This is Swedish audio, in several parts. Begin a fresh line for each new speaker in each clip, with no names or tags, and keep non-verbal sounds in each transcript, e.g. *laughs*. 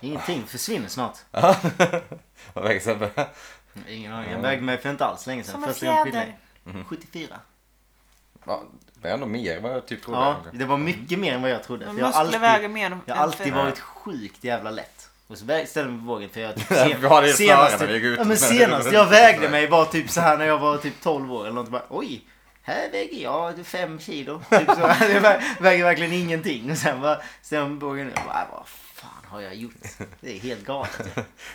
Ingenting försvinner snart.
*laughs* Vad väger Sebbe?
Ingen aning.
Mm.
Jag vägde mig för inte alls länge sedan.
Som en
Första gången skilde
fjäder.
jag mig. 74.
Ja, det är ändå mer än vad jag typ trodde.
Ja,
egentligen.
det var mycket mer än vad jag trodde.
Men
För jag har
muskler
alltid,
väger mer än
Jag har alltid
fyra.
varit sjukt jävla lätt. Och så vä- ställde jag mig på vågen för jag typ
*laughs* Vi har det i
senast,
snören när vi gick ut.
ja, men senast jag vägde mig var typ så här när jag var typ 12 år eller något. Bara, Oj, här väger jag 5 kilo. *laughs* Typ så här. Jag vä- väger verkligen ingenting. Och sen bara ställde jag mig på vågen och jag bara, "Äh, vad fan har jag gjort? Det är helt
*laughs*
galet.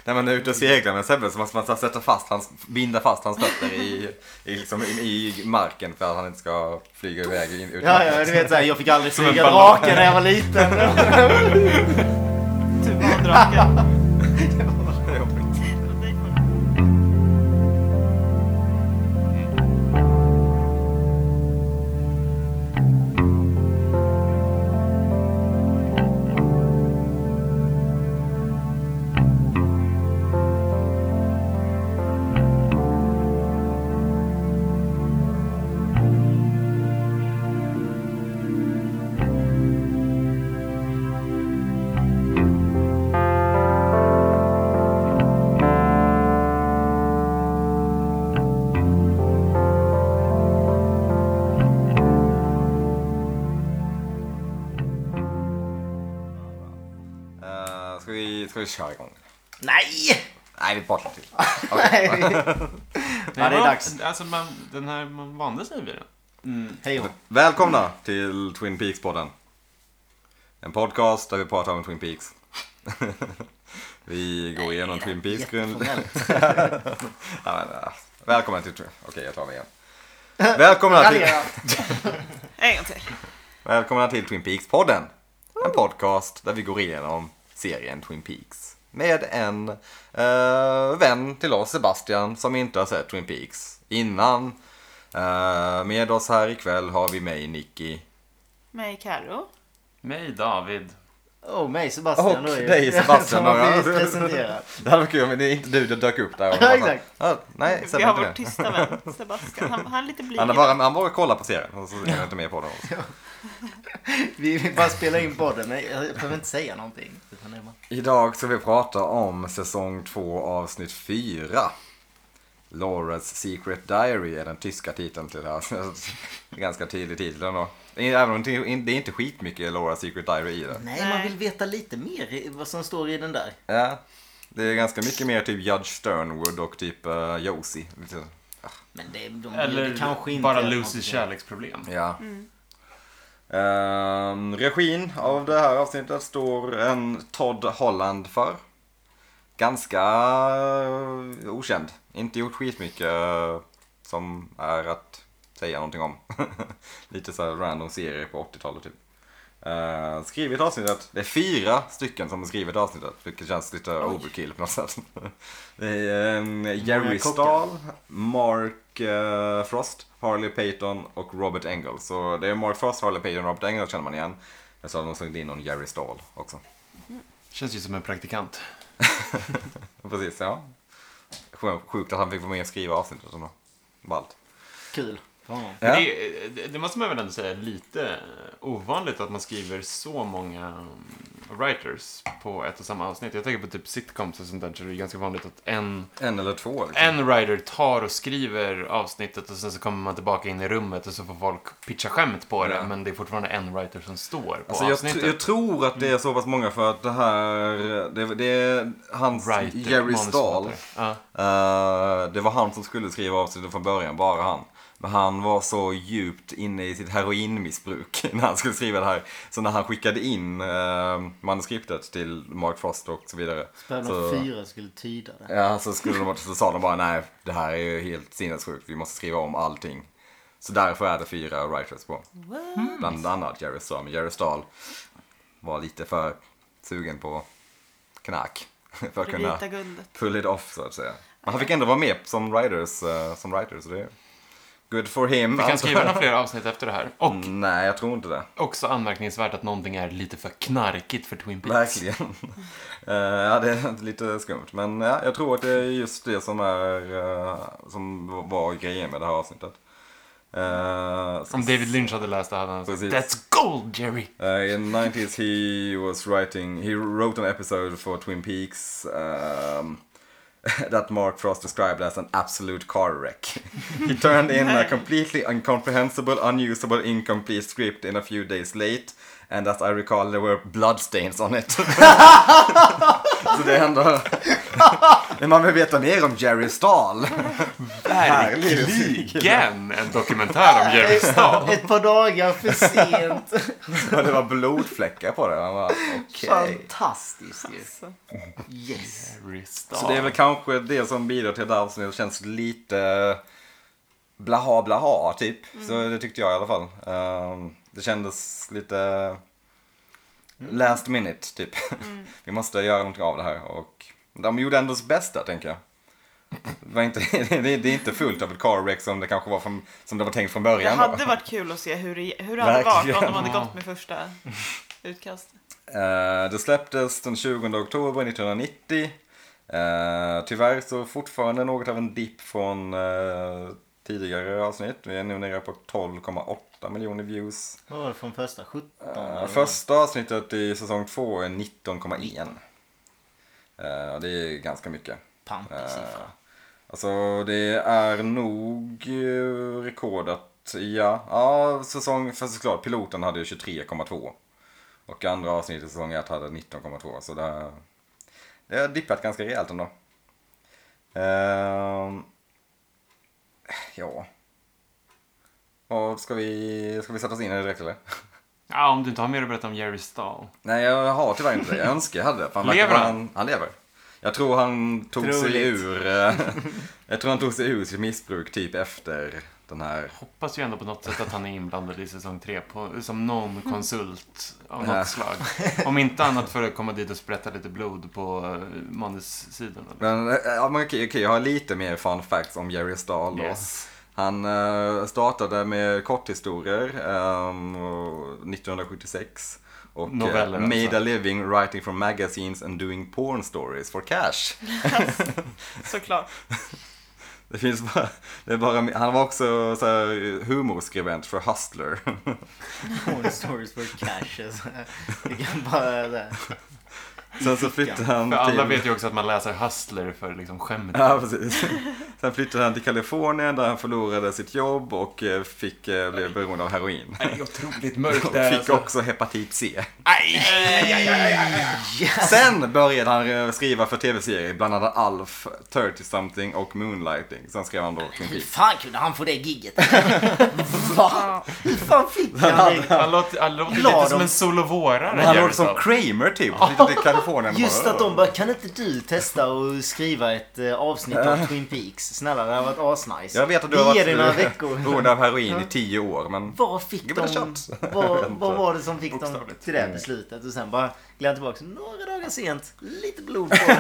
När man är ute och seglar med Sebbe så måste man så här sätta fast hans, binda fast hans fötter i, i, liksom, i, i marken för att han inte ska flyga iväg. In, utan
Ja, ja, du vet så här, jag fick aldrig
Som en
flyga
ballong.
drake när jag var liten.
*laughs*
Typ av draken.
Eh, ska, vi, ska vi köra igång?
Nej!
Nej, vi pratar till.
Nej. *laughs* Ja, det är
man-
dags.
Alltså, man, den här, man vande sig vid den.
Hej då.
Välkomna till Twin Peaks-podden. En podcast där vi pratar om Twin Peaks. *laughs* vi går igenom Twin Peaks grund... *laughs*
Jätteformellt.
Ja, men, eh, Välkommen till... Twin- Okej, jag tar mig igen.
*laughs*
Välkomna till...
Radera.
En gång till.
Välkomna till Twin Peaks-podden. En podcast där vi går igenom serien Twin Peaks. Med en eh, vän till oss, Sebastian, som inte har sett Twin Peaks innan. Eh, med oss här ikväll har vi mig, Nicky.
Mig Carro.
Mig, David.
Och mig Sebastian.
Och
då är *laughs* det-
dig, Sebastian,
Som har
då.
blivit presenterad.
*laughs* Det hade varit kul om det är inte du som dök upp där. Och
*laughs* Ja,
bara,
exakt.
"Ah, nej,
Vi
Sebbe är
har
inte
vår
med.
tysta vän Sebastian. Han, han är lite blyg.
Han har bara, han bara kollar på serien och så är han inte med på den.
Vi, vi bara spelar in podden. men Jag behöver inte säga någonting. Utan det är bara-
Idag ska vi prata om säsong 2 avsnitt 4. Lauras Secret Diary är den tyska titeln till det här. *laughs* Ganska tidig titel ändå. Även om det det är inte skitmycket Lauras Secret Diary i det.
Nej,
Nej.
man vill veta lite mer i vad som står i den där.
Ja, det är ganska mycket mer typ Judge Sternwood och typ uh, Josie. Lite-
Men det, de
Eller
det kanske inte
bara
är
Lucys
någonting.
kärleksproblem.
Ja. Ehm, regin av det här avsnittet står en Todd Holland för. Ganska eh, okänd. Inte gjort skitmycket eh, som är att säga någonting om. *laughs* Lite så här random serier på 80-talet typ. Eh, skrivit avsnittet. Det är fyra stycken som har skrivit avsnittet. Vilket känns lite overkill på något sätt. *laughs* det är eh, Jerry
Många kockar.
Stahl, Mark eh, Frost, Harley Payton och Robert Engel. Så det är Mark Frost, Harley Payton och Robert Engel känner man igen. Men så har de slagit in någon Jerry Stahl också.
Känns ju som en praktikant.
Precis, ja. Sj- Sjukt att han fick vara med och skriva avsnittet ändå. Ballt.
Kul för honom.
Ja.
Men Det, är- det- det måste man väl ändå säga är lite ovanligt att man skriver så många mm, writers på ett och samma avsnitt. Jag tänker på typ sitcoms och sånt där, så det är ganska vanligt att en,
En eller två liksom.
en writer tar och skriver avsnittet och sen så kommer man tillbaka in i rummet och så får folk pitcha skämt på det,
Ja.
men det är fortfarande en writer som står på
Alltså jag,
avsnittet.
jag tror att det är så pass många för att det här, det, det är hans
Writer,
Jerry Stahl.
manusförfattare. Ja.
Eh, det var han som skulle skriva avsnittet från början, bara han. Men han var så djupt inne i sitt heroinmissbruk *laughs* när han skulle skriva det här. Så när han skickade in eh, manuskriptet till Mark Frost och så vidare.
För
så,
de fyra skulle tyda det.
Ja, så, skulle de, så sa de bara nej, det här är ju helt sinnessjukt, vi måste skriva om allting. Så därför är det fyra writers på. Bland annat Jerry Stahl, men Jerry Stahl var lite för sugen på knack. *laughs* För att
Det
kunna
vita guldet.
pull it off så att säga. Men han fick ändå vara med som writers, eh, som writers så det är good for him.
Vi kan
alltså.
skriva några fler
*laughs*
avsnitt efter det här. Och
Nej, jag tror inte det.
också anmärkningsvärt att någonting är lite för knarkigt för Twin Peaks.
Verkligen. Eh, ja, det är lite skumt. Men ja, jag tror att det är just det som är eh, som var grejen med det här avsnittet. Uh,
Om David Lynch hade läst det hade han sagt
Precis.
That's gold Jerry!
Uh, in the 90s, he was writing. He wrote an episode for Twin Peaks um, *laughs* that Mark Frost described as an absolute car wreck. *laughs* he turned in a completely incomprehensible, unusable, incomplete script in a few days late, and as I recall, there were bloodstains on it. *laughs* Så det är ändå... Men man vill veta mer om Jerry Stahl. *laughs*
Verkligen en dokumentär om Jerry Stahl!
Ett par dagar för sent.
Och det var blodfläckar på det. Man bara, *laughs* okej.
Fantastiskt ju.
Alltså,
Yes.
Jerry Stahl.
Så det är väl kanske det som bidrar till att avsnittet känns lite eh, blaha blaha typ. Så det tyckte jag i alla fall. Ehm, det kändes lite last minute typ. *laughs* Vi måste göra någonting av det här och de gjorde ändå sitt bästa tänker jag. Det, var inte, *laughs* det, är- det är inte fullt av ett car wreck som det kanske var från, som det var tänkt från
det
början. då.
hade varit kul att se hur det, hur det hade varit om de hade gått med första utkastet.
Eh, det släpptes den 20 oktober 1990. Eh, tyvärr så fortfarande något av en dipp från eh, tidigare avsnitt. Vi är nu nere på 12,8 miljoner views.
Vad var det från första? 17?
Eh, första avsnittet i säsong 2 är 19,1. Eh, och det är ganska mycket.
Pampig siffra.
Alltså det är nog eh, rekordat, ja. Ja, säsong, för såklart piloten hade ju 23,2. Och andra avsnittet i säsong 1 hade 19,2. Så det, har- det har dippat ganska rejält ändå. Ehm, ja. Vad ska vi, ska vi sätta oss in i det direkt eller?
Ja, om du inte har mer att berätta om Jerry Stahl.
Nej jag har tyvärr inte det. Jag önskar jag hade det. för verkar
Lever
vara
han?
en- Han lever. Jag tror han tog sig
Troligt.
ur eh, *laughs* Jag tror han tog sig ur sitt missbruk typ efter den här
Hoppas ju ändå på något sätt att han är inblandad i säsong tre på, som någon konsult av
Mm. Ja.
något slag. Om inte annat för att komma dit och sprätta lite blod på eh, manussidorna.
Men, eh, ja, men okej, okej, jag har lite mer fun facts om Jerry Stahl. då.
Yes.
Han eh, startade med korthistorier ehm, och 1976. Och eh,
Noveller,
made
alltså.
a living writing for magazines and doing porn stories for cash.
Såklart.
Det finns bara, det är bara, han var också så här, humorskribent för Hustler.
Porn stories for cash. Alltså. Det
*laughs*
kan bara... Det.
Sen så flyttade han
För alla
till...
vet ju också att man läser Hustler för liksom skämt.
*laughs* Ja, precis. Sen flyttade han till Kalifornien där han förlorade sitt jobb och eh, fick, eh, blev beroende av heroin.
Det är
*laughs*
otroligt
Och
mörkt där.
fick
Alltså.
också hepatit C.
Aj, aj, aj, aj, aj.
Sen började han eh, skriva för tv-serier, bland annat Alf, 30-something och Moonlighting. Sen skrev han då Twin
Hur
Peaks.
fan kunde han få det *laughs* gigget? Va? Hur fan fick han det?
Han låter, han låter
Glad
lite som
om-
en solovårare.
Han
Jerry
låter som
Stahl.
Kramer typ, lite till Kalifornien. och
Just att de bara, kan inte du testa och skriva ett eh, avsnitt av Twin Peaks? Snälla, det har varit asnice.
Jag vet att du
Vi
har
ger dig några
varit eh, *laughs*
veckor.
beroende av heroin i tio år, men...
Vad fick
Give it a
de...
shot.
Vad, vad var det som fick dem
Bokstavligt.
till det
Mm.
beslutet? Och sen bara gled tillbaka några dagar sent. Lite blod på.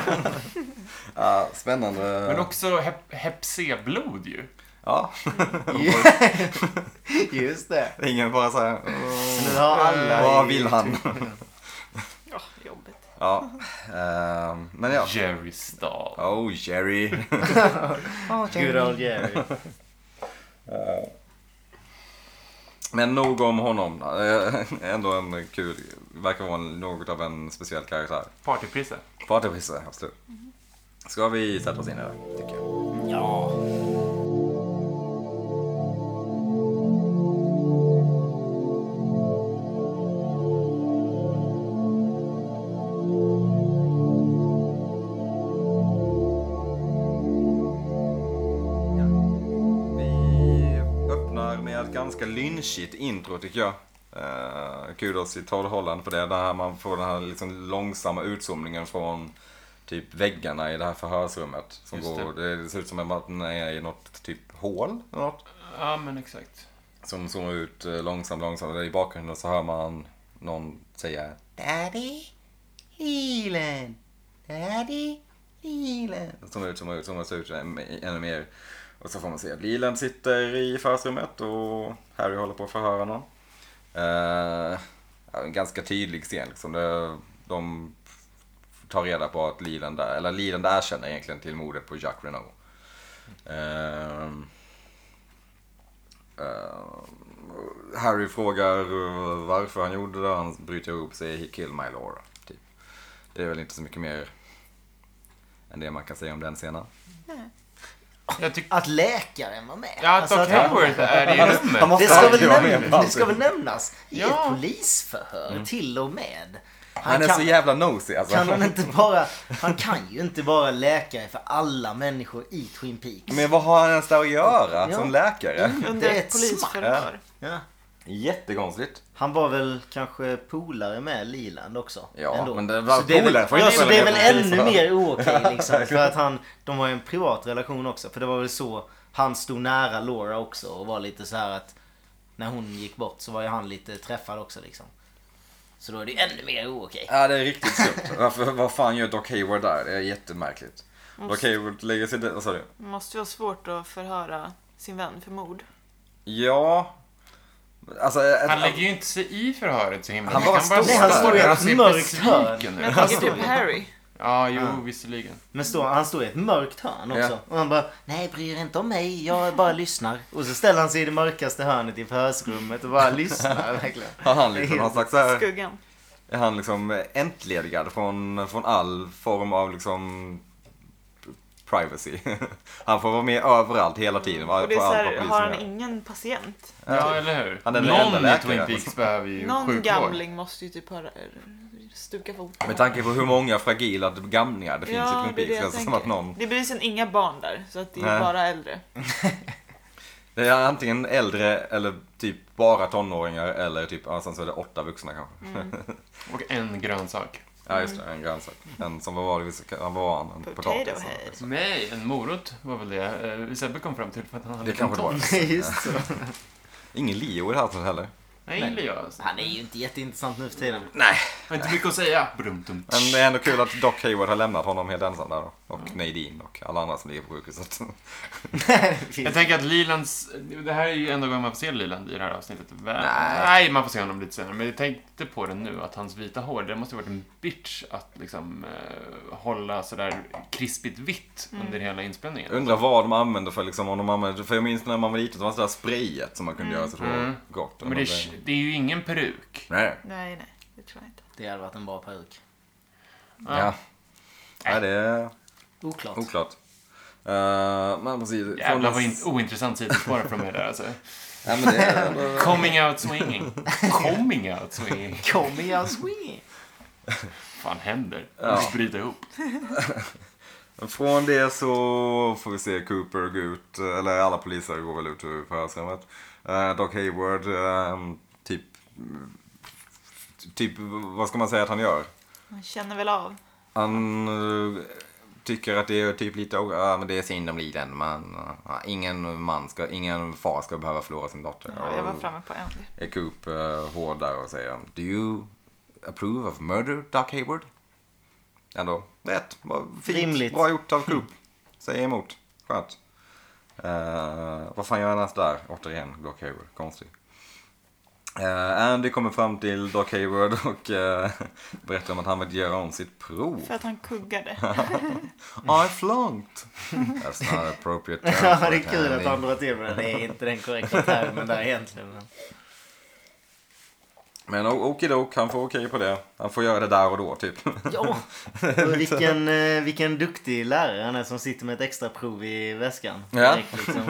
Ja, spännande.
Men också hep, hep C-blod ju.
*laughs* Ja, *laughs*
*laughs* Just det.
ingen bara så här...
Nu har alla...
Vad
i-
vill
typ.
han?
Ja, jobbigt.
Ja, ehm, men ja.
Jerry Stahl.
Oh, Jerry.
Good old Jerry.
Men nog om honom. Eh, *laughs* Ändå en kul, verkar vara en- något av en speciell karaktär.
Partyprisse.
Prata vissa, absolut. eh, Ska vi sätta oss in i det, tycker jag.
Ja.
Vi öppnar med ett ganska lynchigt intro, tycker jag. Eh, kudos till Todd Holland för det, där man får den här liksom långsamma utzoomningen från typ väggarna i det här förhörsrummet. Som
Just
går, det. ser ut som att den är i något typ hål eller något.
Ja, men exakt.
Som zoomar ut eh, långsamt, långsamt. Där I bakgrunden så hör man någon säga Daddy, Lilen. Daddy, Lilen. Zoomar ut, zoomar ut, zoomar ut än- ännu mer. Och så får man se att Lilen sitter i förhörsrummet och Harry håller på att förhöra honom. Eh, ja, en ganska tydlig scen liksom. Det, de tar reda på att Lilen där, eller Lilen där känner egentligen till mordet på Jacques Renault. Eh, Ehm, Eh, Harry frågar eh, varför han gjorde det. Han bryter ihop sig. He killed my Laura. Typ. Det är väl inte så mycket mer än det man kan säga om den scenen.
Nej.
Jag tycker...
Att läkaren var med.
Ja, att
Ah, Alltså,
Doc Hemworth är i rummet.
han måste-
det, ska
Ja,
väl
jag menar
nämnas, det
alltså.
ska väl nämnas i
Ja.
ett polisförhör till och med. Han,
Han är
kan,
så jävla nosy alltså.
kan han inte bara, han kan ju inte vara läkare för alla människor i Twin Peaks.
Men vad har han ens där att göra
Ja.
som läkare?
Under
Det är
ett
ett smack.
polisförhör.
Ja.
Jättekonstigt.
Han var väl kanske polare med Liland också?
Ja,
ändå.
men det var
så det är
polare,
väl,
får
ja,
inte
så
spela
det är väl
med polisen.
ännu mer
*laughs*
ookej liksom. För att han, de har ju en privat relation också. För det var väl så han stod nära Laura också och var lite så här att när hon gick bort så var ju han lite träffad också liksom. Så då är det ju ännu mer ookej.
Ja, det är riktigt skumt. *laughs* Varför, vad fan gör Doc Hayward där? Det är jättemärkligt. Doc Hayward lägger sig där, vad sa du?
Man måste ju ha svårt att förhöra sin vän för mord.
Ja. Alltså, ett,
Han lägger ju inte sig i förhöret så himla
Han
mycket.
bara står
Nej, han
där.
står i
där och
ett
ser
mörkt
besviken
hörn.
ut.
Men jag
Han
tänker
står-
typ Harry.
Ja, jo, visserligen.
Men står, han står i ett mörkt hörn också.
Ja.
Och han bara, nej bryr er inte om mig, jag bara lyssnar. Och så ställer han sig i det mörkaste hörnet i förhörsrummet och bara
*laughs*
lyssnar verkligen.
har han liksom någon slags så här,
Skuggan.
är han liksom entledigad från, från all form av liksom privacy. *laughs* Han får vara med överallt hela tiden.
Och det är
på
så
allt vad
här,
polisen
har han
gör.
ingen patient?
Ja, eller hur?
Han är den enda
Någon i
läkaren.
Twin Peaks behöver ju
Någon
sjukvård.
gamling måste ju typ ha stuka foten.
Med tanke på hur många fragila gamlingar det finns
Ja,
i
det är
Twin
det jag
Peaks. Alltså, som
tänker.
att någon,
Det blir sen inga barn där, så att det är
Nej.
bara äldre.
det är antingen äldre eller typ bara tonåringar eller typ, ja, sen så är det åtta vuxna kanske.
Och en grönsak.
Ja just det, en grönsak. En som var vanligtvis vad var han? En
Potato
potatis.
head.
Nej, en morot var väl det eh, Sebbe kom fram till för att han hade
Det kanske det var.
*laughs* Just så.
Ingen Leo i det här fallet heller.
Nej, gillar jag. alltså.
Han är ju inte jätteintressant nu för *laughs* tiden.
Har inte mycket att säga. Brumtum.
Men det är ändå kul att Doc Hayward har lämnat honom helt ensam där då. Och Nadine och alla andra som ligger på sjukhuset. *laughs*
Jag tänker att Lilands... Det här är ju enda gången man får se Liland i det här avsnittet. Väl-
Nej.
Nej, man får se honom lite senare. Men jag tänkte på det nu, att hans vita hår, det måste ha varit en bitch att liksom eh, hålla sådär krispigt vitt
Mm.
under hela inspelningen.
Jag undrar vad de använder för liksom, om de använder, för jag minns när man var liten, det var sådär sprayet som man kunde göra sitt hår
Mm.
gott.
Men det är, det är ju ingen peruk.
Nej.
Nej, nej, det tror jag inte.
Det hade varit en bra peruk.
Ja. ja. Nej, det är
Oklart.
oklart. Eh, men precis. från
Jävlar vad in,
hans-
ointressant sidospår från mig där alltså.
Nej, men det är ändå-
Coming
*laughs*
out swinging. Coming out swinging.
Kom igen, swing!
fan händer?
Ja.
Vi bryter ihop.
Från det så får vi se Cooper gå ut, eller alla poliser går väl ut ur förhörsrummet. Eh, Doc Hayward, eh, typ, typ, vad ska man säga att han gör?
Man känner väl av.
Han eh, tycker att det är typ lite, ja men det är synd om liden, man, ja, ingen man ska, ingen far ska behöva förlora sin dotter.
Ja, jag var framme på en.
Och Är Coop eh, hård där och säger, do you approve of murder, Doc Hayward? Ändå rätt, vad fint,
Rimligt.
bra gjort av Coop. Säger emot, skönt. Eh, vad fan gör han ens där? Återigen, Doc Hayward, konstigt. Eh, Andy kommer fram till Doc Hayward och eh, berättar om att han vill göra om sitt prov. Ah,
För att han
*laughs*
kuggade.
I flunked. That's not an appropriate term
*laughs* Ja,
for
det
a
är kul att
candy.
han drar till med den. Det är inte den korrekta termen där egentligen. men-
Men o- okidok, han får okej på det. Han får göra det där och då typ.
*laughs* Ja! Och vilken, eh, vilken duktig lärare han är som sitter med ett extra prov i väskan.
Ja.
Direkt, *laughs* liksom.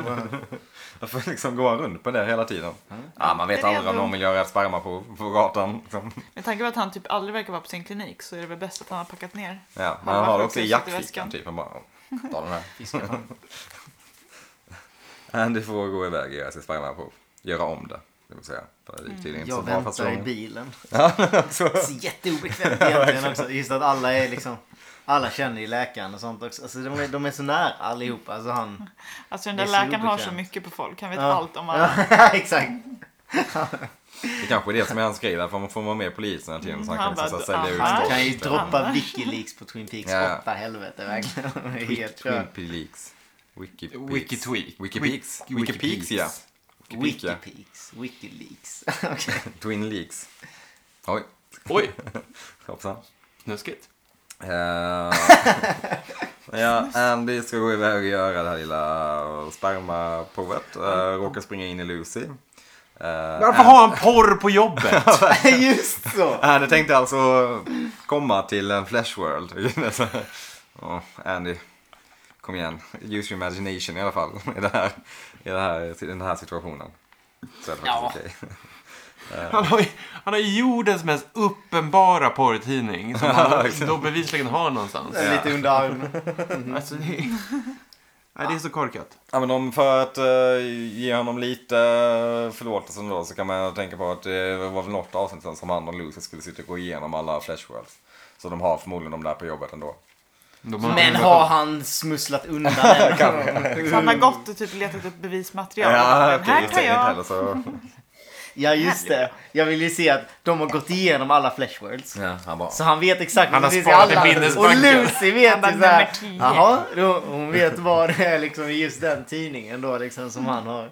Varför liksom går han runt på det hela tiden? Ja, man vet
Mm. Det är
aldrig om
ändå-
någon vill göra ett spermaprov på gatan. Liksom.
Med tanke på att han typ aldrig verkar vara på sin klinik så är det väl bäst att han har packat ner.
Ja, men
Han
han
bara
har det
får
också i
kryssa till
jackfickan
väskan.
typ. Han bara, ta
*laughs*
den här. Andy får gå iväg och göra sitt spermaprov. Göra om det, det vill säga. För
Mm.
det gick tydligen inte
Jag
så bra första
väntar i
gången. *laughs*
bilen. Så jätteobekvämt egentligen också. Just att alla är liksom... Alla känner ju läkaren och sånt också. Alltså, de, är, de är så nära allihopa. Alltså han...
Alltså den
Det är
där
så
läkaren har så
obekvämt.
mycket på folk. Han vet
Ja.
allt om alla.
Ja, *laughs* exakt.
Det kanske är det som är hans grej, därför man får vara med polisen hela tiden. Så han
Mm, Han
kan liksom
bara,
så här sälja
aha.
ut
Kan ju
stories.
droppa Wikileaks på Twin Peaks.
Ja.
Åtta helvete verkligen. De är *laughs* Helt
Twin
kört.
Peaks. Wikipeaks.
Wikitweak.
Wikipeaks.
Wik-
Wikipeaks, ja. Wikipeak, ja.
Wikipeaks. Wikileaks. *laughs* Okej.
Twin Leaks. Oj,
Oj,
hoppsan.
snuskigt.
Eh, Ja, Andy ska gå iväg och göra det här lilla spermaprovet. Eh, Råkar springa in i Lucy. Eh,
Varför har han porr på *laughs* jobbet?
*laughs*
Just så!
Andy eh, tänkte alltså komma till en flesh world. *laughs* Åh, Andy, kom igen. Use your imagination i alla fall i, det här, i, det här, i den här situationen. Så är det
Ja.
faktiskt okej.
Han har, ju- han har ju jordens mest uppenbara porrtidning som *laughs* han då bevisligen har någonstans.
Lite under armen. Mm.
Alltså, det, är, nej, det är så korkat.
Ja men om för att eh, ge honom lite uh, förlåtelse då så kan man tänka på att det var väl något avsnitt sen som han och Lucy skulle sitta och gå igenom alla flashworlds. Så de har förmodligen de där på jobbet ändå.
De
Men har han smusslat
*laughs*
undan den?
Så han har gått och typ letat upp bevismaterial.
Ja,
Men
okej,
här
just det.
kan
Inte
jag.
heller
*laughs*
så.
Ja just det. Jag vill ju se att de har gått igenom alla flashworlds.
Ja, han bara.
Så han vet exakt
Han har
vad det finns i
sparat i
alla. Och
minnesbanken.
Lucy vet
Han bara,
ju såhär.
nummer tio.
Jaha, då- hon vet vad det är liksom i just den tidningen då liksom som han har.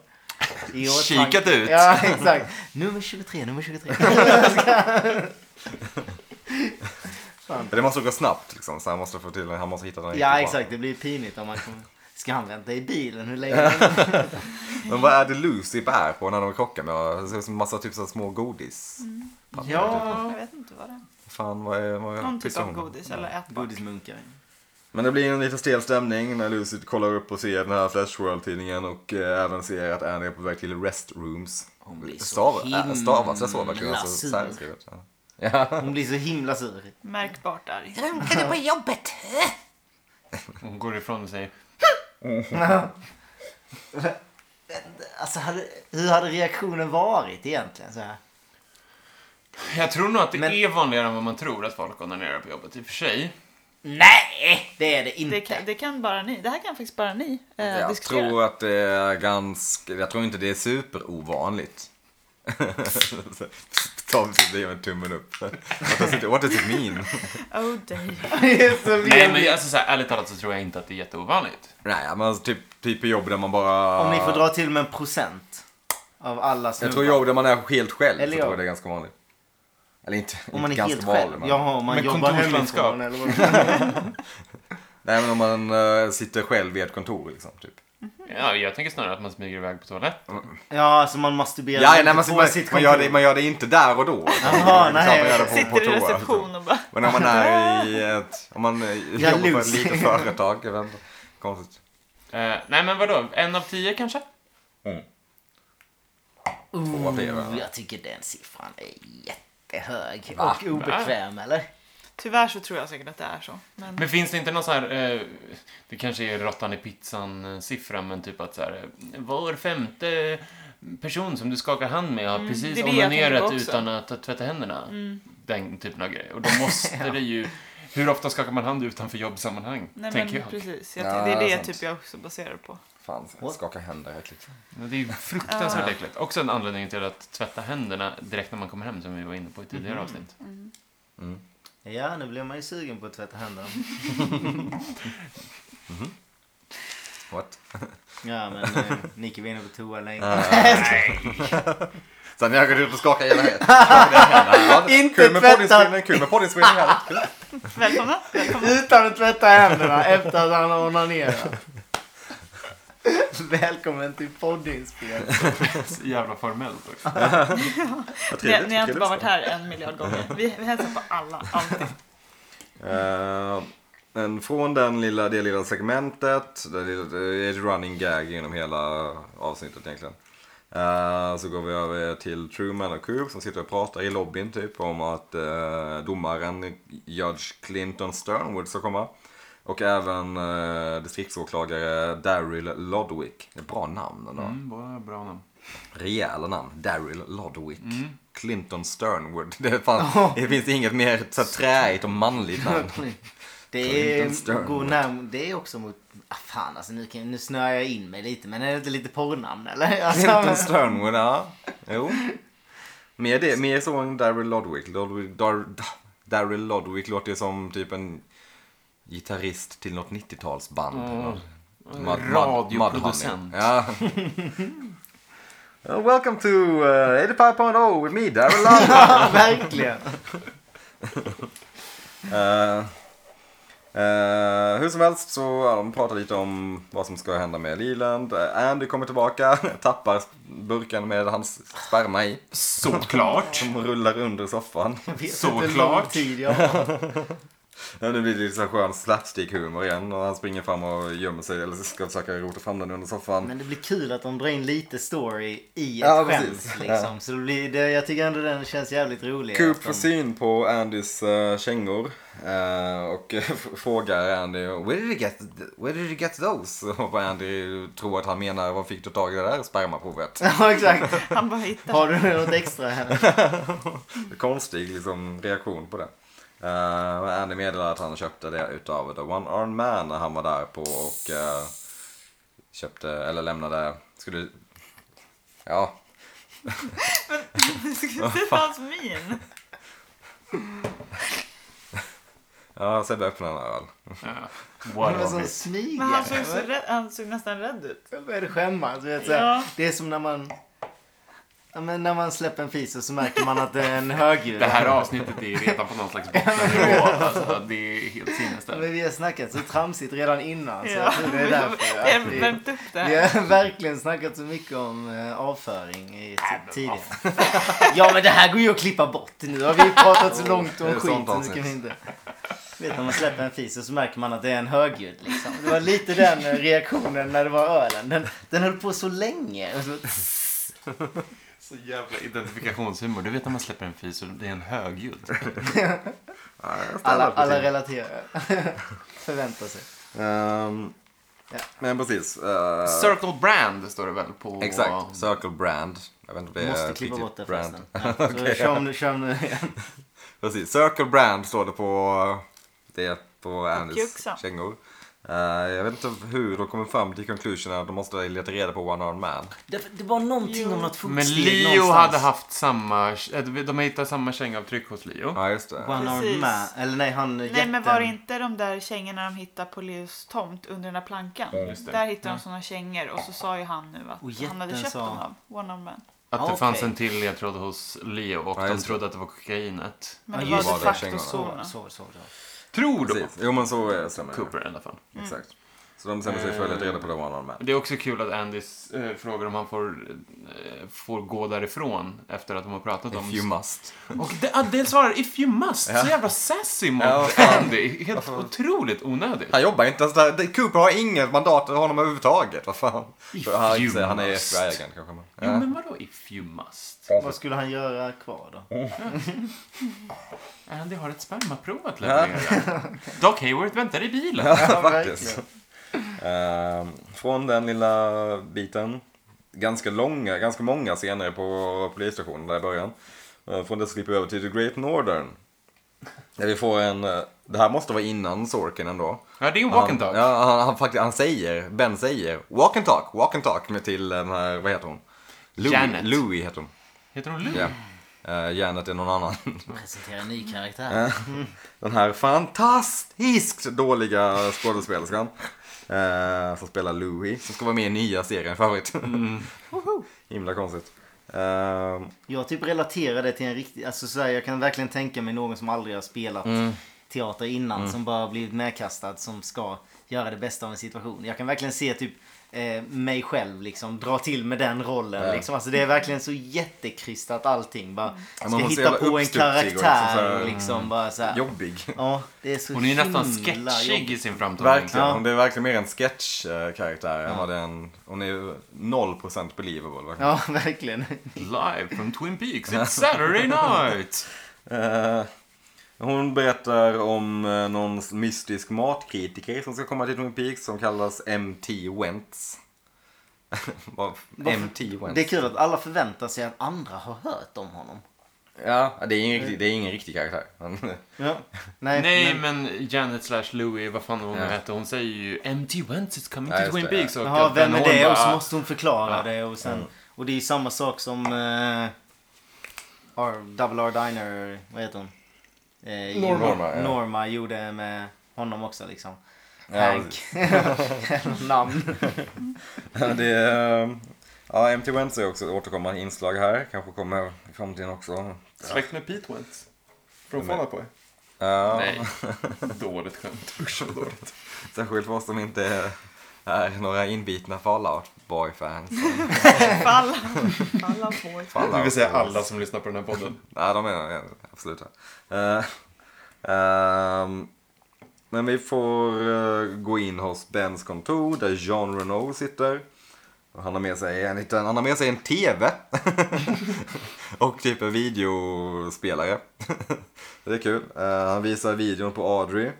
i åtanke.
Kikat ut.
Ja exakt. Nummer 23, nummer 23.
*laughs*
Det måste gå snabbt liksom så han måste få till han måste hitta den riktigt
Ja
bra.
exakt, det blir pinigt om man kommer. Ska han vänta i bilen hur länge?
Men vad är det Lucy bär på när de krockar med? Det ser ut som massa typ så här små godis.
Mm.
Ja.
Jag vet inte vad det är.
Fan vad är, vad är
Någon typ
pysslar
av
hon med?
godis eller ätbart.
Godismunkar.
Men det blir en lite stel stämning när Lucy kollar upp och ser den här Flash World-tidningen och eh, även ser att Annie är på väg till restrooms.
Hon blir så
Stav- äh, Stavas det så verkligen?
himla
Alltså,
sur.
så här skrivet, ja.
Hon blir så himla sur.
Märkbart arg.
Runkade på jobbet.
Hon går ifrån och säger
Alltså hade, hur hade reaktionen varit egentligen? Så här?
Jag tror nog att det
Men-
är vanligare än vad man tror att folk onanerar på jobbet i och för sig.
Nej, det är det inte.
*laughs* Det kan, det kan bara ni. Det här kan faktiskt bara ni eh,
Jag
diskutera.
tror att det är ganska, jag tror inte det är *laughs* superovanligt. Tom sitter och ger typ- en tummen upp. What does it, what does it mean?
Oh, damn.
Det är *laughs* så
Nej,
jävla-
men alltså, så här, ärligt talat så tror jag inte att det är jätteovanligt.
Nej, men alltså, typ, typ på jobb där man bara...
Om ni får dra till med en procent av alla snubbar.
jag tror jobb där man är helt själv
Eller
så tror
jag.
jag det är ganska vanligt. Eller inte,
Om man
inte
är
ganska
helt
vanligt,
själv.
men-
Jaha, om man
Men
jobbar
kontorslandskap.
hemifrån eller vad
Nej men om man eh, sitter själv i ett kontor liksom typ.
Ja, jag tänker snarare att man smyger iväg på toaletten.
Ja, så man masturberar
Ja, ja
inte
nej, man,
på
man,
sitt
man, gör det,
kontor.
man gör det liksom inte där och då.
Jaha,
Man
nej.
gör det på- på
Sitter i
toa, liksom.
reception och bara...
Men om
*laughs*
man är i ett, om man eh,
Ja,
jobbar på ett
Lucy. *laughs*
litet företag. Jag vet inte. Konstigt.
Eh, nej, men vadå? En av tio kanske?
Två av flera.
Oh, jag tycker den siffran är jättehög. Och obekväm, eller?
Tyvärr så tror jag säkert att det är så. Men
Men finns det inte någon sån här... Eh, det kanske är råttan i pizzan-siffra, men typ att så här... eh, Var femte person som du skakar hand med har
Mm, det
precis
är det jag
onanerat
tänker också. Mm.
utan att ha tvättat händerna. Den typen av grej. Och då
*laughs*
måste det ju... Hur ofta skakar man hand utanför jobbsammanhang?
Nej
tänker
men
jag.
precis, jag,
Ja,
tänkte- det
det
är
är
det
sant.
typ jag också baserar på.
Fan, skaka händer liksom? är äckligt.
Men det är ju fruktansvärt äckligt. Också en anledning till att tvätta händerna direkt när man kommer hem, som vi var inne på i tidigare
Mm. *laughs*
avsnitt. *laughs*
Ja, nu blir man ju sugen på att tvätta händerna.
What?
Ja, men eh, Nicky var inne på toa länge.
Ah. Sen när jag går ut och skakar hela
*laughs*
hela- hela-
Inte
Kul med
tvättat.
poddinspelning, kul med poddinspelning här.
Välkomna!
*laughs*
Välkomna.
Utan att tvätta händerna efter att han har onanerat.
*laughs*
Välkommen till poddinspelning.
Så jävla formellt också.
Vad trevligt,
Ni, ni har inte
trevligt.
bara varit här en miljard gånger. Vi, vi hälsar på alla, alltid.
Eh, Men från den lilla, det lilla segmentet, det lilla- det är ett running gag genom hela avsnittet egentligen. Eh, så går vi över till Truman och Cube som sitter och pratar i lobbyn typ om att eh, domaren Judge Clinton Sternwood ska komma. Och även eh, distriktsåklagare Daryl Lodwick. Det är Bra namn ändå.
Mm, bara bra namn.
Rejäla namn. Daryl Lodwick. Clinton Sternwood. *laughs* Det, är fan, det finns inget mer så här träigt och
*laughs*
manligt namn.
Det
Clinton
är,
Stern.
går närm- det är också mot... Ah, fan, alltså nu, kan, nu snöar jag in mig lite. Men är det inte lite porrnamn eller? Alltså,
Clinton
men- *laughs*
Sternwood, ja. Jo. Mer, det, mer så än Daryl Lodwick. Lodwick Dar, Dar- Daryl Lodwick låter ju som typ en gitarrist till något 90-talsband.
Ja.
Mud- Mud-
Radioproducent.
Mudhoney. Ja. Well, welcome to uh, 85.0 with me, Daryl *laughs* Lodwick.
Verkligen.
Eh, Eh, hur som helst så ja, de pratar lite om vad som ska hända med Leland. Eh, Andy kommer tillbaka, *laughs* tappar burken med hans sperma i. *laughs*
Såklart.
Som rullar under soffan.
Jag vet
Såklart.
inte hur lång tid jag har.
Ja, nu blir det lite så här skön slapstick-humor igen och han springer fram och gömmer sig eller ska försöka rota fram den under soffan.
Men det blir kul att de drar in lite story i ett
Ja,
skämt.
precis.
Liksom. Så det blir, det, jag tycker ändå den känns jävligt rolig.
Coop
att
får
de-
syn på Andys eh, kängor eh, och *laughs* frågar Andy where did, you get, where did you get those? Och Andy tror att han menar var fick du tag i det där spermaprovet?
*laughs* Ja, exakt.
Han bara hittar.
Har du något extra här?
Konstig liksom, reaktion på det. Eh, och Andy meddelar att han köpte det utav The One Armed Man när han var där på och eh, köpte eller lämnade, skulle, ja
Det är hans min.
Ja, Sebbe öppnar en öl.
Ja.
Han var
What of
sån
it?
smyg.
Men alltså- han såg, så rädd, han såg nästan rädd ut.
Jag började skämmas. Du vet, så här.
Ja.
Det är som när man... Ja, men när man släpper en fis och så märker man att det är en högljudd.
Det här avsnittet är redan på någon slags bottennivå. Alltså, det är helt
Men
sinnesställt.
vi har snackat så tramsigt redan innan. Så
Ja.
jag tror det är därför.
Vi
att
har
vi-
värmt upp det
Vi
här.
har verkligen snackat så mycket om eh, avföring i t- tidigare. Ja men det här går ju att klippa bort. Nu har vi pratat så långt
det
om
är sånt
skit så nu kan vi
avsnitt.
inte. Vet när man släpper en fis och så märker man att det är en högljudd liksom. Det var lite den eh, reaktionen när det var ölen. Den, den höll på så länge. Och så,
Så jävla identifikationshumor. Du vet när man släpper en fis och det är en högljudd.
alla, alla relaterar. *laughs* Förväntar sig.
Ehm,
Ja.
Men precis. eh,
Circle Brand står det väl på...
exakt. Circle Brand. Jag vet inte om det är
Måste
ett
klippa
riktigt
bort det
brand.
förresten. Ja,
*laughs*
så kör om nu, kör om nu igen.
Precis. Circle Brand står det på det på Andys
Juxa.
kängor. Eh, jag vet inte hur de kommer fram till conclusionen att de måste leta reda på One Armed Man.
Det, det var någonting
Jo.
om något fotsteg
Men Leo
någonstans.
hade haft samma... eh, De hittade samma kängavtryck hos Leo.
Ja, just det.
One armed
Precis.
man. Eller nej, han
Nej men var det inte de där kängorna de hittade på Leos tomt under den där plankan?
Just det.
Där hittade de sådana kängor och så sa ju han nu
Och
att han
Oh, jätten
hade köpt
sa-
dem av One of Man.
Att det
Okej.
fanns en till ledtråd hos Leo och
Ah, Ja,
de
just det.
trodde att det var kokainet.
Men
Ja,
det
just
var
det,
de
kängorna.
facto
Så,
såna.
så, så, så.
Tror de!
Precis. Jo, men så är- stämmer det.
Cooper i alla fall.
Exakt. Så de bestämmer sig för att leta reda på The One Armed Man.
Det är också kul att Andy eh, frågar om han får, eh, får gå därifrån efter att de har pratat om...
If you must.
Och de, ah, det svarar if you must. Så jävla sassy mot
Ja, vad
Andy. Helt otroligt onödigt.
Han jobbar inte ens där. Det- Cooper har inget mandat över honom överhuvudtaget. Vad fan. Han,
you
han är
must.
FBI-agent kanske. men-
Jo, men vadå if you must?
Vad skulle han göra kvar då?
Andy har ett spermaprov att leverera. Doc Hayward väntar i bilen.
Ja,
Faktiskt.
verkligen.
Ehm, från den lilla biten, ganska långa, ganska många scener på polisstationen där i början. Ehm, från det så klipper vi över till The Great Northern. Där vi får en, eh, det här måste vara innan Sorkin ändå.
Ja, det är ju *laughs* walk and
Han-
talk.
Ja, han, han, faktiskt, han säger, Ben säger, walk and talk, walk and talk med till den här, vad heter hon? Louis,
Janet.
Louis heter hon.
Heter hon Lou?
Ja. Eh, Janet är någon annan. *laughs*
Presentera en ny karaktär.
Den här fantastiskt dåliga skådespelerskan. Eh, som spelar Louis. Som ska vara med i nya serien för övrigt.
Mm.
*laughs* Himla konstigt. Eh,
Jag typ relaterar det till en riktig, alltså så här, jag kan verkligen tänka mig någon som aldrig har spelat teater innan som bara har blivit medkastad som ska göra det bästa av en situation. Jag kan verkligen se typ eh, mig själv liksom dra till med den rollen
Ja.
liksom. Alltså det är verkligen så jättekrystat allting. Bara ska
men hon är så
hitta
jävla
på en
uppstudsig och
karaktär och
liksom så här,
liksom, bara så här.
jobbig.
Ja, det är så
Hon är ju nästan
himla
sketchig
jobbigt.
i sin framtoning.
Verkligen.
Ja.
Hon är verkligen mer en sketchkaraktär än vad det är en... Hon är ju 0% believable. Verkligen.
Ja, verkligen.
Live from Twin Peaks, it's
*laughs*
Saturday night!
Eh, hon berättar om eh, någon mystisk matkritiker som ska komma till Twin Peaks som kallas MT Wentz. *laughs* Vad- MT Wentz.
Det är kul att alla förväntar sig att andra har hört om honom.
Ja, det är ingen riktig, det är ingen riktig karaktär. Men-
Ja. Nej,
Nej,
men...
men Janet slash Louie, vad fan hon
Ja.
hette, hon säger ju MT Wentz is coming
Ja,
to
just
Twin
det, ja.
Peaks. och
Jaha,
att
vem
den
är
hon
det? Och så
bara-
måste hon förklara
Ja.
det. Och, sen, och det är ju samma sak som eh, R, Double R Diner, vad heter hon? Eh,
Norma.
Norma,
Norma, ja.
Norma gjorde med honom också liksom.
Ja,
Hank. *laughs* Namn.
Ja, det är, ja, MT Wentz är också ett återkommande inslag här. Kanske kommer i framtiden också.
Släkt med Pete Wentz. Från
Fall
Boy.
Ja,
*laughs* Nej. Dåligt skämt. Usch vad dåligt.
särskilt för oss som inte är, är några inbitna Fallout Boy-fans.
*laughs* Falla. Falla på.
Det vill säga alla som lyssnar på den här podden.
Ja, de är absolut. Eh, ehm, men vi får eh, gå in hos Bens kontor där Jean Renault sitter. Och Han har med sig en, liten, han har med sig en TV. *laughs* och typ en videospelare. *laughs* det är kul. Eh, han visar videon på Audrey.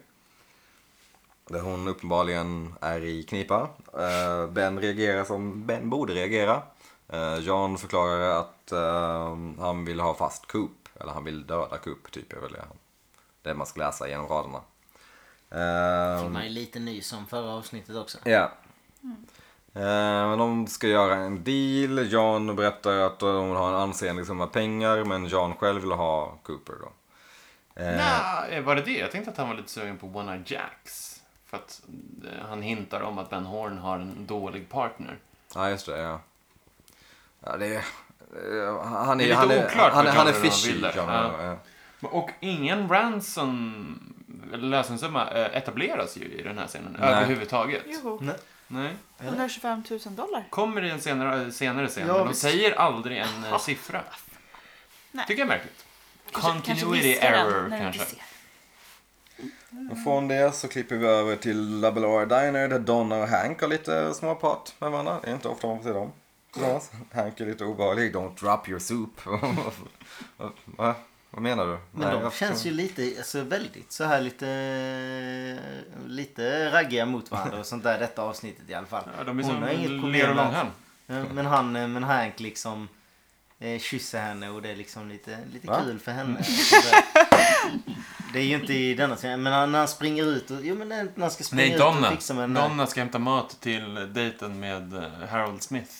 Där hon uppenbarligen är i knipa. Eh, ben reagerar som Ben borde reagera. Eh, Jan förklarar att eh, han vill ha fast Coop. Eller han vill döda Coop, typ. Är väl det, han- det man ska läsa genom raderna.
Fick
Eh,
man ju lite ny som förra avsnittet också.
Ja. Eh, Men de ska göra en deal. Jan berättar att de vill ha en ansenlig summa pengar men Jan själv vill ha Cooper då. Eh,
Nej, var det det? Jag tänkte att han var lite sugen på One Eye Jacks. För att eh, han hintar om att Ben Horn har en dålig partner.
Ja, just det. Ja. Ja, det är... eh, Han
Det
är,
är lite
han är,
oklart
han, är,
vad
han är
Jon Renaud
fishy.
vill där.
Jon
Ja.
Renaud, ja.
Och ingen ransom eller lösensumma eh, etableras ju i den här scenen
Nej.
överhuvudtaget.
Joho.
Nej.
125 000 dollar.
Kommer i en senare, eh, senare scen,
Ja,
men de
visst.
säger aldrig en eh, siffra.
Ah. Nej.
Tycker jag är märkligt.
Kanske- kanske
Continuity
viskar den
error,
när du
kanske.
inte ser.
Och från det så klipper vi över till La Bellora Diner där Donna och Hank har lite småprat med varandra. Det är inte ofta man får se dem. Ja, Hank är lite obehaglig. Don't drop your soup. *laughs* Va? Vad menar du?
Men de
jag
känns
förstår-
ju lite, alltså väldigt så här lite, lite raggiga mot varandra och sånt där detta avsnittet i alla fall.
Ja, de är
Hon har inget
som
problem
ler och
med-
långhalm.
Ja, Men han, eh, men Hank liksom eh, kysser henne och det är liksom lite, lite
Va?
kul för henne. Så där.
Mm.
Det är ju inte i denna scenen, men han- när han springer ut och, jo men när han ska springa
Nej,
ut och
Donna.
fixa med den här-
Donna ska hämta mat till dejten med eh, Harold Smith.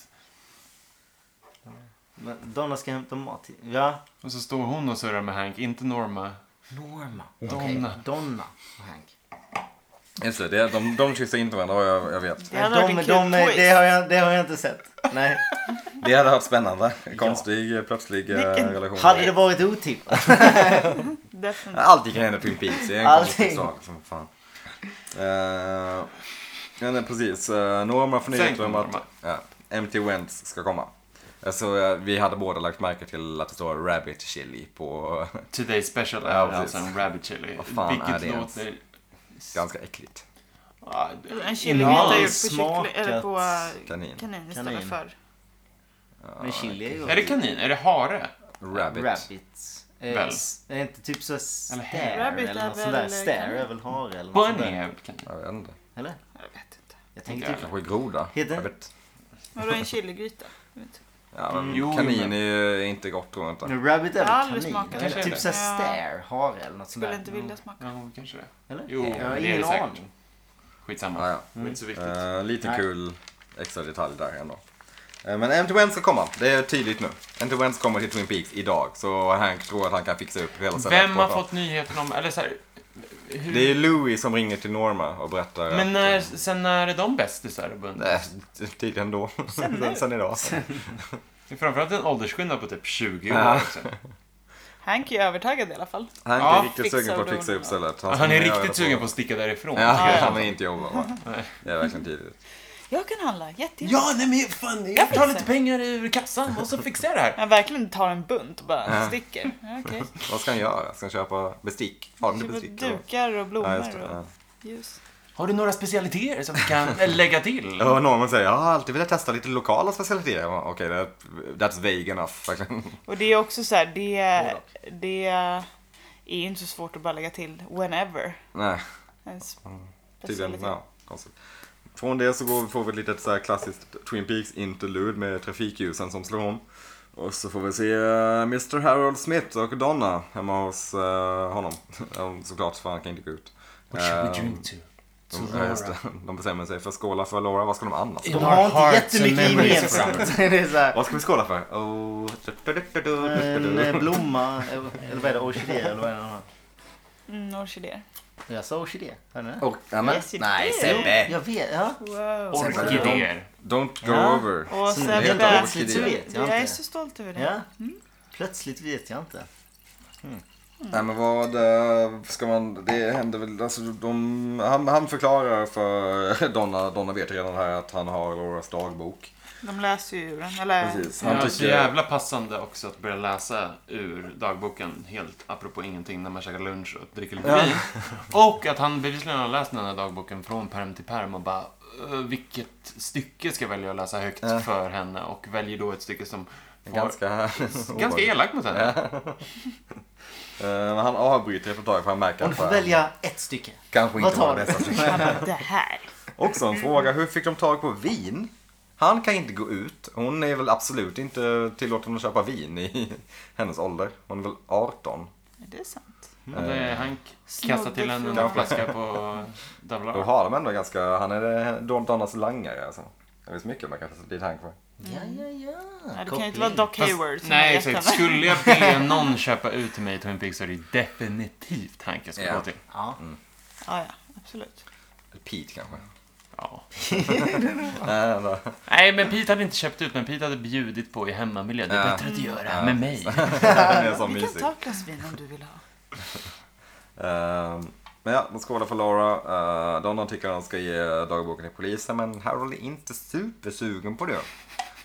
men Donna ska hämta mat till, ja.
Och så står hon och surrar med Hank, inte Norma.
Norma.
Donna.
Okej, Donna och Hank.
Just det, det, är- de, de kysser inte varandra, jag, jag vet.
Det hade varit en
de,
kul
de,
twist.
det, har jag, det har jag inte sett.
*laughs*
Nej.
Det hade varit spännande. Konstig, plötslig eh,
Vilken-
relation.
Hade det varit otippat.
Definitivt.
Allting kan hända på Twin Peaks. Det är en
Allting.
konstig sak som fan. Eh, ja, nej, precis. Uh, Norma får
Sen
nyheter om
kommer
att ja, MT Wentz ska komma. Alltså, eh, vi hade båda lagt märke till att det står Rabbit Chili på eh,
Today special är
Ja, precis.
alltså en rabbit chili.
Vad fan
vilket
är det ens?
låter...
ganska äckligt.
Ah, det-
En chili
Innan
heter ju på,
smakat
kyckling, eller på eh,
Kanin.
kanin istället
Kanin.
för.
Men chili är ju...
Är det kanin? Är det hare?
Rabbit.
Rabbits. Eh,
Väl.
s- Är inte typ så stare
hare.
eller,
Rabbit är
något sånt där?
väl eh,
Stare
kanin.
är väl hare eller något sånt
Bunny
där?
är väl kanin?
Jag vet inte.
Eller?
Jag vet inte.
Jag tänker
Ja.
typ...
Kanske groda.
Heter
Jag
det?
vet.
Vadå en chiligryta? Jag vet inte.
Ja, men
Mm. Jo,
kanin
men-
är ju inte gott tror jag inte.
Men rabbit är
Jag har
väl
aldrig
kanin?
smakat
Eller
det.
typ såhär
Ja.
stare, hare eller något sånt
Skulle
där?
inte
Mm.
vilja smaka.
Ja, kanske det.
Eller?
Jo,
jag har
det
ingen
är det säkert.
aning.
Skitsamma. Mm. Eh,
Ja, ja.
Det är inte så viktigt.
Uh, liten
Nej.
kul extra detalj där ändå. Eh, Men MT Wentz ska komma, det är tydligt nu. MT Wentz kommer till Twin Peaks idag, så Hank tror att han kan fixa upp hela
Vem har
setupet.
fått nyheten om... Eller så här, hur,
Det är Louis som ringer till Norma och berättar
Men
att... eh,
när, sen när är de bästisar och bundna?
Nej, tydligen då. *laughs* Sen, sen idag.
Det är framförallt en åldersskillnad på typ 20 år.
Ja.
också.
Hank är ju övertaggad i alla fall.
Hank
Ja,
är riktigt
fixa
sugen på att
och
fixa upp
dona.
stället.
Han är riktigt sugen på att sticka därifrån.
Ja,
Ja, ja.
han vill inte jobba va? Det är verkligen tydligt.
Jag kan handla, jättegärna.
Ja, nej men fan, jag tar lite pengar ur kassan och så fixar jag det här.
Han verkligen tar en bunt och bara
Ja.
sticker. Ja, Okej.
Vad ska han göra? Ska han köpa bestick? Har du
Köper
bestick? eller?
Dukar och blommor
Ja, just det. Ja.
och ljus.
Har du några specialiteter som vi kan eh, lägga till?
Ja, och Norman säger jag har alltid velat testa lite lokala specialiteter. Jag bara, Okej, okay, that's vague enough. *laughs* Liksom. verkligen.
Och det är också så här, det,
Både
det är ju inte så svårt att bara lägga till whenever.
Nej,
Ens
tydligen.
specialitet.
Ja, konstigt. Från det så går vi, får vi ett litet så här klassiskt Twin Peaks interlude med trafikljusen som slår om. Och så får vi se eh, Mr Harold Smith och Donna hemma hos eh, honom. *laughs* Ja, Såklart, för han kan inte gå ut.
What should we
Ehm,
drink to? To
de, ja, just
Laura.
det. de bestämmer sig för att skåla för Laura. Vad ska de annars
De
In
har
our
inte
hearts
jättemycket
and memories.
gemensamt. *laughs* det är
*laughs*
såhär...
Vad ska vi skåla för? Oh. du-du-du-du-du-du-du.
En eh, blomma, eller vad är det, orkidé eller vad är det han har?
Mm, orkidéer.
Jag sa orkidé, hörde
Oh,
ni det?
Och, ja, men,
Yes, it
nej,
is.
Sebbe!
Jag vet, ja.
Wow.
Orkidéer.
Don't go
Ja.
over.
Och
Så
sen
nu
det är
jag,
inte
bara,
orkidéer.
Plötsligt så vet jag
jag är
inte.
så stolt över det.
Ja. Plötsligt vet jag inte.
Nej men vad eh, ska man, det händer väl, alltså de, han, han förklarar för *laughs* Donna, Donna vet redan här att han har Lauras dagbok.
De läser ju ur den. Eller,
Precis.
Ja,
Han
så
tycker,
jävla passande också att börja läsa ur dagboken helt apropå ingenting när man käkar lunch och dricker lite
Ja.
vin. Och att han bevisligen har läst den här dagboken från perm till perm och bara "Ö, vilket stycke ska jag välja att läsa högt
Ja.
för henne och väljer då ett stycke som
är
får,
ganska,
*laughs* ganska elakt mot henne.
Eh, men han avbryter efter ett tag för han märker
Om du
att
får
eh,
välja ett stycke.
kanske
Vad
inte var
tar
det *laughs*
du?
bästa
Han bara, det här.
Också en fråga, hur fick de tag på vin? Han kan inte gå ut. Hon är väl absolut inte tillåten att köpa vin i *laughs* hennes ålder. Hon är väl 18.
Är det sant?
Och det är han kastar
Snodde
till henne en
från-
flaska på
Då
Davlar.
har de ändå ganska, han är Don- Donnas langare alltså. Jag vet så mycket om man kan sätta dit han kommer.
Ja, ja, ja.
Nej, det kan ju
Koppling.
inte vara Doc Hayward som
Nej,
har gett
exakt.
henne.
Skulle jag be någon köpa ut till mig Twin Peaks så är det definitivt Hank jag ska
Ja.
gå till.
Ja.
Ja, ja, absolut.
Pete kanske.
Ja.
Nej, nej, nej.
Nej, men Pete hade inte köpt ut, men Pete hade bjudit på i hemmamiljö. Det är
Ja.
bättre att göra
Ja.
med mig.
Han är så
*laughs* Vi kan
mysig.
ta ett glas vin om du vill ha.
Ehm, Men ja, de skålar för Laura. Eh, Donna tycker han ska ge dagboken till polisen men Harold är inte supersugen på det.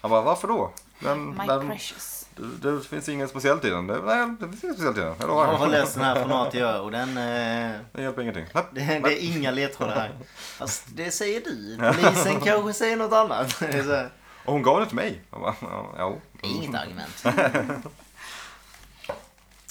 Han bara, varför då? Den,
My
den,
precious.
det, det finns inget speciellt i den. Det, nej, det finns inget speciellt i den. Jag
Jag har
lovar.
läst den här från A till Ö och den... Eh,
Det hjälper ingenting. Nej.
det, det är inga ledtrådar här. Fast det säger du. Polisen kanske säger något annat. Det är så här,
Och hon gav det till mig. Jag bara, ja, jo.
det är inget argument.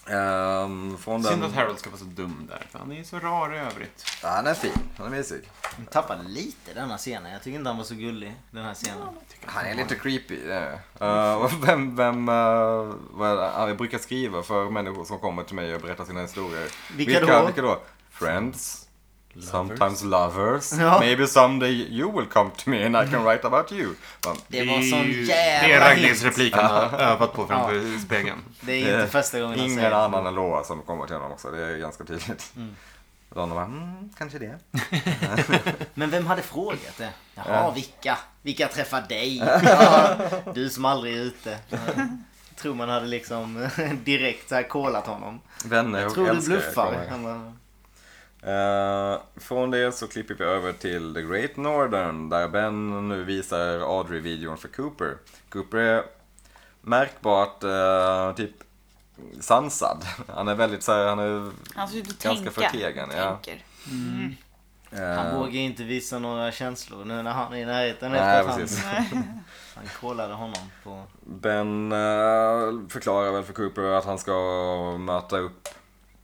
Ehm, från
Synd att
den...
Harold ska vara så dum där, för han är ju så rar i övrigt.
Ja, han är fin. Han är mysig.
Han tappade lite denna scenen. Jag tycker inte han var så gullig. Den här scenen.
Han är lite creepy. det är det. Eh, och vem, vem, eh, vad, jag brukar skriva för människor som kommer till mig och berättar sina historier.
Vilka
vilka,
då?
vilka då? Friends. Sometimes lovers.
Ja.
Maybe someday you will come to me and I can write about you. Men,
Det var sån
ju- Det är
jävla
Ragnhilds
hit.
replik han har övat på framför spegeln.
Det är inte
eh,
första gången han säger Mm.
Ingen
det.
annan än Laura som kommer till honom också. Det är ganska tydligt. Donna bara, mm, kanske det.
Men vem hade frågat det? Jaha, vilka? Vilka träffar dig? Ja, du som aldrig är ute. Ja. Tror man hade liksom *laughs* direkt så här kollat honom.
Vänner och
Tror du
älskare
bluffar?
kommer.
Han bara,
Eh, från det så klipper vi över till The Great Northern där Ben nu visar Audrey-videon för Cooper. Cooper är märkbart eh, typ sansad. *laughs* Han är väldigt såhär, han är...
Han ser ut att
Ganska
tänka.
förtegen, ja.
Tänker.
eh,
Han vågar ju inte visa några känslor nu när han är i närheten.
Nej,
efter att han,
precis.
*laughs* han kollade honom på...
Ben eh, förklarar väl för Cooper att han ska möta upp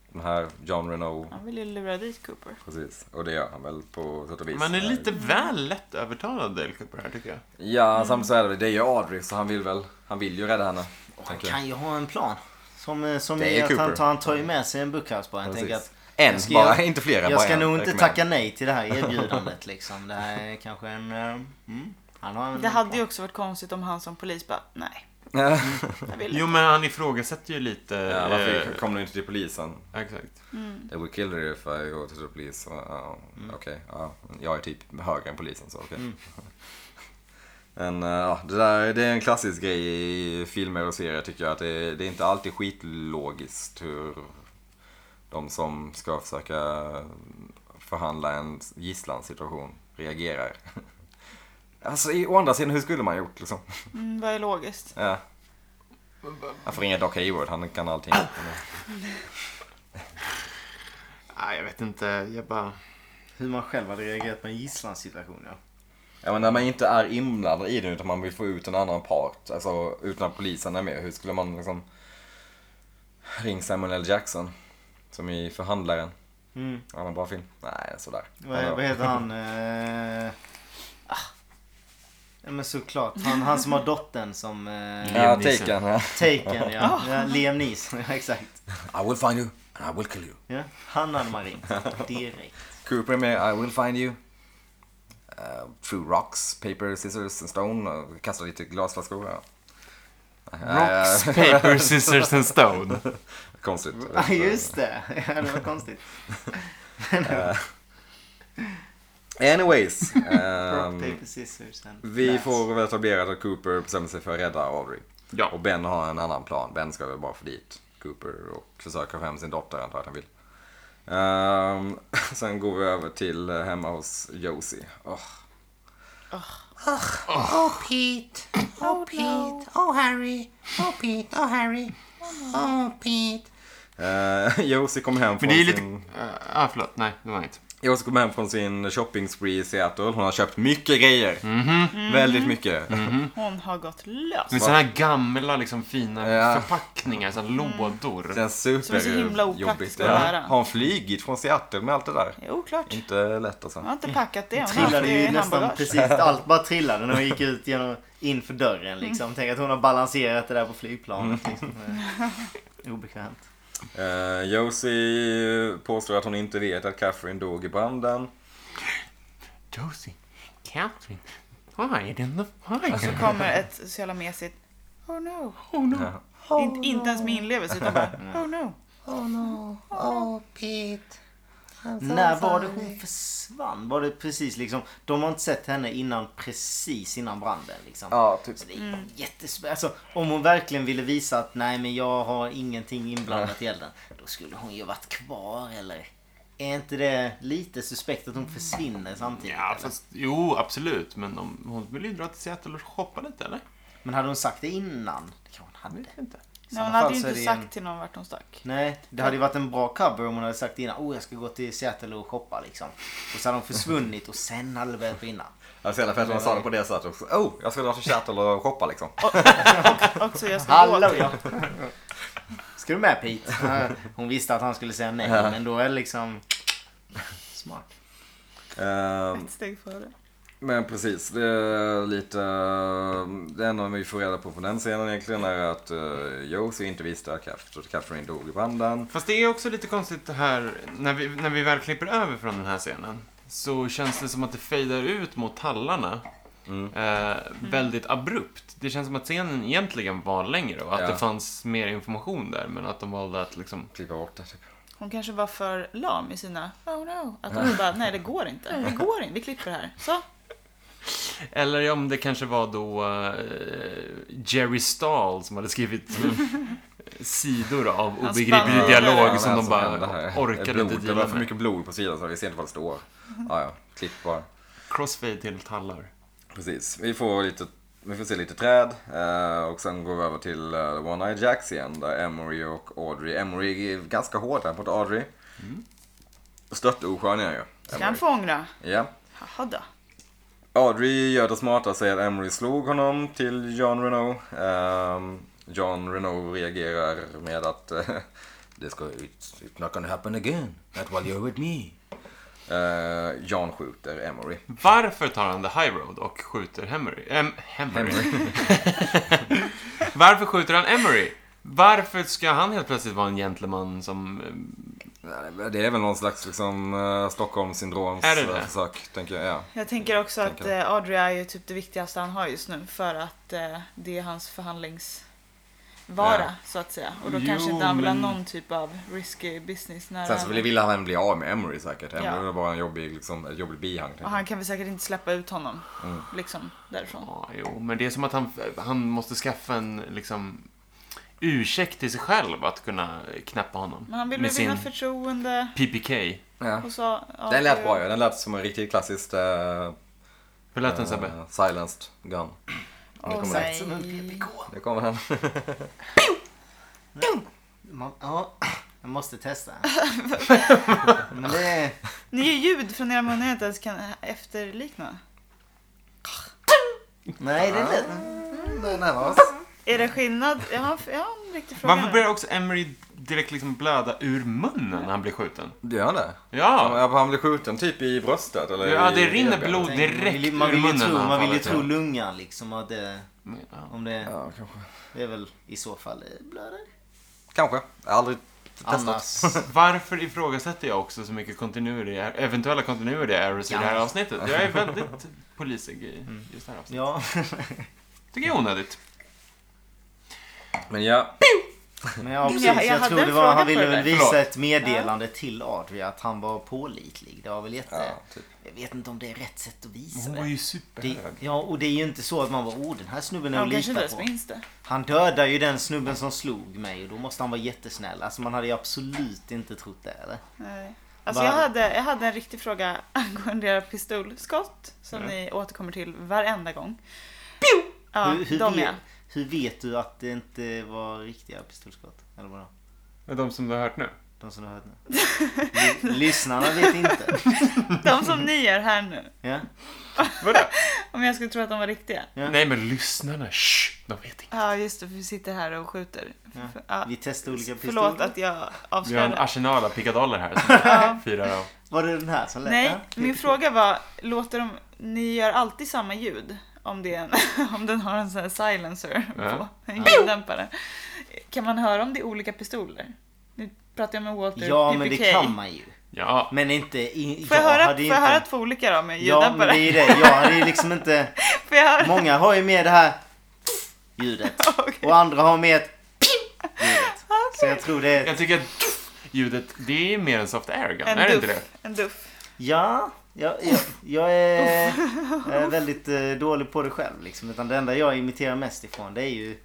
den här John Renault.
Han vill ju lura dit Cooper.
Precis, och det gör han väl på sätt och vis.
Men han är lite väl lätt övertalad Dale Cooper här tycker jag.
Ja, samtidigt så är det väl- det är ju Audrey så han vill väl, han vill ju rädda henne.
Han
tänker jag.
kan ju ha en plan. Som, eh, som
Det är
är att han
Cooper.
tar, han tar ju med sig en Buckhouse bara. Jag
Precis.
tänker att
En
jag ska
bara,
göra-
inte flera.
Jag
bara
ska
en.
nog inte
Räcker med
tacka nej till det
*laughs*
här erbjudandet liksom. Det här är kanske en... eh, Mm, han har en
Det hade ju också varit konstigt om han som polis bara, nej,
en. *laughs*
jag vill inte.
Jo, men han ifrågasätter ju lite...
Ja,
eh,
varför kom du inte till polisen?
Exakt.
They would kill you if I go to the police. Uh, Okej, ja. jag är typ högre än polisen så okej. *laughs* Men eh, ja, det där det är en klassisk grej i filmer och serier tycker jag. Att det, det är inte alltid skitlogiskt hur de som ska försöka förhandla en gisslansituation reagerar. *laughs* Alltså i, å andra sidan, hur skulle man gjort liksom?
Mm, vad är logiskt?
Ja. Jag får ringa Doc Hayward, han kan allting.
Nej, jag vet inte. Jag bara...
Hur man själv hade reagerat på en gisslansituation ja.
Ja men när man inte är inblandad i det utan man vill få ut en annan part, alltså utan att polisen är med, hur skulle man liksom ring Samuel L. Jackson? Som i Förhandlaren.
Mm.
Han har bra film. Nej, sådär.
Vad, vad heter han? Eh, ah. Ja men såklart. Han, han som har dottern som... Eh,
Ja,
Liam Neeson.
Taken. Ja.
Taken ja. ja Liam Neeson, *laughs* ja, exakt.
*laughs* I will find you and I will kill you.
Ja, han hade man ringt. Direkt.
Cooper är med, I will find you. Uh, through rocks, paper, scissors and stone. Och kastar lite glasflaskor. Ja. *laughs*
Rocks,
Eh,
paper, scissors and stone.
konstigt. Jag
*laughs* *laughs*
vet
Ja
inte.
just det. Ja, det var konstigt. *laughs*
Anyways.
Rock,
ehm,
paper, scissors and
Vi
glass.
får väl etablera att Cooper bestämmer sig för att rädda Audrey.
Ja.
Och Ben har en annan plan. Ben ska väl bara för dit. Cooper och försöker få hem sin dotter, antar jag att han vill. Ehm, *laughs* sen går vi över till eh, hemma hos Josie. Åh,
Oh, Pete. Oh, Pete. Oh, Harry. Oh, Pete. Oh, Harry. Oh, Pete.
Eh, *laughs* Josie kommer hem från
Men det är ju
sin...
lite... Eh, ah, förlåt. Nej, det var inget.
Jag kom hem från sin shopping spree i Seattle. Hon har köpt mycket grejer.
Mhm.
Väldigt mycket.
Mm.
Hon har gått lös.
Men sådana här gamla, liksom fina
Ja.
förpackningar, sådana lådor.
Den super
Som är så himla opraktiskt att
ja.
bära.
Har hon flygit från Seattle med allt det där?
Jo, klart.
Inte lätt alltså.
Jag har inte packat det. Hon har haft
Trillade
det
ju
i
nästan
handbagage.
precis. Allt bara trillade när hon gick ut genom, inför dörren liksom. Tänk att hon har balanserat det där på
*laughs*
flygplanet. Liksom. Eh, Obekvämt.
Eh, Josie påstår att hon inte vet att Catherine dog i branden.
Josie, Catherine, why in the
Och så
fire?
kommer ett så jävla mesigt Oh no.
Oh no.
Ja.
In, inte ens med inlevelse
*laughs*
utan bara Oh no.
Oh, no. Oh, Pete. I'm so
När var det
sorry.
hon försvann? Var det precis liksom... De har inte sett henne innan precis innan branden liksom.
Ja, typ.
Så det är
Mm.
jättesvårt. Alltså, om hon verkligen ville visa att nej men jag har ingenting inblandat i elden. Då skulle hon ju varit kvar eller? Är inte det lite suspekt att
Mm.
hon försvinner samtidigt? Alltså,
Ja,
eller?
fast jo, absolut. Men om, hon vill ju dra till Seattle och shoppa lite, eller?
Men hade hon sagt det innan? Det kanske hon
Jag
hade.
vet inte.
I
Nej, hon
sådana
hade
fall
ju
så
inte
är det en-
sagt till någon vart hon stack.
*laughs* Nej, det hade ju varit en bra cover om hon hade sagt innan. Oh, jag ska gå till Seattle och shoppa liksom. Och så hade hon försvunnit och sen hade det börjat brinna.
Alltså, i alla fall att hon sa det på det sättet. Oh, jag ska dra till Seattle och shoppa liksom.
Och så jag ska
Hallå
gå.
ja! Ska du med Pete? Hon visste att han skulle säga nej, men då är det liksom... Smart.
Ehm,
*laughs* Ett steg före.
Men precis, det är lite... eh, Det enda vi får reda på från den scenen egentligen är att uh, Josie inte visste att Catherine, Catherine dog i branden.
Fast det är också lite konstigt det här, när vi, när vi väl klipper över från den här scenen så känns det som att det fejdar ut mot tallarna
Mm.
eh, väldigt abrupt. Det känns som att scenen egentligen var längre och att
Ja.
det fanns mer information där men att de valde att liksom...
Klippa bort det typ.
Hon kanske var för lam i sina Oh no. Att hon bara Nej det går inte. Det går inte. Vi klipper här. Så.
Eller om det kanske var då eh, Jerry Stahl som hade skrivit *laughs* sidor av
Han
obegriplig
spann
dialog
vidare.
som de
alltså, hände
bara
här? Det är
orkade
blod.
inte
Det var
dela
för
med. Mm.
mycket blod på sidan så vi ser inte vad det står. Ja, ja. Klipp bara.
Crossfade till tallar.
Precis. Vi får, lite, vi får se lite träd eh, och sen går vi över till eh, One Eye Jacks igen där Emery och Audrey. Emery är ganska hård här mot Audrey. Mm. Störtoskön är han ju.
Ska han
Emery.
få ångra?
Ja.
Jaha då.
Audrey gör det smarta och säger att Emery slog honom till John Renault. Ehm, John Renault reagerar med att eh, *laughs* det ska, it's, it's not gonna happen again. Not while you're with me. Eh, John skjuter Emery.
Varför tar han the high road och skjuter Hemery? Em, Hemery. *laughs* Varför skjuter han Emery? Varför ska han helt plötsligt vara en gentleman som...
*laughs*
eh,
Nej, Det är väl någon slags liksom, eh, Stockholmssyndroms
Är det det?
eh, försök, tänker jag. Ja.
Jag tänker också att
Tänker
eh, Audrey är ju typ det viktigaste han har just nu för att eh, det är hans förhandlingsvara
Ja.
så att säga. Och då
Jo,
kanske inte han vill ha
men-
någon typ av risky business nära
Sen så
henne.
vill vill han bli av med Emery säkert. Emery
Ja.
var bara en jobbig, liksom, ett jobbigt bihang. tänker
Och han kan väl säkert inte släppa ut honom
Mm.
liksom därifrån.
Ja, ah, jo, men det är som att han, han måste skaffa en liksom ursäkt till sig själv att kunna knäppa honom.
Men han ville
med sin
vinna förtroende
PPK.
jag. Ja.
och så... Ja,
Den
det-
lät bra ju. Den lät som en riktigt klassiskt eh,
Hur lät den
eh,
Sebbe?
silenced gun.
Åh,
kommer
nej.
Exakt som en PPK.
Nu kommer han.
Man, ja, *clears throat* jag måste testa. Men det...
Ni gör ljud från era munnar jag inte ens kan efterlikna.
Nej, det lät...
Är det skillnad? Jag har, jag har en riktig fråga
Varför
nu.
börjar också Emery direkt liksom blöda ur munnen när han blir skjuten?
Du gör det?
Ja!
Ja. Han blir skjuten typ i bröstet eller
Ja,
i
det rinner
revbenet.
blod. direkt
man vill, ju- man
ur
vill ju
munnen
tro,
när han
man vill ju
faller,
tro
ja.
lungan liksom. Att det,
Ja.
om det,
Ja, kanske.
det är väl i så fall eh, blöder.
Kanske. Jag har aldrig testat.
Annars...
*laughs* Varför ifrågasätter jag också så mycket continuity, eventuella continuity errors i det här
Ja. Mm.
avsnittet? Jag är väldigt polisig i just det här avsnittet.
Ja.
Tycker jag är onödigt.
Men ja.
*laughs* Men ja, precis.
jag
Jag,
hade
tror
en
det var,
fråga
han
för
ville
dig.
väl visa
Förlåt.
ett meddelande till Audrey att han var pålitlig. Det var väl jätte...
Ja, typ.
Jag vet inte om det är rätt sätt att visa
Hon
det.
var ju
det.
superhög.
Ja, och det är ju inte så att man var oh den här snubben är
Han
att
kanske inte
lita
ens
på.
minns det.
Han dödar ju den snubben som slog mig och då måste han vara jättesnäll. Alltså man hade ju absolut inte trott det. Eller?
Nej. Alltså
Va-
jag hade, jag hade en riktig fråga angående era pistolskott som ni återkommer till varenda gång. Pew! Ja,
hur, hur,
de
vet,
ja.
hur vet du att det inte var riktiga pistolskott? Eller vadå?
Men de som du har hört nu.
De som du har
*laughs*
hört nu? L- Lyssnarna vet inte.
De som ni gör här nu.
Ja?
Vadå?
Om jag skulle tro att de var riktiga.
Ja.
Nej men lyssnarna, shh, de vet inte.
Ja just det, för vi sitter här och skjuter.
Ja.
Ja.
Vi testar olika pistoler.
Förlåt att jag
Vi har en
avslöjade.
arsenal av
*laughs*
pickadoller här som vi firar av.
Var det den här som lät?
Nej,
Ja. typ.
min fråga var, låter de, ni gör alltid samma ljud om, det är en, *laughs* om den har en sån här silencer på,
Ja.
en ljuddämpare. Kan man höra om det är olika pistoler? Nu pratar jag med Walter
Ja,
JPK.
men det kan man ju.
Ja,
Men inte... I,
Får jag, höra,
hade
får
ju
jag
inte-
höra två olika då med
Ja, men det
ljuddämpare?
är ju det. Jag hade ju liksom inte...
*laughs* får jag höra?
Många har ju med det här ljudet.
*laughs* Okej.
Och andra har med ett ljudet. Så
*laughs* Okej.
jag tror det är...
jag tycker att ljudet, det är mer en soft air gun,
En
är det
duff.
inte det?
En duff.
Ja, jag, jag, jag är, eh, väldigt eh, dålig på det själv. Liksom. Utan det enda jag imiterar mest ifrån det är ju,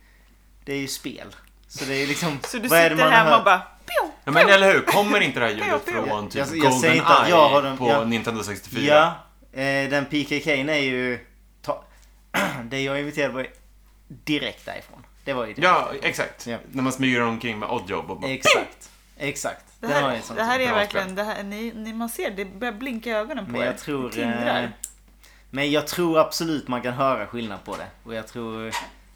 det är ju spel. Så det är liksom...
Så du
vad är det
sitter
man har
hemma
hört?
och bara... Pew,
Ja men eller hur, kommer inte det här ljudet
Ja, ja.
från typ
Jag- jag säger inte att
Goldeneye
jag har den-
på
ja.
Nintendo 64?
Ja, eh, den PKK n är ju... Ta, *clears throat* det jag imiterade var ju direkt därifrån. Det var ju det.
Ja, exakt.
Ja.
När man smyger omkring med oddjob och bara...
Exakt. Exakt.
Det
Den har jag
här,
en sån
det här
till.
är
bra
verkligen, det här, ni, ni, man ser det börjar blinka i ögonen på
Men
er.
jag tror...
Det tindrar.
eh, Men jag tror absolut man kan höra skillnad på det. Och jag tror...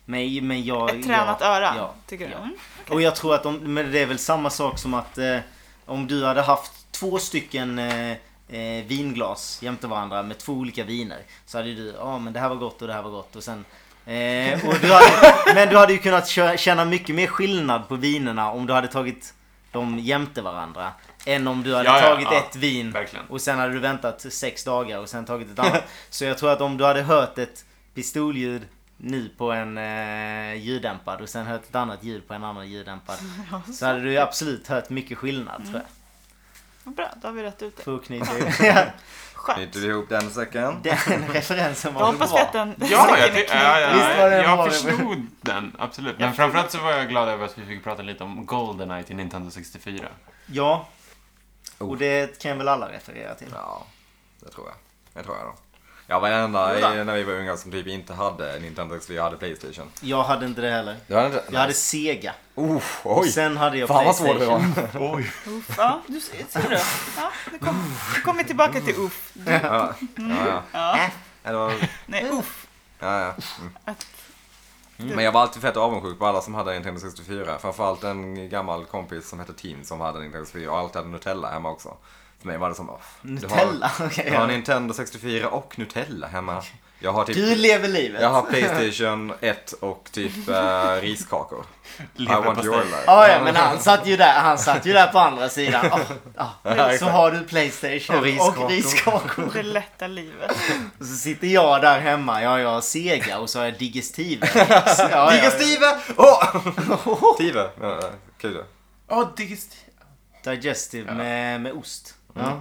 Men, men jag...
Ett tränat
jag,
öra,
Ja.
tycker du?
ja.
Mm.
Och jag tror att om, men det är väl samma sak som att eh, om du hade haft två stycken eh, eh, vinglas jämte varandra med två olika viner. Så hade du, ja men det här var gott och det här var gott och sen eh, och du hade,
*laughs*
Men du hade ju kunnat kö- känna mycket mer skillnad på vinerna om du hade tagit dem jämte varandra. Än om du hade
Ja, ja,
tagit
ja.
ett vin
Verkligen.
och sen hade du väntat sex dagar och sen
*laughs*
tagit ett annat. Så jag tror att om du hade hört ett pistolljud nu på en eh, ljuddämpad och sen hört ett annat ljud på en annan ljuddämpad. Så hade du ju absolut hört mycket skillnad tror jag.
Vad Bra, då har vi rätt ut det.
För att knyta ihop. *laughs* Ja,
Knyter
Skönt.
vi ihop den säcken?
Den referensen
Jag
var väl
hoppas vi att
bra.
den...
Ja, jag, ty- ja, ja,
Visst var det en bra-
jag förstod den, absolut. Men framförallt så var jag glad över att vi fick prata lite om Goldeneye till Nintendo 64.
Ja.
Oh.
Och det kan väl alla referera till.
Ja, det tror jag. Det tror jag då. Jag var den enda i, när vi var unga som typ inte hade Nintendo 64, jag hade Playstation.
Jag hade inte det heller.
Du hade inte?
Jag hade Sega.
Oh,
Och
oj!
sen hade jag
Fan vad svårt det
Playstation.
var.
Oj.
Uff, ja, du ser ser du. Ja, nu kom- nu kommer vi tillbaka till uff.
Ja, ja, ja.
Ja.
Eller,
Nej,
Mm.
uff.
ja, ja. Mm. Men jag var alltid fett avundsjuk på alla som hade Nintendo 64. Framförallt en gammal kompis som hette Tim som hade Nintendo 64 och alltid hade Nutella hemma också. För mig var det som, "Åh, du har-
Nutella? *laughs* Okej.
Jag har Nintendo 64 och Nutella hemma. Jag har typ...
Du lever livet.
Jag har Playstation 1 och typ eh, riskakor. I want your
Leverpastej.
life.
Ja, ja, men han satt ju där, han satt ju där på andra sidan. Ah, ah.
exakt.
Så har du Playstation
Och riskakor.
och riskakor.
Det lätta livet.
Och så sitter jag där hemma, ja jag har Sega och så har jag Digestive.
Digestive!
*laughs*
Åh! Tive. Ja, ja, Kul.
Ja, digest-
Digestive med, med ost. Ja.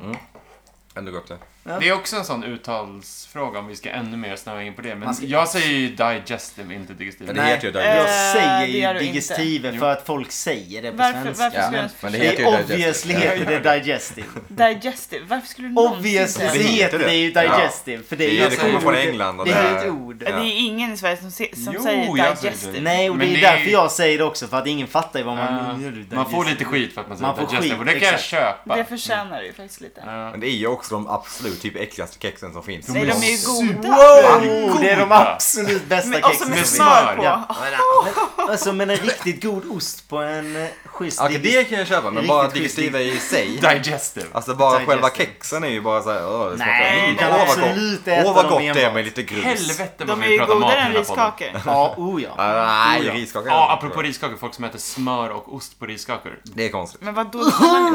Ändå gott det.
Det är också en sån uttalsfråga om vi ska ännu mer snöa in på det. Men
Man ska-
jag säger ju digestive, inte digestive.
Men det heter ju
Eh,
Jag
Digestive.
säger
det gör
ju
du
digestive för att folk säger det på
Varför,
svenska.
varför skulle
Ja,
jag...
men det
Det
heter
är
ju
obviously
Digestive.
heter det digestive.
Digestive, varför skulle du någonsin
*laughs* Obviously
säga
Det
så
det?
heter
heter
det.
det ju digestive. För det är
Det-
ju
det
ett
kommer från
ord.
England och
Det är ju
det-
ett ord.
Det är ingen i Sverige som, se, som
Jo,
säger
jag säger
digestive.
det.
Nej, och det
Men
är ju
det är
därför
ju-
jag säger det också. För att ingen fattar ju vad man...
Ja,
Nu är det
man får
digestive.
lite skit för att man säger
Man får
digestive
skit,
och det kan jag
exakt.
köpa.
Det förtjänar du ju faktiskt lite.
Ja.
Men det är ju också de absolut typ äckligaste kexen som finns.
Nej, de är ju goda.
Wow! Det är de
Goda.
absolut bästa
Men, och
kexen
som är
Med
som
smör.
finns.
smör på. Ah,
Ja.
Åh,
Alltså men en riktigt god ost på en eh, schysst
Okej,
digest-
det kan jag köpa, men bara
Riktigt
Digestive i
*laughs*
sig.
Digestive.
Alltså bara
Digestive.
själva kexen är ju bara såhär, åh det smakar...
Nej,
mm,
du kan
åh, vad gott.
absolut äta
Åh vad
dem
gott det är
enbart.
med lite grus.
Helvete vad
De är
vi vill
ju
prata mat i
godare än
den här podden.
riskakor.
Ja, oh ja.
Nej,
Oh ja.
riskakor.
Ja, apropå riskakor, folk som äter smör och ost på riskakor.
Det är konstigt.
Men vadå?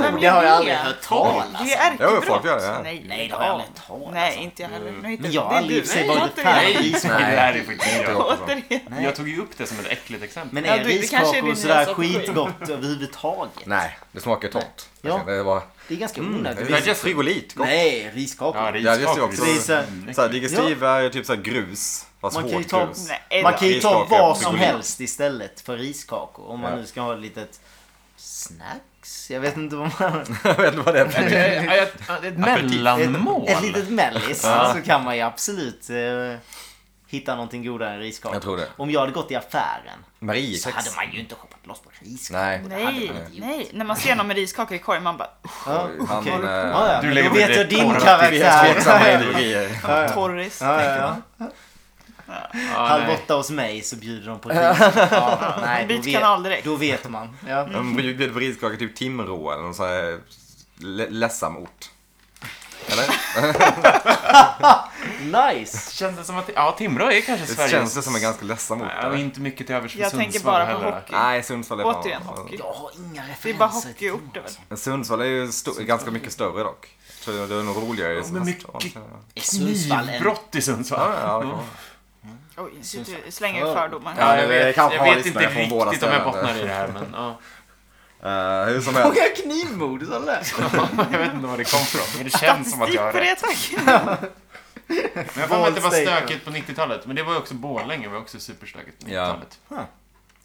Vem
Det har jag aldrig
det?
hört talas
Det är
Jo, folk
ärkebrott.
gör det. här?
Nej,
Nej, det
lägg
har jag
av.
aldrig talat,
Nej,
alltså.
inte jag heller.
Mm.
Nej, inte-
Men jag har
det är
aldrig i
du.
och för sig
Nej,
varit
återigen.
fan.
Nej, nej,
Nej.
det här är faktiskt
Nej.
inte jag.
alltså.
Återigen.
Nej.
Jag tog ju upp det som ett äckligt exempel.
Men
Ja,
är
det- det kanske är
riskakor
din
och sådär
nya strategi.
skitgott överhuvudtaget?
Nej, det smakar ju torrt.
Ja.
Det är bara...
Det är ganska
Det
onödigt.
är just frigolit. Gott.
Nej, riskakor.
Ja,
Ja, just det
riskakor.
också.
Det är så här-
Så här, digestiv är ju typ så här grus. Fast
Man kan ju
hårt
ta-
grus.
Nej,
Man kan ju ta
Riskakor,
vad som
absolut.
helst istället för riskakor. Om man
Ja.
nu ska ha ett litet snacks. Jag vet inte vad man...
*laughs* jag vet inte vad det är. för-
Ett, ett mellanmål.
Ett, ett litet mellis. Så kan man ju absolut eh, hitta någonting godare än riskakor.
Jag tror det.
Om jag hade gått i affären
Marie.
så hade man ju inte hoppat loss på riskakor.
Nej.
Det hade
Nej,
man inte gjort.
nej. När man ser någon med riskaka i korgen, man bara
Ja.
Han...
Okej.
eh,
Ja, ja.
Du
men
lägger
Då
väl
vet jag
det
din
torra
karaktär.
Tveksamma ideologier.
Ja, ja.
torris.
Ja, ja, ja.
Ja,
Halv
nej.
åtta hos mig så bjuder de på ris. Ja, nej, då
Byt
vet-
kanal direkt.
Då vet man. Ja.
De bjöd på riskaka typ Timrå eller någon sån här le- ledsam ort.
*laughs*
Eller?
Nice!
Känns det som att, ja Timrå är kanske
Det
Sveriges...
känns det som en ganska ledsam ort.
Ja,
eller?
inte mycket till övers för
Jag
Sundsvall
tänker bara på
heller.
hockey.
Nej, Sundsvall är fan-
Återigen hockey.
Jag har inga referenser.
Det är bara
till
hockeyorter väl?
Men Sundsvall är ju sto- ganska mycket större dock. Jag tror det är nog roligare i
Ja, men mycket-
Ja,
Är Sundsvall en...
Knivbrott i Sundsvall.
ja, ja.
Oj, du slänger ut fördomar.
Ja.
jag
det
vet,
kanske
jag
har
vet inte
lyssnare från båda
riktigt om jag
ställen.
bottnar i det här, men ja. *laughs*
Eh, hur *laughs* som helst.
Många knivmord, sa du det?
Jag vet inte var det kom ifrån, men det känns som att jag har
Stick Typ på
rätt.
det tack.
Men jag får att det var
Bold statement.
stökigt på 90-talet, men det var ju också Borlänge, var också superstökigt på
Ja.
90-talet.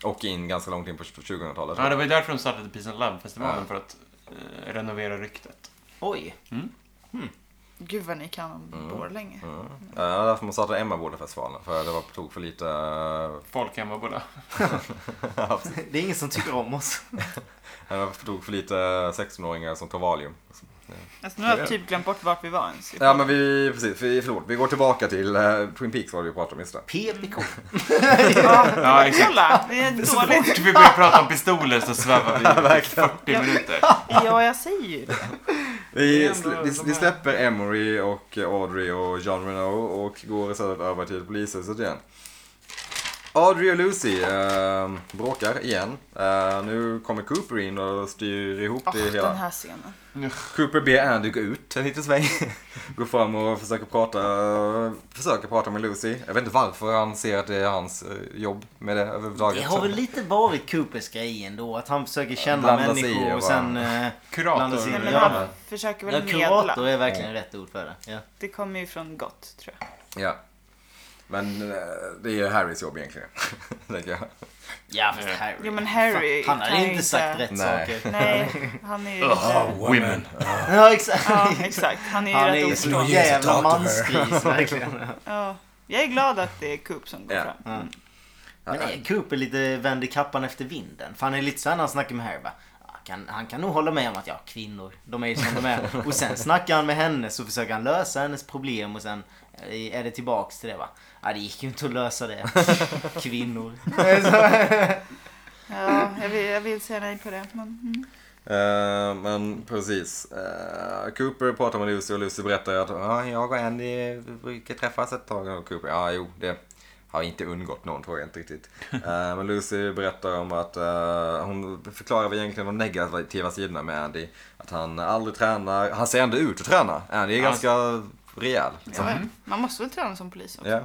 Och in ganska långt in på 2000-talet.
Ja, det var ju därför de startade Peace and Love-festivalen,
Ja.
för att eh, renovera ryktet.
Oj.
Gud vad ni kan om Borlänge.
Ja, Eh, därför man startade Emmaboda-festivalen. För det var på tok för lite... eh,
Folk hemma båda.
Det är ingen som tycker om oss.
Det var på tok för lite 16-åringar som tog Valium.
Alltså, nu har jag typ glömt bort vart vi var ens.
Ja men vi, precis, vi, förlåt. Vi går tillbaka till eh, Twin Peaks var det vi pratade om, just det.
PPK.
Ja, exakt.
Kolla, det är
Så
dåligt.
fort vi börjar prata om pistoler så svävar
*laughs*
vi i 40 minuter.
Ja, jag säger ju det.
Vi,
Det är ändå
sl- vi,
de
vi
här-
släpper Emory och Audrey och John Renault och går istället över till polishuset igen. Audrey och Lucy eh, bråkar igen. Eh, nu kommer Cooper in och styr ihop
Åh,
det hela.
den här scenen.
Cooper ber Andy gå ut en liten sväng. *laughs* Går fram och försöker prata, försöker prata med Lucy. Jag vet inte varför han ser att det är hans eh, jobb med det överhuvudtaget.
Det har väl lite varit Coopers grej ändå. Att han försöker känna
Blanda sig i
människor
och
och sen... eh, blanda sig in.
Kurator.
Nej, men
Ja.
han försöker
Ja,
väl
kurator
medla.
är verkligen rätt ord för det. Ja.
Det kommer ju från gott, tror jag.
Ja. Men eh, det är ju Harrys jobb egentligen. *laughs* tänker jag.
Ja, fast
Nej.
Harry.
Jo, men Harry
Han hade
kan
ju
ju
inte sagt
inte-
rätt
Nej.
saker.
Nej, han är ju lite...
Women.
*laughs* Ja, exakt.
Ja, exakt. Han är ju
Han är
rätt
ju sån
oförstående.
jävla mansgris, verkligen.
Ja. Jag är glad att det är Coop som går
Ja.
fram. Mm.
Men är Cooper lite vänder kappan efter vinden? För han är lite såhär när han snackar med Harry bara, "Ah, kan, Han kan nog hålla med om att ja, kvinnor, de är ju som de
*laughs*
är. Och sen snackar han med henne så försöker han lösa hennes problem och sen eh, är det tillbaks till det va. Ja, det gick ju inte att lösa
*laughs*
det. Kvinnor.
Ja, jag vill, jag vill säga nej på det. Men, mm.
Eh, men precis. Eh, Cooper pratar med Lucy och Lucy berättar att "Ja, jag och Andy brukar träffas ett tag. Och Cooper, ja jo det har inte undgått någon tror jag inte
*laughs*
riktigt. Eh, men Lucy berättar om att eh, hon förklarar väl egentligen de negativa sidorna med Andy. Att han aldrig tränar. Han ser ändå ut att träna. Andy är
Ja.
ganska rejäl. liksom.
Mm.
Ja, Man måste väl träna som polis också?
Ja.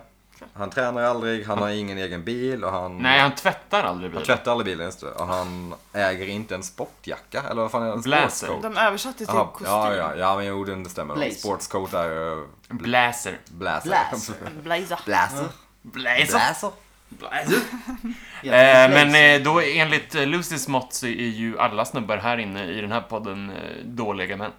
Han tränar aldrig, han har ingen egen bil och han...
Nej, han tvättar aldrig
Han
bilen.
tvättar aldrig bilen, just det. Och han äger inte en sportjacka, eller vad fan är det? En
Blazer.
sportscoat.
De översatte till
Jaha,
kostym.
ja, ja, ja, men jo, det stämmer.
Blazer.
Sportscoat är ju
Blazer.
eh, blazer. *laughs*
Blazer.
Blazer.
blazer.
Blazer.
Blazer.
Blazer.
Jag tycker
Eh,
Blaze-
men eh, då enligt eh, Lucys mått så är ju alla snubbar här inne i den här podden eh, dåliga män.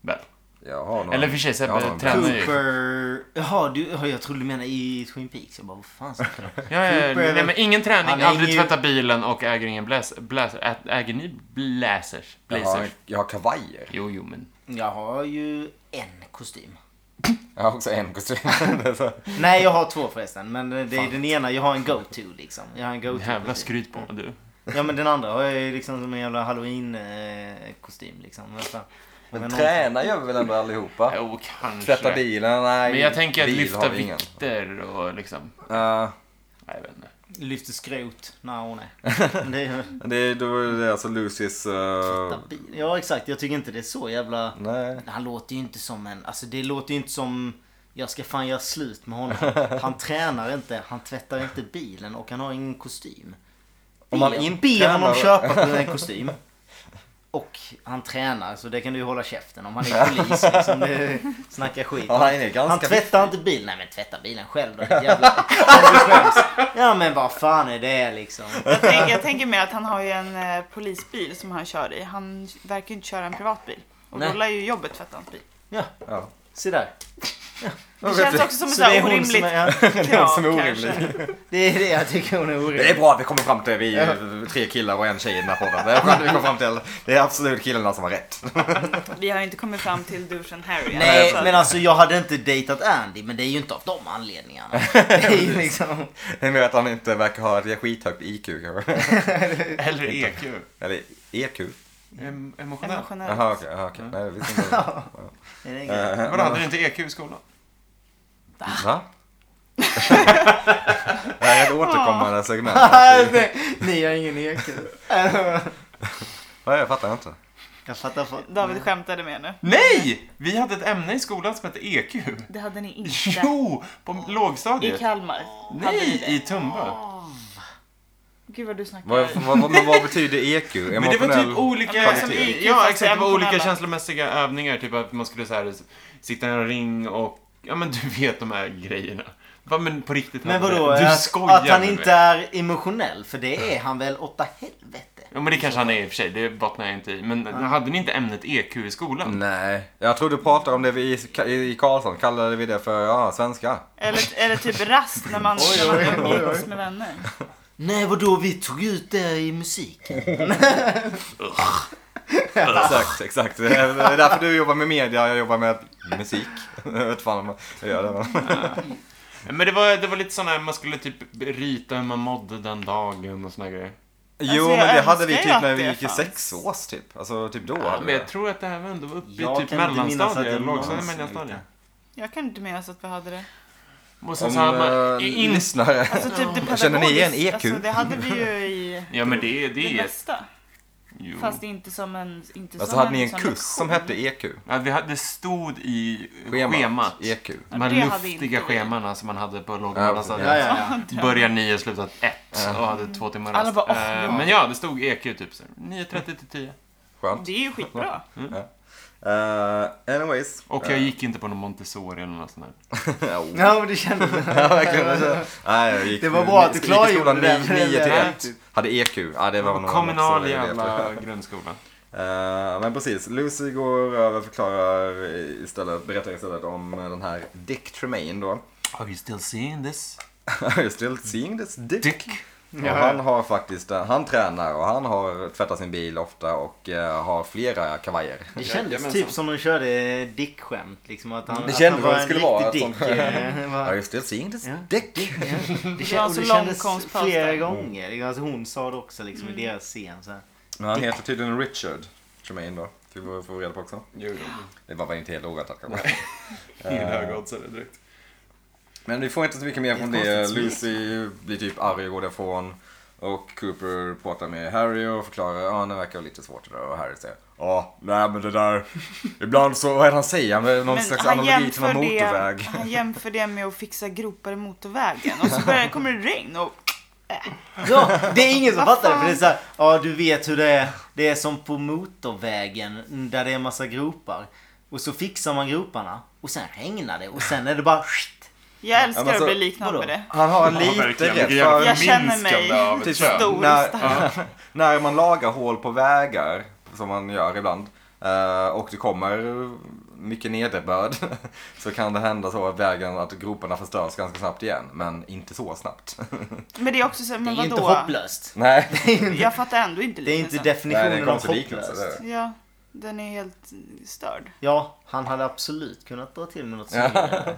Väl.
Jag har någon.
Eller i och för sig, Sebbe
jag har någon
tränar ju.
Cooper... Jaha, du, ja, jag trodde du menade i Twin Peaks. Jag bara, vad fan ska jag
*laughs* Ja, ja,
Typ,
ja.
Cooper är
Nej,
väl-
men ingen träning,
han är
aldrig
ingen-
tvätta bilen och äger ingen blazer. blazer. Ä- Äger ni blazers?
Jag har,
Blazers?
jag har kavajer.
Jo, jo, men...
Jag har ju en kostym.
Jag har också en
*laughs*
kostym. Det är så-
Nej, jag har två förresten. Men eh, det är den ena, jag har en go-to liksom. Jag har en go-to.
Jävla
kostym.
skryt på du.
Ja men den andra har jag ju liksom som en jävla halloween-kostym liksom. Men fan.
Men
Men
tränar gör vi väl ändå allihopa?
Jo, kanske.
Tvätta bilen? Nej,
Men jag tänker att
bil
lyfta
har vi ingen.
vikter och liksom...
Eh,
Nej, jag vet inte.
lyfter skrot när hon är. Men det är ju...
Det är, då är det alltså Lucys... eh,
Ja exakt, jag tycker inte det är så jävla...
nej.
Han låter ju inte som en... Alltså det låter ju inte som... Jag ska fan göra slut med honom. Han tränar inte, han tvättar inte bilen och han har ingen kostym.
Om han
Be-
inte
Be honom
tränar-
köpa en kostym. Och han tränar, så det kan du ju hålla käften om han är polis. Liksom, det, snacka skit.
Ja, han är ganska
han tvättar inte bilen. Nej men tvätta bilen själv då. *laughs* ditt Jävla, om du skäms. ja men vad fan är det liksom?
Jag, tänk, jag tänker mig att han har ju en eh, polisbil som han kör i. Han verkar ju inte köra en privatbil. Och
Nej.
då lär ju jobbet tvätta hans bil.
Ja,
Ja.
se där.
Det känns också som ett
Så
så
det
här
är hon som
orimligt
är... *laughs*
krav
som är
kanske.
Det är det jag tycker hon är
Det är
orimlig.
bra att vi kommer fram till det. Vi är tre killar och en tjej i den här podden. Det är skönt att vi kommer fram till. Det är absolut killarna som har rätt.
Vi har ju inte kommit fram till duschen Harry än,
Nej
så att-
men alltså jag hade inte dejtat Andy men det är ju inte av de anledningarna. Det är ju *laughs* liksom...
*laughs* Det är mer att han inte verkar ha ett skithögt IQ kanske. *laughs*
Eller EQ.
Eller EQ.
E Em- Emotionell.
Emotionellt.
Jaha okej. jaha, okej. Nej, jag visste inte.
Är det en grej?
Eh,
Vadå, hade du inte EQ i skolan?
*laughs* Va? *laughs* Det här är ett återkommande segment.
*laughs* Nej, ni har ingen EQ.
Nej, jag fattar inte.
Jag fattar för...
David skämtade med nu.
Nej! Vi hade ett ämne i skolan som hette EQ.
Det hade ni inte.
*laughs* Jo! På
I
lågstadiet.
Kalmar. hade ni
Nej,
det.
i Tumba.
Gud vad du snackar.
Vad, vad, vad, men vad betyder EQ? Emotionell...
Men det var typ
Ja,
olika...
som IQ,
Ja,
fast
exakt. Det var olika
emotionella.
känslomässiga övningar. Typ att man skulle så här, sitta i en ring och... Ja, men du vet de här grejerna. Va, men på riktigt.
Men
hade
vadå?
det. Du
Att,
skojar
att han
med
inte
mig.
är emotionell? För det är han väl åtta helvete?
Ja, men det kanske han är i och för sig. Det bottnar jag inte i. Men hade ni inte ämnet EQ i skolan?
Nej, jag tror du pratar om det vi i, i Karlsson kallade vi det för ja, svenska.
Eller, eller typ rast när man
Oj,
när man
oj, oj, oj.
umgås med vänner.
Nej vadå? Vi tog ut det i musiken.
Exakt, exakt. Det är det är därför du jobbar med media jag jobbar med musik. Jag vet fan om man gör det. men-
Men det var, det var lite sådana här, man skulle typ rita hur man mådde den dagen och såna grejer.
Jo,
Alltså,
jag
men det hade vi typ
önskar ju att
när vi
det
gick i
fanns.
sexårs typ. Alltså typ då.
Ja,
hade vi
men
det.
jag tror att det här var ändå uppe
Jag
i typ
kan inte minnas att det
mellanstadiet,
var
lågstadiet,
någon
mellanstadiet.
Jag kan inte minnas att vi hade det.
Och sen
Om
så hade man...
eh,
In...
lyssnare.
Alltså typ
*laughs*
det
Känner ni igen E
pedagogiskt,
EQ?
Alltså, det hade vi ju i
Ja men det, det
det
är...
mesta.
Jo.
Fast inte som en... Inte
Alltså
som
hade ni en
som
kurs
lektion.
som hette EQ?
Ja, vi hade, det stod i schemat.
Schemat. E EQ.
De här
Det hade inte
luftiga
vi.
schemana som man hade på låg och
Ja,
mellanstadiet.
Ja, ja, ja.
Börjar nio, slutar ett och hade två timmar
Alla
rast.
bara, åh,
Eh,
ja.
Men ja, det stod EQ typ så här, 9.30 till 10.
Skönt.
Det är ju skitbra.
Eh, *laughs* anyways.
Och jag gick inte på någon Montessori eller något sånt där.
*laughs* Ja,
Ja men det kändes...
verkligen. Alltså, Oh. *laughs* Nej, jag gick,
Det var bra att du
gick i
klargjorde
skolan
det.
nio- nio till *laughs*
Ja.
ett. Hade EQ. Ja, det var nog något som
Kommunal
jag vet.
jävla grundskola.
Eh, men precis, Lucy går över och förklarar istället, berättar istället om den här Dick Tremaine då. *laughs*
Are you still seeing this?
Are you still seeing this dick?
Dick?
Och han har faktiskt, eh, han tränar och han har tvättat sin bil ofta och eh, har flera kavajer.
Det kändes
Jajamensan.
typ som de körde dickskämt. Liksom att han,
Det
att
kändes
han
vad
var
det
en
skulle vara,
riktig
att *laughs*
dick. eh,
Are
va?
you still seeing this
Ja.
dick?
Det,
var
kändes,
alltså
det kändes
långkonstpaus
flera
där. Mm.
gånger. Liksom, Alltså, hon sa det också liksom i deras scen. Så här.
Men han heter tydligen Richard Tremaine då. Fick vi få reda på också.
Jo, jo.
Det var väl inte helt oväntat kanske.
Ingen högoddsare direkt.
Men vi får inte så mycket mer från
Det är
det.
konstigt
Lucy blir typ arg och går därifrån. Och Cooper pratar med Harry och förklarar ja det verkar lite svårt det där. Och Harry säger ja, nej men det där. Ibland så, vad är det han säger? Med någon slags analogi till någon motorväg.
Det, *laughs* han jämför det med att fixa gropar i motorvägen. Och så börjar, kommer det regn och...
Ja, *laughs* det är ingen som
Vad
fattar det.
fan?
För det är så här, ja du vet hur det är. Det är som på motorvägen där det är massa gropar. Och så fixar man groparna och sen regnar det och sen är det bara skit.
Jag
Ja, alltså,
älskar
men så-
att bli liknad
vadå?
med det.
Han har
Ja,
lite
verkligen.
rätt.
Vilket jävla
För
Jag känner mig
minskande av ett
typ
kön.
stor och
när,
stark.
*laughs* när man lagar hål på vägar, som man gör ibland, eh, och det kommer mycket nederbörd *laughs* så kan det hända så att vägen, att groparna förstörs ganska snabbt igen. Men inte så snabbt. *laughs*
Men det är också så här,
Det är
men
ju inte
vadå?
hopplöst.
Nej.
Jag fattar ändå inte
Det är inte
liknelsen.
Nej, det är en
definitionen av
konstig liknelse, det är
hopplöst.
det.
Ja, den är helt störd.
Ja, han hade absolut kunnat dra till med något snyggare.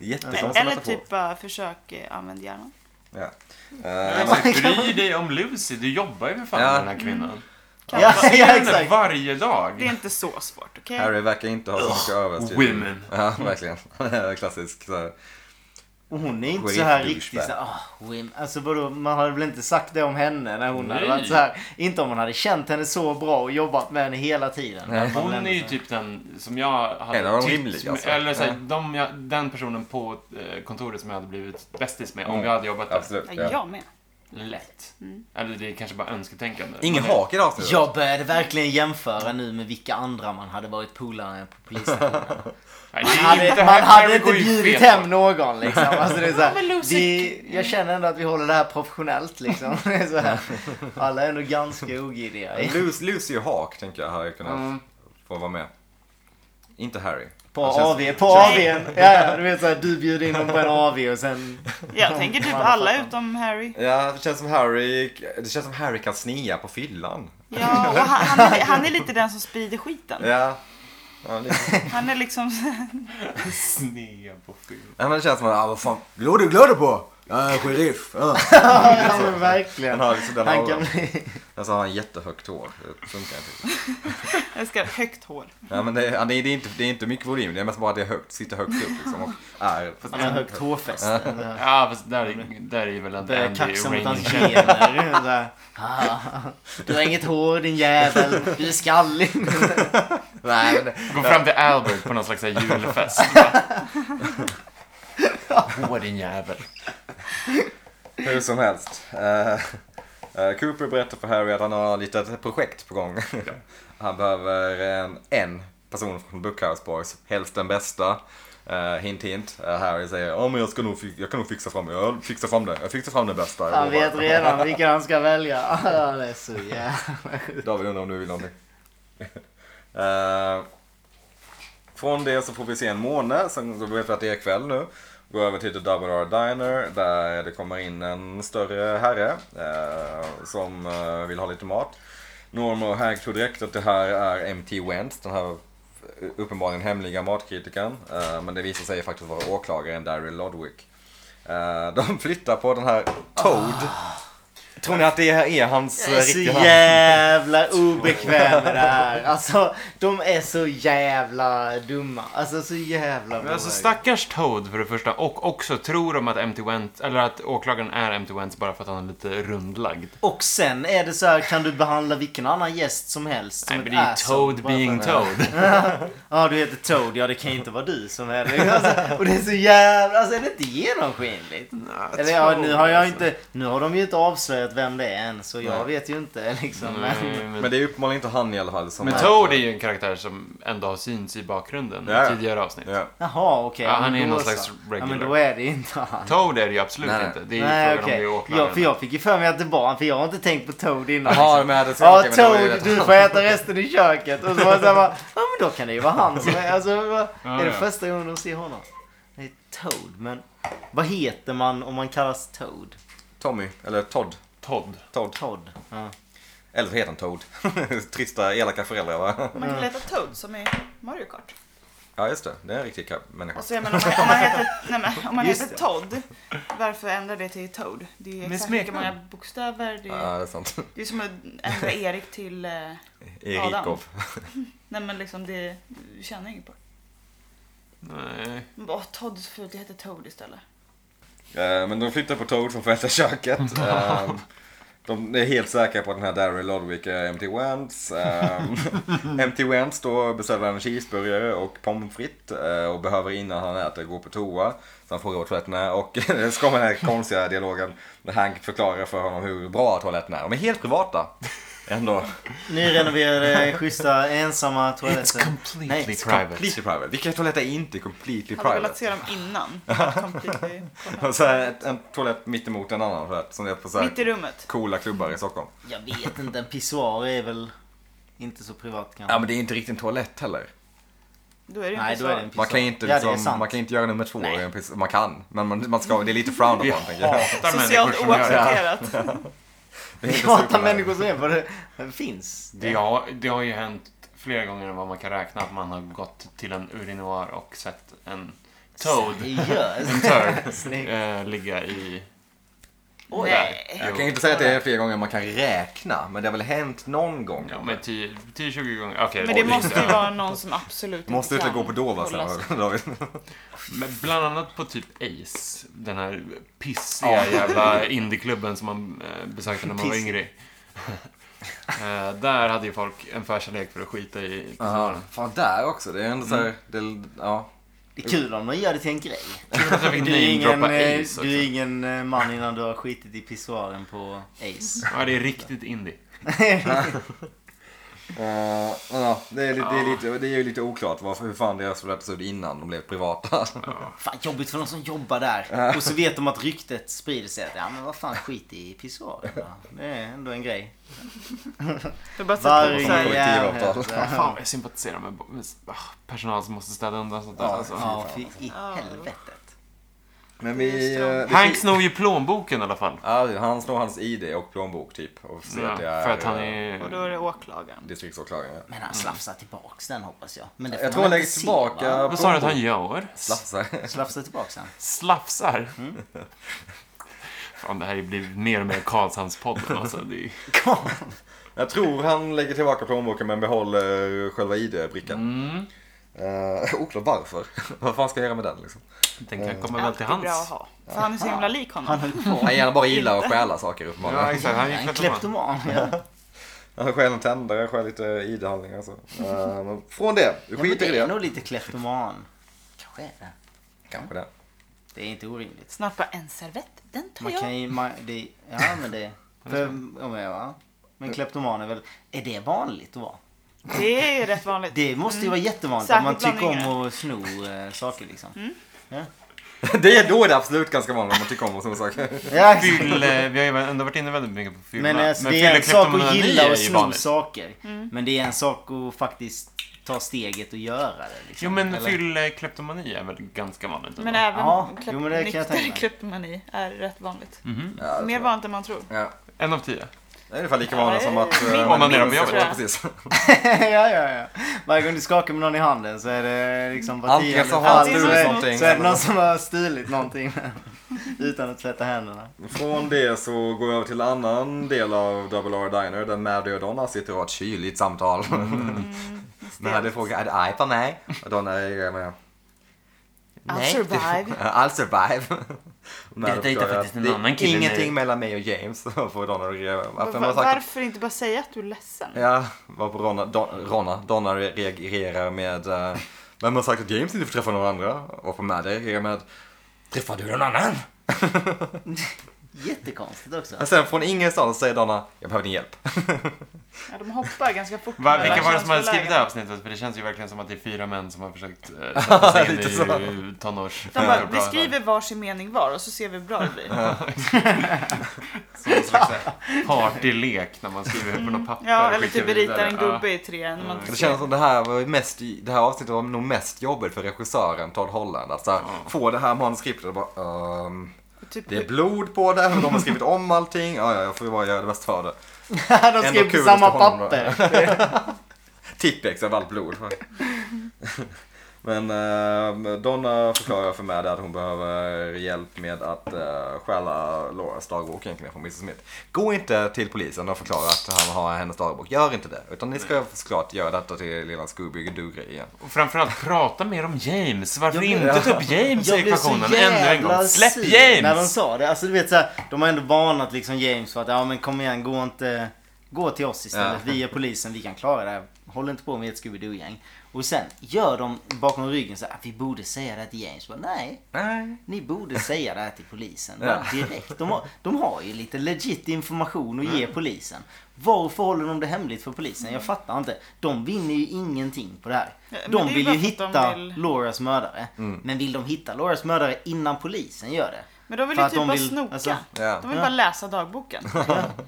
Jättekonstigt
Eller
att ta på.
typ bara försök eh, använd hjärnan.
Ja.
Men
Eh,
alltså, Bry dig om Lucy, du jobbar ju för fan
Ja.
med den här kvinnan.
Ja, *laughs* ja,
Ser henne
exakt.
varje dag.
Det är inte så svårt, okej?
Harry verkar inte ha så mycket överstyr. *laughs*
Women.
Ja, verkligen. Klassisk så här.
Och hon är inte
Skit
så här
douchebag.
riktigt så här, "Ah, women." Alltså vadå, man hade väl inte sagt det om henne när hon hade
Nej.
varit så här. Inte om man hade känt henne så bra och jobbat med henne hela tiden. Alltså,
Nej.
Att man
Hon
ändå-
är ju typ den som jag hade
En av de
tyckt-
rimliga, alltså.
Eller så här, de, jag, den personen på eh, kontoret som jag hade blivit bästis med om
Mm.
jag hade jobbat där.
Absolut.
Ja,
Ja.
jag med.
Lätt. Eller det är kanske bara önsketänkande.
Ingen
Men-
hak i det här avsnittet.
Jag började verkligen jämföra nu med vilka andra man hade varit polare med på
*laughs*
polisstationen.
Nej,
Man
det är
hade,
inte
man
här- här
hade
går
inte
ju
bjudit
fel.
hem någon
*laughs*
liksom. Alltså, det är så här,
men Lucy-
det, jag känner ändå att vi håller det här professionellt liksom. *laughs* Det är så här, alla är ändå ganska ogiddiga.
Lucy, Lucy och Hawk tänker jag hade kunnat
Mm.
få vara med. Inte Harry.
På
Han
AV,
känns-
på AV. Ja, ja, du vet såhär, du bjuder in dem på en AV och sen...
Jag tänker typ alla utom Harry.
Ja, det känns som Harry, det känns som Harry kan snia på fyllan.
Ja, och han, han, är, han är lite den som sprider skiten.
Ja. Ja, det,
Han är liksom... *laughs*
Snea på film.
ja, men det känns som att, ah, vad fan, glöder du glöder på? Jag är sheriff. Ja.
Ja, men verkligen.
Han har liksom den
Han kan
auran.
bli...
Alltså han har jättehögt hår. Det funkar inte.
Jag ska högt hår.
Ja, men det, ja, det, är- det, är inte, det är inte mycket volym, det är mest bara att det är högt, sitter högt upp liksom. Och är,
Han har högt hårfäste. Det här-
Ja, fast där, där är ju väl att
Börjar
Andy
kaxa mot
Rainey
hans
känner.
gener. Så här, "Ah, *laughs* Du har inget hår din jävel. Du är skallig.
nej, men det,
Gå fram till Albert på någon slags så här julfest. Åh, din jävel.
Hur som helst. Eh, eh, Cooper berättar för Harry att han har lite ett projekt på gång. *laughs* han behöver en, en person från Bookhouse Boys, helst den bästa. Eh, hint hint. Eh, Harry säger ja men jag, ska nog, fi- jag kan nog fixa fram, jag fixar fram det, jag fixar fram den bästa. jag
Han
lovar."
vet redan vilka han ska välja. *laughs* Ah, Det är så jävla sjukt.
David undrar om du vill någonting. Eh, från det så får vi se en måne, sen så vet vi att det är kväll nu. Går över till The Double R Diner där det kommer in en större herre eh, som eh, vill ha lite mat. Norma och Hank tror direkt att det här är M.T. Wentz, den här eh, uppenbarligen hemliga matkritiken. Eh, men det visar sig faktiskt vara åklagaren Daryl Lodwick. Eh, de flyttar på den här Toad. Ah. Tror ni att det här är hans eh,
Jag är så
riktiga namn?
jävla obekväm med det här. Alltså, de är så jävla dumma. Alltså så jävla
Men Alltså
blåögda.
stackars Toad för det första och också tror de att MT Went, eller att åklagaren är MT Wentz bara för att han är lite rundlagd.
Och sen är det så här, kan du behandla vilken annan gäst som helst som
Nej men
ett
det är ju
asshole
Toad
bara för
being
att- *laughs*
Toad.
Ja, du heter Toad. Ja, det kan ju inte vara du som är det. Alltså, och det är så jävla... Alltså är det inte genomskinligt? Eller ja, nu har jag
alltså.
inte... Nu har de ju inte avslöjat vem det är än, så jag
Nej.
vet ju inte liksom. Men...
Nej,
Men
men-
det är uppenbarligen inte han i alla fall. Som
Men Toad är ju en karaktär som ändå har synts i bakgrunden
Ja,
i
ja.
tidigare avsnitt.
Ja.
Jaha, okej.
Ja, han är
men
någon
då
slags
så. Ja,
regular.
men då är det ju inte han.
Toad är det ju absolut
Nej, nej.
inte. Det är ju
Nej
frågan
okej.
om det är
Ja, för
åklagaren.
jag fick ju för mig att det var han för jag har inte tänkt på Toad innan. liksom.
Jaha, men hade
Ja, Toad, du får äta resten i köket. Och så var det så här bara, ja men då kan det ju vara han som är, alltså, vad-
Ja,
är det
ja.
första gången de ser honom? Det är Toad, men vad heter man om man kallas Toad?
Tommy, eller Todd.
Todd.
Todd.
Todd. Ja.
Eller så heter han Toad. *laughs* Trista, elaka föräldrar va?
Man kan leta Toad som är Mario Kart.
Ja, just det. Det är en riktig krabb- människa.
Alltså jag menar om man, om man *laughs* heter, nej, men, om man
Just
heter Todd, varför ändra det till Toad? Det är ju
Men
exakt lika
smeknamn.
många bokstäver. Det är,
Ja, det är sant.
det är som att *laughs* ändra Erik till, eh,
Erikov.
nej men liksom det, du tjänar inget på det.
Nej.
Man bara, Åh Todd så fult, jag heter Toad istället.
Eh, Men de flyttar på Toad som får äta *laughs* köket. Ehm, De är helt säkra på att den här Daryl Lodwick är MT Wentz. *laughs* Ehm, MT Wentz då beställer en cheeseburgare och pommes frites eh, och behöver innan han äter gå på toa. Så han frågar vad toaletten är och *laughs* så kommer den här konstiga dialogen när Hank förklarar för honom hur bra toaletten är. De är helt privata. Ändå.
Nyrenoverade, eh, schyssta, ensamma
It's
toaletter.
completely
Nej,
private.
it's
Completely private. Vilka toaletter är inte completely
Jag hade velat
private?
se dem *laughs* innan. Completely.
Och så här, ett- en toalett mitt emot en annan toalett som det är på så här
Mitt i rummet.
coola klubbar i Stockholm.
Jag vet inte, en pissoar är väl inte så privat kanske.
Ja men det är inte riktigt en toalett heller.
Då är det ju
Nej,
inte
då är det
så.
en pissoar.
Man kan ju inte,
ja, det är
liksom,
sant.
man kan ju inte göra nummer två. i en pis- Man kan, men man, man ska, det är lite frowned *laughs* upon. tänker jag.
Hatar människor
Socialt
som gör det.
oaccepterat.
*laughs*
Det är inte
Jag hatar
supernice.
människor som är på det. Det finns.
Det har, det har ju hänt flera gånger än vad man kan räkna att man har gått till en urinoir och sett en Toad,
Seriöst.
en turd,
Snyggt.
eh, ligga i
Oj.
Nej.
Jag kan ju inte säga att det är fler gånger man kan räkna, men det har väl hänt någon gång.
Ja, men 10-20 gånger. Okej.
Men det
oj.
*laughs*
måste ju vara någon som absolut inte
Måste inte
kan
gå på Dova
hålla sig.
sen David.
*laughs* Men bland annat på typ Ace. Den här pissiga jävla indieklubben som man eh, besökte när man var
Pissig.
yngre. Eh, där hade ju folk en förkärlek för att skita i
Ja,
pissoaren.
Fan, där också. Det är ändå såhär, det, ja.
Det är kul om de gör det till en grej.
Kul att jag fick
Du är ingen,
namedroppa
eh,
Ace också.
du är ingen eh, man innan du har skitit i pissoaren på
*laughs*
Ace.
Ja, det är riktigt indie.
Eh, men ja, det, är, lite- det, är lite, det är ju lite oklart varför, hur fan deras toaletter såg ut innan de blev privata. *laughs*
Fan jobbigt för de som jobbar där. Och så vet de att ryktet sprider sig. att, Ja men vad fan skit i pissoaren då. Det är ändå en grej.
Du bara sätter på
Varje
så här,
Kollektivavtal.
jävla...
Fan vad jag sympatiserar med med, ah, personal som måste städa undan sånt där. alltså.
Ja, fy i helvetet.
Men vi...
Just det.
eh, vi
Hank snor ju plånboken i alla fall.
Ja, han snor hans ID och plånbok typ. Och ser
Ja,
att det är
för att han
eh,
Och
är...
då är det åklagaren.
distriktsåklagaren.
Men han slafsar tillbaks den hoppas Mm. jag. Men det får
Jag
man
tror han
inte
lägger
se,
tillbaka
va?
Vad sa du att han gör?
Slafsar. *laughs*
Slafsar tillbaks den.
Slafsar? *laughs* Fan, det här blir mer och mer Karlshamnspodden alltså. Det är...
Jag tror han lägger tillbaka plånboken men behåller själva ID-brickan. Eh, oklart varför. *laughs* Vad fan ska jag göra med den liksom?
Den kan komma väl till
Alltid bra att
hands.
ha. För han är så himla lik honom.
Han höll på.
Han gärna bara gillar att stjäla saker
Ja,
uppenbarligen.
exakt. Han är
En
ju kleptoman.
kleptoman. Ja.
Han stjäl en tändare, han stjäl lite ID-handlingar och så. Eh, men från det, vi
Ja, men
skiter
det är
i det.
nog lite kleptoman. Kanske är det.
Kanske det. *laughs*
Det är inte orimligt.
Snappa en servett, den tar
Man
jag.
kan ju... Man, det, ja men det... För, om jag, va? Men kleptoman är väl... Är det vanligt att vara?
Det är rätt vanligt.
Det måste ju vara jättevanligt
Mm. Särskilt
om man tycker
bland Mm.
om att sno eh, saker liksom.
det är då är det absolut ganska vanligt om man tycker om och sådana saker.
Ja, exakt.
Fylle, eh, vi har ju ändå varit inne väldigt mycket på fylla.
men alltså, det är en sak att
fyllekleptomani
gilla
är
och
ju
sno
vanligt.
saker. Men det är en sak att faktiskt ta steget och göra det. Liksom.
Jo men
Eller-
fyllekleptomani är väl ganska vanligt?
Men eh,
ändå.
även
Ja,
klepp-
jo, men det kan jag tänka
nykter
mig. Mm.
kleptomani är rätt vanligt.
Ja,
Mer vanligt än man tror.
Ja.
En av tio.
Det är ungefär lika vanligt som att... eh,
Om man är på
Ja,
jobbet.
tror jag.
precis.
*laughs* ja, ja, ja. Varje gång du skakar med någon i handen så är det liksom var
Antingen
tionde
så har han
fall, så
stulit
är-
någonting,
Så är det
eller-
någon som har stulit någonting *laughs* utan att tvätta händerna.
Från det så går jag över till en annan del av Double R Diner där Maddie och Donna sitter och har ett kyligt samtal.
Mm.
*laughs* Maddie frågar, är det arg på mig? Och Donna är med,
I'll
Nej.
survive.
*laughs* I'll survive. Maddie
dejtar
förklarar,
faktiskt en
"Det är
annan kille
Ingenting
nu."
mellan mig och James. *laughs* Och får Donna att reagera. Varför har
Var,
man sagt
varför inte bara säga att du är ledsen?
Ja, var på Ronna, Don, Ronna. Donna reagerar med, eh, vem har sagt att James inte får träffa någon andra? Och på Maddie reagerar med, träffar du någon annan?
Jättekonstigt *laughs* också.
Och sen från ingenstans säger Donna, jag behöver din hjälp.
Ja, de hoppar ganska fort.
Va,
mellan
vilka var det som hade skrivit det här
känslolägen.
avsnittet? För det känns ju verkligen som att det är fyra män som har försökt eh, sätta sig in
Lite så.
i tonårs...
De
*laughs*
bara, vi skriver varsin mening var och så ser vi hur bra det
*laughs*
blir.
Som en slags eh, partylek när man skriver på något papper.
Ja,
och
eller
skickar
typ rita
vidare.
en gubbe i tre. När man
Ja.
Det känns som det här var ju mest, det här avsnittet var nog mest jobbigt för regissören Todd Holland. Att så här, få det här manuskriptet och bara ehm,
typ,
Det är blod på det, men de har *laughs* skrivit om allting. Ja, ja, jag får ju bara göra det bästa för det.
De
Ändå
skrev på
kul
samma
att stå honom då.
papper.
Tippex av allt *laughs* blod. Men eh, Donna förklarar för mig att hon behöver hjälp med att eh, stjäla Lauras dagbok egentligen från Mrs Smith. Gå inte till polisen och förklara att han har hennes dagbok. Gör inte det. Utan ni ska såklart göra detta till lilla Scooby-Doo-grejen.
Och framförallt, prata mer om James. Varför
Jag blir-
inte ta upp James i
Jag blev så
ekvationen ännu en
jävla
gång? Släpp
sur när de
James!
sa det. Alltså du vet såhär, de har ändå varnat liksom James för att ja men kom igen, gå inte... Gå till oss istället.
Ja.
Vi är polisen, vi kan klara det här. Håll inte på med ett Scooby-Doo-gäng. Och sen gör de bakom ryggen så här, vi borde säga det här till James. Bara, Nej,
Nej.
Ni borde säga det här till polisen.
Ja.
Bara *laughs* Direkt. De har, de har ju lite legit information att
Mm.
ge polisen. Varför håller de det hemligt för polisen? Jag fattar inte. De vinner ju ingenting på det här.
Ja, men
De
det är
vill ju
bara för att de
hitta
vill- Mm.
Lauras mördare. Men vill de hitta Lauras mördare innan polisen gör det?
men de vill
För
ju
att
typ
de
bara
vill-
snoka.
alltså,
ja.
De vill bara läsa dagboken.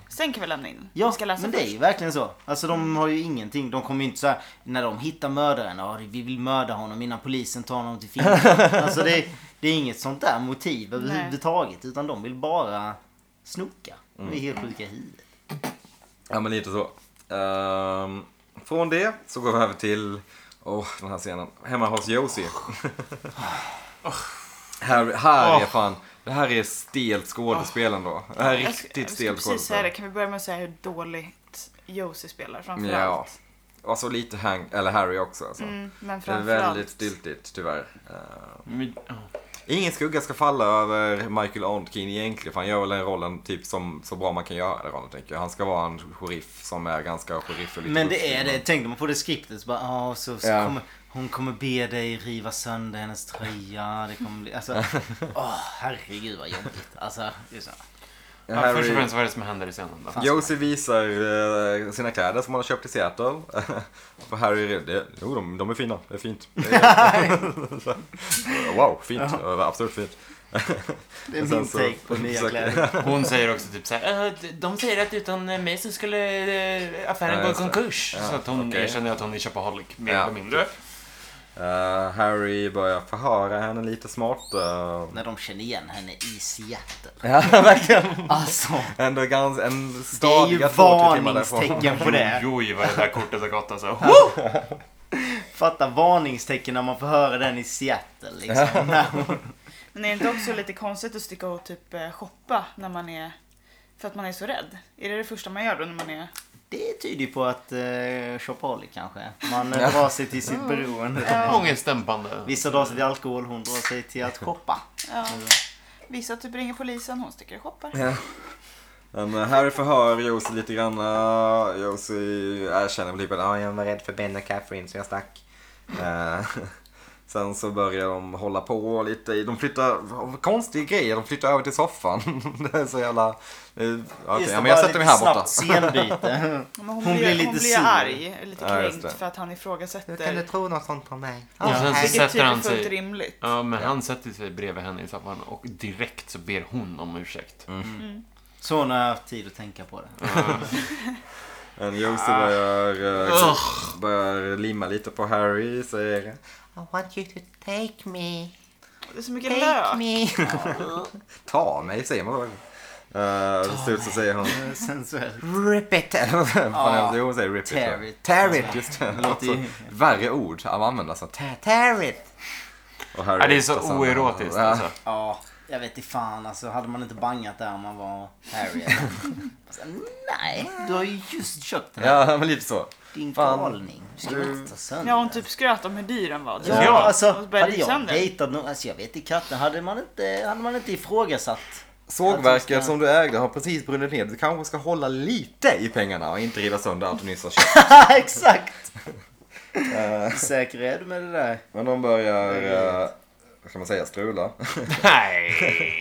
Sen kan vi lämna in.
Ja,
vi ska läsa
men det är
först.
ju verkligen så. Alltså de har ju ingenting. De kommer ju inte så här, när de hittar mördaren, ja vi vill mörda honom innan polisen tar honom *laughs* till Finland. alltså det, det är inget sånt där motiv överhuvudtaget. Utan de vill bara snoka. De är helt sjuka i huvudet.
Ja, men lite så. Ehm, från det så går vi över till, åh, den här scenen. Hemma hos Josie. Här, här är
Åh.
fan, det här är stelt skådespel ändå. Det här är
Jag sk-
riktigt
Jag
stelt
skulle precis säga det.
skådespel.
Kan vi börja med att säga hur dåligt Josie spelar
Ja.
framförallt?
Och så lite Hank, eller Harry också alltså.
Mm, men
Det är
framförallt.
väldigt stiltigt tyvärr. Eh,
Men, ja.
ingen skugga ska falla över Michael Ontkin egentligen för han gör väl den rollen typ som, så bra man kan göra den rollen tänker jag. Han ska vara en sheriff som är ganska sheriff och lite
Men det
buffig,
är
men-
det. Tänkte man på det skriptet så bara, ah, så, så
Ja.
kommer, hon kommer be dig riva sönder hennes tröja. Det kommer bli, *laughs* alltså, åh herregud vad jobbigt. Alltså, det är så.
Ja,
Harry-
Först och främst, vad är det som händer i scenen då?
Alltså.
Josie visar eh, sina kläder som han har köpt i Seattle. *laughs* För Harry är det, jo de, de är fina, det är fint. Det
*laughs*
är- wow, fint, ja. absolut fint.
Det är
Och sen
min
så-
take på nya
försöker-
kläder.
Hon säger också typ så här, "Eh, d- de säger att utan mig så skulle eh,
Ja,
affären gå i
just det.
konkurs.
Ja,
så att hon
okej.
erkänner att hon är shopaholic, mer
Ja.
eller mindre.
Eh, Harry börjar förhöra henne lite smart. eh.
*laughs* När de känner igen henne i *laughs* Seattle.
Ja, verkligen.
Alltså,
Ändå ganska, en
det är ju
stadiga två, tre timmar därifrån.
varningstecken på
*laughs*
det.
Oj, vad det där kortet har gått alltså.
Fatta varningstecken när man får höra den i Seattle liksom. När hon-
Men är det inte också lite konstigt att sticka och typ eh, shoppa när man är... För att man är så rädd? Är det det första man gör då när man är...
*laughs* Det tyder ju på att eh, shopaholic kanske. Man eh, drar sig till sitt beroende.
Ångestdämpande.
Vissa drar sig till alkohol, hon drar sig till att shoppa.
Ja. Vissa typ ringer polisen, hon sticker och shoppar.
Men eh, Harry förhör Josie lite grann. eh, Josie erkänner väl typ att ah, jag var rädd för Ben och Catherine så jag stack. Eh, *laughs* Sen så börjar de hålla på lite. i- De flyttar, konstiga grejer, de flyttar över till soffan. *laughs* Det är så jävla... eh, Okej,
Just det,
ja, men jag
bara
sätter
lite
mig här borta.
Snabbt
*laughs*
scenbyte.
Men hon,
Hon
blir,
blir lite
hon blir
sur.
arg, lite
Ja, just
kränkt
det.
för att han ifrågasätter.
tro något sånt om mig?
Och sen så
Vilket typ
sätter
är
han
fullt
sig...
rimligt.
Ja, men han sätter sig bredvid henne i soffan och direkt så ber hon om ursäkt.
Mm.
Så hon har haft tid att tänka på det.
Men Josie
Ah.
börjar, eh,
Ugh.
börjar limma lite på Harry, säger
I want you to take me.
Det är så mycket
Take
lök.
me.
Ta mig, säger man då. Uh, till slut så säger hon
Sensuellt.
Rip it! Eller vad fan
Ja.
är det? Jo, hon säger rip it.
Tear
ja.
it.
Tear it! Just det.
låter ju-
Alltså, värre ord att använda. Så tear, tear it! Och Harry
Ja, det är så
tar samma-
oerotiskt
Ja. *laughs*
alltså.
Ja, jag vet inte fan alltså. Hade man inte bangat där om man var Harry? eller? Så,
*laughs*
Nej, du har ju just köpt den här.
Ja, *laughs* men lite så.
Din
Fan.
galning. Du ska
Du-
väl ta sönder
Ja, hon
den?
typ skröt om hur dyr den var. typ.
Ja,
Ja,
alltså
och så började
hade
det
jag
sönder.
dejtat någon, alltså jag vet inte katten, hade man inte, hade man inte ifrågasatt.
Sågverket som du ägde har precis brunnit ner. Du kanske ska hålla lite i pengarna och inte riva sönder allt du nyss
*laughs*
har köpt.
Exakt! *laughs* Säker är du med det där?
Men de börjar, eh, vad ska man säga, strula.
Nej!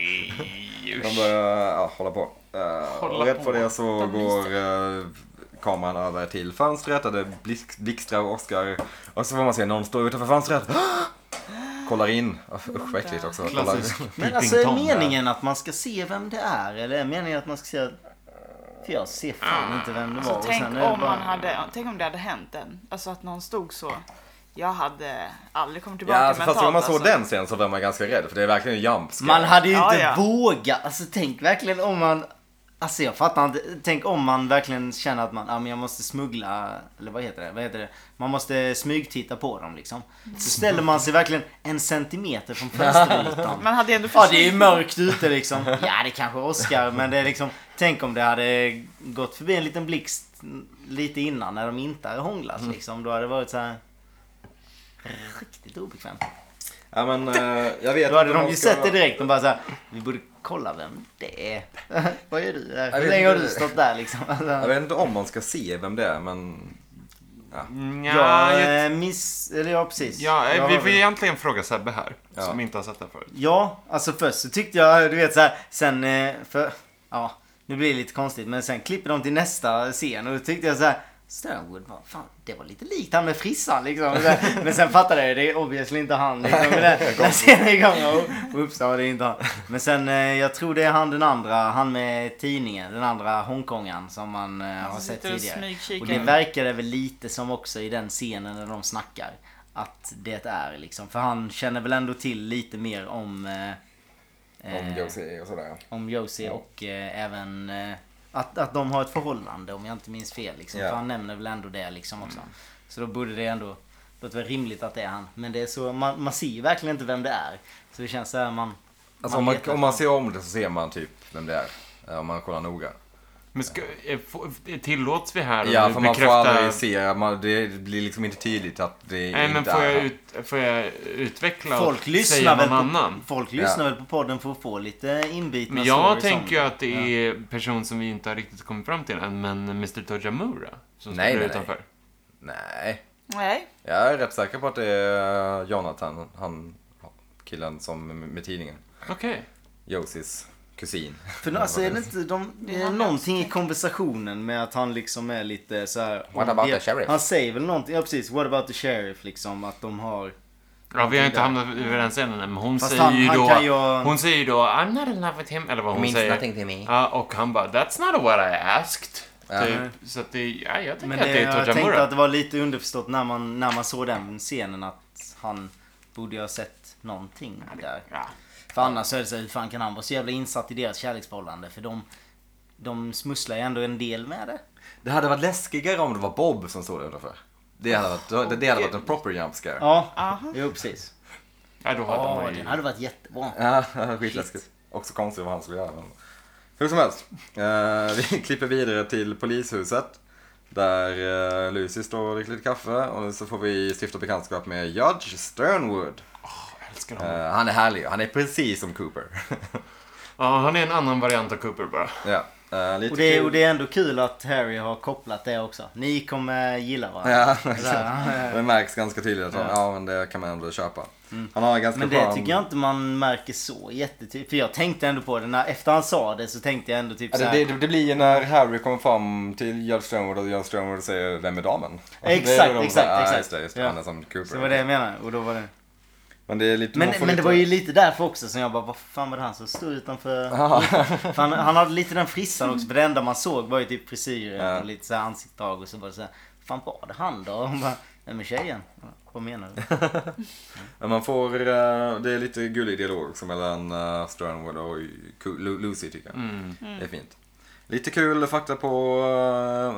De
usch.
börjar ja, hålla på. Eh,
Hålla
och rätt
på.
på det så
De
går eh, kameran över till fönstret där det blixt- blixtrar och åskar. Och så får man se någon stå utanför fönstret. *gasps* Kollar in. Usch vad äckligt också. Kollar.
Klassisk
Men alltså är meningen att man ska se vem det är? Eller är meningen att man ska se att... För jag ser fan inte vem det var.
Alltså,
och
tänk,
sen är det
om
bara-
man hade, tänk om det hade hänt den. Alltså att någon stod så. Jag hade aldrig kommit
*laughs* Ja,
tillbaka
alltså, fast om man såg
alltså.
den sen så var man ganska rädd för det är verkligen en jump scare.
Man hade ju inte
Ja, ja.
vågat. Alltså tänk verkligen om man... Alltså jag fattar inte. Tänk om man verkligen känner att man, ja men jag måste smuggla, eller vad heter det? Vad heter det? Man måste smygtitta på dem liksom. Så ställer man sig verkligen en centimeter från fönsterrutan.
Man hade ju ändå
*laughs* Ja det är ju
försökt.
mörkt ute liksom. *laughs* Ja det kanske är Oscar men det är liksom. Tänk om det hade gått förbi en liten blixt lite innan när de inte hade hånglats liksom. Då hade det varit så här. Riktigt obekvämt.
Ja, men, eh, jag vet
Då hade
inte om
de ju
ska-
sett det direkt. De bara såhär. Vi borde kolla vem det är. Vad gör du där? Hur
vet
länge har
inte.
du stått där liksom?
Jag
Alltså,
vet inte om man ska se vem det är men...
Nja,
jag
jag
eh, miss... Eller ja precis.
Ja, eh,
Jag
vi
har
får egentligen fråga Sebbe här,
Ja.
som inte har sett den förut.
Ja, alltså först så tyckte jag, du vet så här, sen eh, för, ja, nu blir det lite konstigt men sen klipper de till nästa scen och då tyckte jag så här Sternwood, vad fan, det var lite likt han med frissan liksom. Så här, Men sen fattade jag ju, det är obviously inte han liksom. Men den, den scenen är igång och- och upps, ja, det är inte han. Men sen, eh, jag tror det är han den andra, han med tidningen, den andra Hongkongaren som man eh, har sett
sitter och
tidigare.
smygkikar.
Och det verkade väl lite som också i den scenen när de snackar. Att det är liksom, för han känner väl ändå till lite mer om eh,
Om
eh,
Josie och sådär.
om Josie
Mm.
och eh, även eh, att, att de har ett förhållande om jag inte minns fel. Liksom.
Ja.
Mm.
För han nämner väl ändå det liksom också. Så då borde det ändå låter väl rimligt att det är han. Men det är så, man, man ser ju verkligen inte vem det är. Så det känns så här man...
Alltså om man,
letar
om man
efter-
ser om det så ser man typ vem det är. eh, Om man kollar noga.
Men ska, är- får- tillåts vi här och
Ja,
nu
för man får aldrig se. Man, det blir liksom inte tydligt att det
Nej, men
inte
får
är
jag,
han.
ut, får jag utveckla
Folk
och säga
lyssnar, väl
någon
på,
annan?
folk lyssnar
Ja.
väl på podden för att få lite inbitna
Men jag
stories
tänker ju
om-
att det är person som vi inte har riktigt kommit fram till än, men Mr Tojamura som
Nej,
står
nej,
utanför.
Nej.
Nej.
Jag är rätt säker på att det är eh, Jonathan, han killen som med tidningen.
Okej.
Josies kusin.
För nu, alltså är det inte de,
Det
är
är han
någonting i konversationen med att han liksom är lite så här.
What about the sheriff?
Han säger väl någonting, ja precis, what about the sheriff liksom att de har.
Ja, vi har inte hamnat överens än, men hon
Fast
säger
han-
ju
han
då...
kan ju-
Hon säger ju då I'm not in love with him, eller vad hon säger.
to me.
Ja, och han bara That's not what I asked.
Ja.
Typ. Så att det, ja, jag tänker
Men
att
det,
det är
jag tänkte
Tojamura.
att det var lite underförstått när man, när man såg den scenen att han borde ju ha sett någonting där.
Ja.
För annars är det så här, hur fan kan han vara så jävla insatt i deras kärleksförhållande? För de, de smusslar ju ändå en del med det.
Det hade varit läskigare om det var Bob som stod där utanför. Det hade varit, det, det hade varit en proper jump scare.
Ja,
Aha.
jo precis.
ja, då hade
Ja,
man ju...
den hade varit jättebra.
Ja, *laughs* skitläskigt. Också konstigt vad han skulle göra. Men... Hur som helst. Eh, vi *laughs* klipper vidare till polishuset. Där eh, Lucy står och dricker lite kaffe. Och så får vi stifta bekantskap med Judge Sternwood.
Jag älskar
Eh,
honom.
han är härlig. Han är precis som Cooper. *laughs*
Ja, han är en annan variant av Cooper bara.
ja, eh, lite
Och det, är,
kul.
och det är ändå kul att Harry har kopplat det också. Ni kommer gilla varandra.
Ja,
Sådär.
*laughs* det märks ganska tydligt att han, ja men det kan man ändå köpa. Han har ganska
Mm. Men
skön...
det tycker jag inte man märker så jättetydligt. För jag tänkte ändå på det när, efter han sa det så tänkte jag ändå typ
Ja,
såhär.
det, det, det blir ju när Harry kommer fram till Judge Sternwood och Judge Sternwood säger Vem är damen?
Exakt,
Det är då de
exakt,
säger,
exakt.
Ja, just det, just det.
Ja.
Han är som Cooper.
Så var det jag menade. Och då var det...
Men det är lite...
Men,
man får
men det
lite-
var ju
*laughs*
lite därför också som jag bara, vad fan var det han som stod utanför? *laughs* För han, han hade lite den frissan också. För det enda man såg var ju typ frisyren
Ja.
och lite såhär ansiktsdrag och så var det såhär. Fan var det han då? *laughs* Och hon bara, nej men tjejen. Vad menar du?
Men man får... eh, det är lite gullig dialog som mellan uh, Sternwood och Cu- Lu- Lucy tycker jag.
Mm.
Det är fint. Lite kul fakta på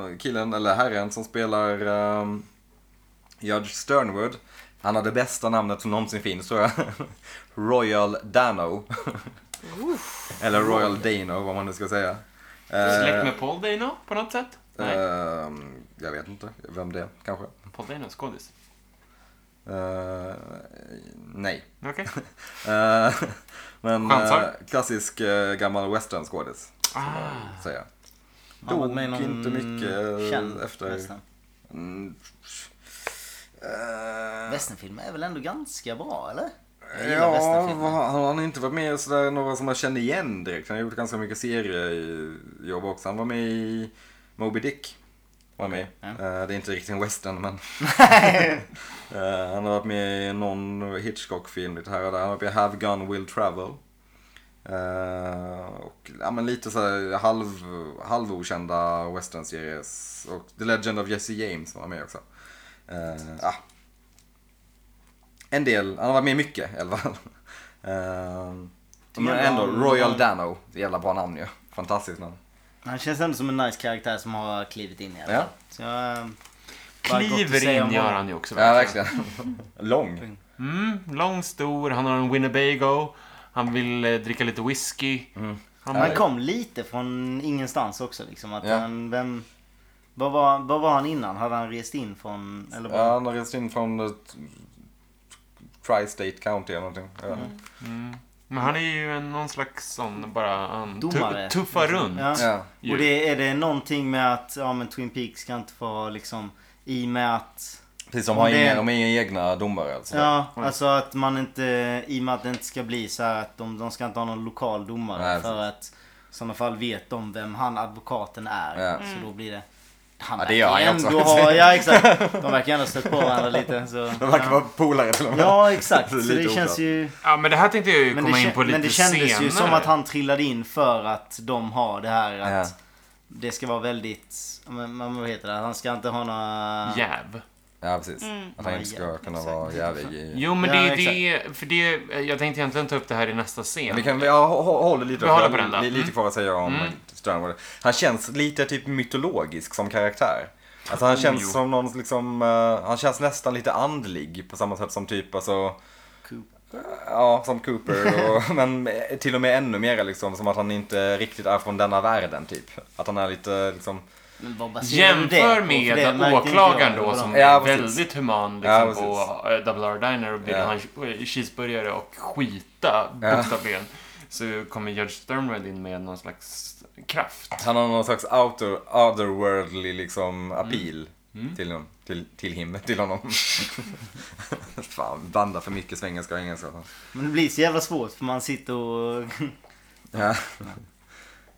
eh, killen, eller herren, som spelar eh, Judge Sternwood. Han har det bästa namnet som någonsin finns tror jag. *laughs* Royal Dano. eller Royal Dano, vad man nu ska säga. Eh,
Släkt med Paul Dano på något sätt? Nej,
Ehm, jag vet inte vem det är, kanske.
Paul Dano, skådis.
Eh, nej.
Okej.
*laughs* Eh, *laughs* men
Chansar.
eh, klassisk eh, gammal western skådis,
Ah,
säger jag.
Han var med i
Dog inte mycket, eh,
känd
efter-
western.
Mm. Eh,
Westernfilmer är väl ändå ganska bra eller? Jag gillar
Ja, vad-
westernfilmer.
han han har inte varit med i sådär några som man känner igen direkt. Han har gjort ganska mycket seriejobb också. Han var med i Moby Dick. Var han med. i.
Ja.
Eh, det är inte riktigt en
*laughs*
western men. Eh, han har varit med i någon Hitchcock-film lite här och där. Han har varit med i Have Gun Will Travel. Eh, och ja, men lite såhär halv, halvokända western-series. Och The Legend of Jesse James var han med också. Eh, ja. En del, han har varit med i mycket i alla fall. *laughs* Eh, men ändå, Royal Dano. Jävla bra namn ju. Fantastiskt namn.
Han känns ändå som en nice karaktär som har klivit in i alla
Ja.
fall. Så jag... eh, bara gott att
kliver
säga
in
om
gör
honom.
han ju också.
Ja, verkligen. *laughs* Lång.
Mm, lång, stor, han har en Winnebago. Han vill eh, dricka lite whisky.
Mm.
Han
Han kom lite från ingenstans också liksom. Att
Ja.
han, vem, vad, var, vad var han innan? Hade han rest in från... Eller
Ja,
var,
han har rest in från eh, Tri-State County eller någonting. Jag vet
Mm.
inte.
Men han är ju en, någon slags sån bara... Han
Domare.
tu, tuffar runt.
ja.
Ja.
ju.
Och det, är det någonting med att ja, men Twin Peaks ska inte få ha liksom... I och med att...
Precis, de
Om
har
det-
inga, de har inga egna domare. Alltså.
Ja, alltså att man inte... I och med att det inte ska bli så här att de, de ska inte ha någon lokal domare.
Nej,
för att i sådana fall vet de vem han advokaten är.
Ja.
Så då blir det... Han
Ja, det gör
verkar
han ju
ändå
också.
ha, ja
*laughs*
exakt. De verkar ändå ha stött på varandra lite. Så,
De verkar
ja.
vara polare till och med.
Ja exakt,
*laughs* Det
så
är lite
det
oklart.
känns ju...
Ja, men det här tänkte jag ju
Men
komma
det,
in
kä-
på lite
men det kändes
senare.
ju som att han trillade in för att de har det här att
Ja.
det ska vara väldigt, ja, men, men vad heter det, han ska inte ha några...
Jäv.
Ja, precis.
Mm.
Att han inte ska
Ja,
kunna vara jävlig i...
Jo, men
Ja,
det är det... För det... Jag tänkte egentligen ta upp det här i nästa scen.
Vi kan, ja, hå- hå- håller lite,
Vi håller på den då. Mm.
li- lite kvar att säga om Sternwood. Han känns lite typ mytologisk som karaktär. Alltså han känns
jo.
som någon liksom, eh, han känns nästan lite andlig på samma sätt som typ alltså
Coop.
Ja, som Cooper,
*laughs*
och, men eh, till och med ännu mer liksom som att han inte riktigt är från denna världen typ. Att han är lite liksom,
Men vad baserar du det
Jämför
på? För det
med
märkte inte
åklagaren
jag.
då som
Ja,
är
precis.
väldigt human
Ja,
liksom, på eh, Double R Diner och bjuder
Ja.
han che- cheeseburgare och skita
Ja.
bokstavligen. Så kommer Judge Sternwood in med någon slags kraft.
han har någon slags outer, otherworldly liksom appeal Till, honom, till, till him, *laughs* till honom. Fan, banda för mycket svengelska och engelska.
Men det blir så jävla svårt för man sitter och...
Ja.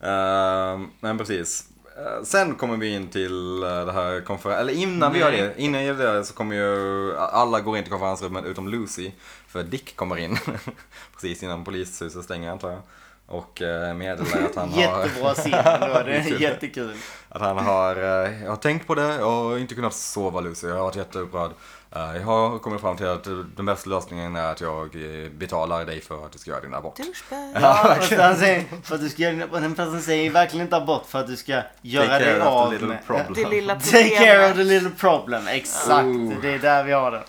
Ehm, men precis. Eh, Sen kommer vi in till eh, det här konferensen, eller innan vi gör det, innan vi gör det så kommer ju, eh, alla går in till konferensrummet utom Lucy. För Dick kommer in, *laughs* precis innan polishuset stänger antar jag. Och eh, meddelar att han *laughs*
*laughs*
har...
Jättebra scen ändå. Det är
*laughs* Jättekul.
jättekul.
Att han har, eh, jag har tänkt på det, jag har inte kunnat sova Lucy, jag har varit jätteupprörd. Eh, jag har kommit fram till att eh, den bästa lösningen är att jag eh, betalar dig för att du ska göra din abort.
Douchebag.
Ja, fast han säger, för att du ska, göra- den personen säger verkligen inte abort för att du ska göra
care
dig
of the
av
little
med...
problem.
Det lilla
*laughs* Take care of the
problemet.
little problem. Exakt,
Ooh.
det är där vi har den.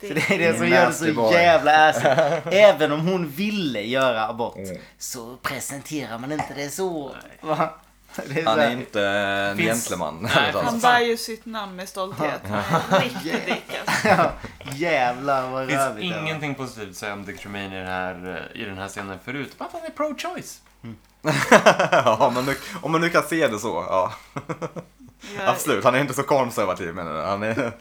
Det-
Så det är
Det är
det som gör det
Oh. nasty
så
boy.
jävla
*laughs*
assigt. Även om hon ville göra abort
Mm.
så presenterar man inte det så. Va? *laughs* Det är så
*laughs* Han är
här,
inte en
Finns-
gentleman. *laughs*
Nej,
Alltså.
Han bär ju sitt namn med stolthet. Riktigt dick alltså.
ja, jävlar vad
Det finns
rövigt det var.
ingenting positivt att säga om Dick Tremaine i den här, eh, i den här scenen förut. Vad fan är pro-choice?
ja, om, man nu, om man nu kan se det så. Ja.
Jag-
Absolut, han är inte så konservativ menar du. Han, är,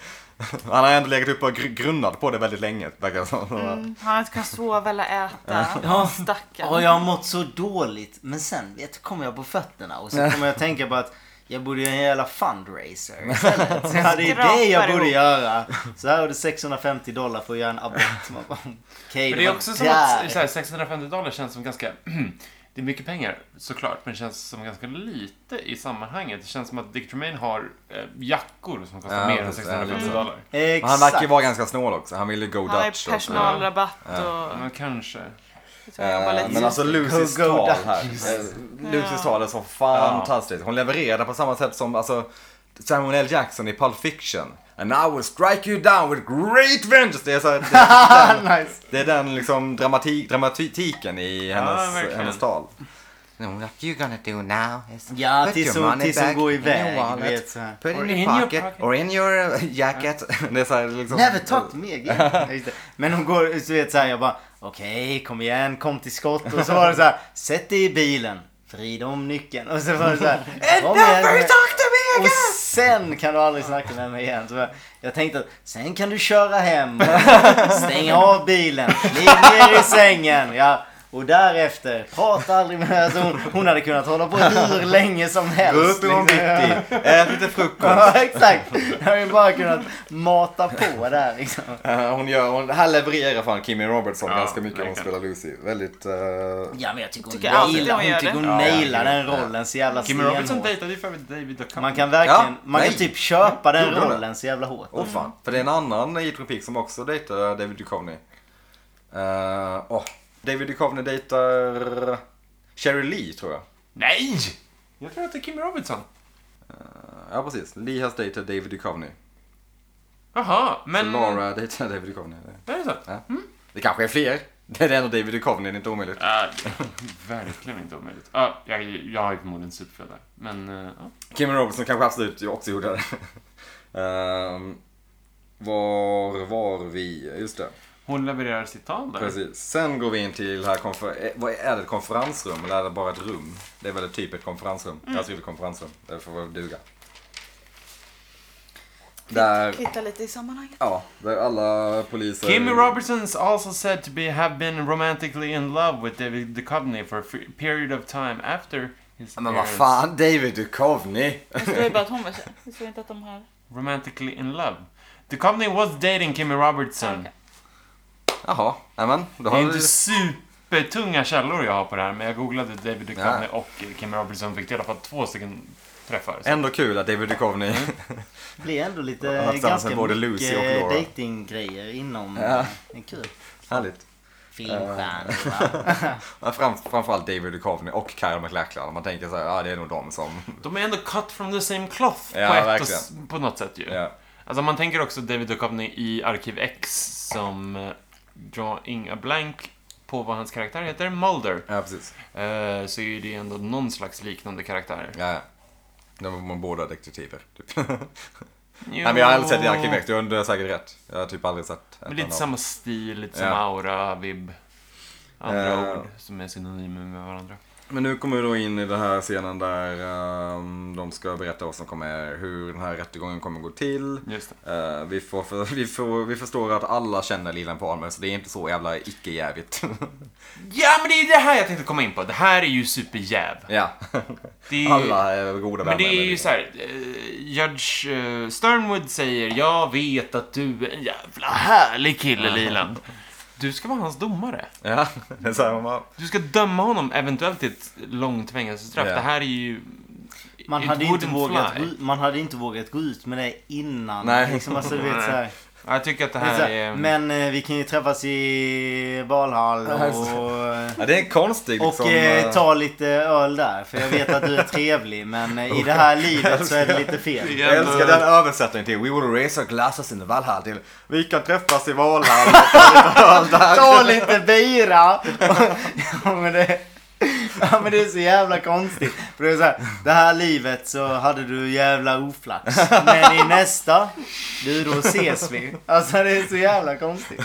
*laughs* han har ändå legat upp och gr- grunnat på det väldigt länge. Verkar det som.
Mm, han kan sova eller äta.
Ja. Ja,
Stackarn.
jag har mått så dåligt. Men sen vet, kommer jag på fötterna och så kommer jag tänka på att jag borde göra en jävla fundraiser istället. Så ja, det är det jag
Skrapar
borde
ihop.
göra. Så här har du 650 dollar för att göra en abort. Man bara, Okej,
Men det är
var
också som
där.
att så här, 650 dollar känns som ganska... *clears throat* det är mycket pengar såklart, men det känns som ganska lite i sammanhanget. Det känns som att Dick Tremaine har eh, jackor som kostar
Ja,
mer än
precis.
650
Mm.
dollar.
Men han verkar ju
Exakt.
vara ganska snål också. Han ville go
Han har ju
Dutch. också.
personalrabatt och...
Ja, men kanske.
Jag tror han jobbar
Eh,
lite
Men alltså Lucys
Go- go
tal
Dutch.
här. eh, Lucys tal är så fantastiskt. Hon levererar på samma sätt som alltså, Samuel L. Jackson i Pulp Fiction. And I will strike you down with great vengeance. Det är, så här,
*laughs*
det, är den,
nice.
det är den liksom dramatik, dramatiken i hennes,
verkligen.
hennes tal.
No, what you gonna do now is
Ja,
put
tills
your
hon-
money
tills hon
back
går
in
iväg,
your
du vet,
wallet,
så här.
put it
Or
in your
in your
pocket,
pocket.
or in your uh, jacket.
*laughs* Det är så här, liksom,
Never talk to me again. Oh. *laughs* Ja, just det. Men hon går, du vet såhär, jag bara okej kom igen, kom till skott. Och så var det såhär, sätt dig i bilen, vrid om nyckeln. Och så "Eh, var det såhär, kom
Never
igen.
talk to me
Och
again!
sen kan du aldrig snacka med mig igen. Så jag, jag tänkte att sen kan du köra hem, stäng av bilen, ligg ner i sängen. Ja. Och därefter, prata aldrig med alltså hon, hon hade kunnat hålla på hur länge som helst.
Gå eh, upp imorgon
liksom.
bitti, ät lite
*laughs*
frukost. *laughs*
Ja, exakt. Jag har ju bara kunnat mata på där liksom.
Eh, Hon gör, hon, här levererar fan Kimmy Robertson
Ja,
ganska mycket när hon
verkligen.
spelar Lucy. Väldigt... eh,
Ja men jag tycker hon
Tycker alltid
nailar,
hon
hon,
gör
tycker hon
det.
Ja,
nailar
ja,
den
ja.
rollen så jävla
Kim Robinson
stenhårt.
dejtade ju för övrigt David Duchovny.
Man kan verkligen,
Ja,
man kan
nej.
typ köpa den
Gjorde hon det?
rollen så jävla hårt.
Åh fan. För det är en annan i Twin Peaks som också dejtar David Duchovny. Eh, åh, David Duchovny dejtar Sherry Lee tror jag.
Nej! Jag tror att det är Kim Robinson.
Ja precis, Lee has dated David Duchovny.
Jaha,
Men...
men...
Laura dejtar David Duchovny.
Det är så.
Ja. Det kanske är fler. *laughs* Det är ändå David Duchovny, det är inte omöjligt.
Ja, Äh, *laughs* verkligen inte omöjligt. Uh, jag, jag har ju förmodligen superfel där. Men, eh, ja.
Kim Robinson kanske absolut ju också gjorde det. *laughs* Ehm, var var vi? Just det,
Hon levererar sitt tal där.
precis. Sen går vi in till här konfer- eh, vad är det, ett konferensrum eller är det bara ett rum? Det är väl typ ett konferensrum. Jag har skrivit konferensrum, det får väl duga. Där,
Hitta lite i sammanhanget.
ja, där alla poliser...
Kim Robertson's also said to be have been romantically in love with David Duchovny for a f- period of time after his
Men vad
parents-
fan, David Duchovny! *laughs*
Det står ju bara att hon var tjej. Det står inte att de här...
Romantically in love. Duchovny was dating Kimmy Robertson.
Okej.
Jaha, nämen. Då
Det är
har
inte
vi...
supertunga källor jag har på det här, men jag googlade David Duchovny
Ja.
och Kimmy Robertson fick i alla fall två stycken träffar. Så.
Ändå kul att David Duchovny...
Mm.
Det blir ändå lite,
Och att dansa
ganska
både Lucy och
mycket
Laura.
datinggrejer inom...
Ja.
Det är kul.
*laughs* Härligt.
*laughs*
Filmstjärnor.
Men fram, framförallt David Duchovny och Kyle MacLachlan. Man tänker så här, ja ah, det är nog de som...
De är ändå cut from the same cloth
Ja,
på, ett och,
verkligen.
s- på något sätt ju.
Ja.
Alltså man tänker också David Duchovny i Arkiv X som eh, drawing a blank på vad hans karaktär heter, Mulder.
Ja, precis.
Eh, så är det ändå någon slags liknande karaktär.
Ja, ja. De var båda detektiver, typ. *laughs* Nej, men jag har aldrig sett i Arkiv X, du har säkert rätt. Jag har typ aldrig sett
Men
ett
lite
enda.
samma stil, lite
Ja.
samma aura, vibb. Andra
Eh.
ord som är synonymer med varandra.
Men nu kommer vi då in i den här scenen där ehm, de ska berätta vad som kommer, hur den här rättegången kommer gå till.
Just det.
Eh, vi, får för, vi, får, vi förstår att alla känner Lilan Palmer så det är inte så jävla icke-jävigt.
Ja, men det är det här jag tänkte komma in på. Det här är ju superjäv.
*laughs* ja,
Det är...
*laughs* alla är goda vänner.
Men det är ju såhär, eh, Judge eh, Sternwood säger jag vet att du är en jävla härlig kille Liland. Du ska vara hans domare.
Ja, *laughs* det är så här, man bara,
Du ska döma honom eventuellt till ett långt fängelsestraff.
Ja.
Det här är ju...
Man
it
hade, ju inte
wouldn't
vågat,
fly.
gå ut- man hade inte vågat gå ut med det innan.
Nej.
Liksom, alltså, du vet, så
*laughs*
här.
Ja, Jag tycker att det
Det är så
här
här,
är...
Men eh, vi kan ju träffas i Valhall och,
ja, det är en konstig
och
liksom,
eh,
eh,
ta lite öl där. För jag vet att du är trevlig men eh, i det
*laughs*
här livet så är det lite fel.
Det
Jag
är ändå-
älskar den översättningen till We will raise our glasses in the Valhall till Vi kan träffas i Valhall och ta lite öl där.
Ta lite bira! ja, men det, ja men det är så jävla konstigt. För det är så här, det här livet så hade du jävla oflax. Men i nästa, du då ses vi. Alltså det är så jävla konstigt.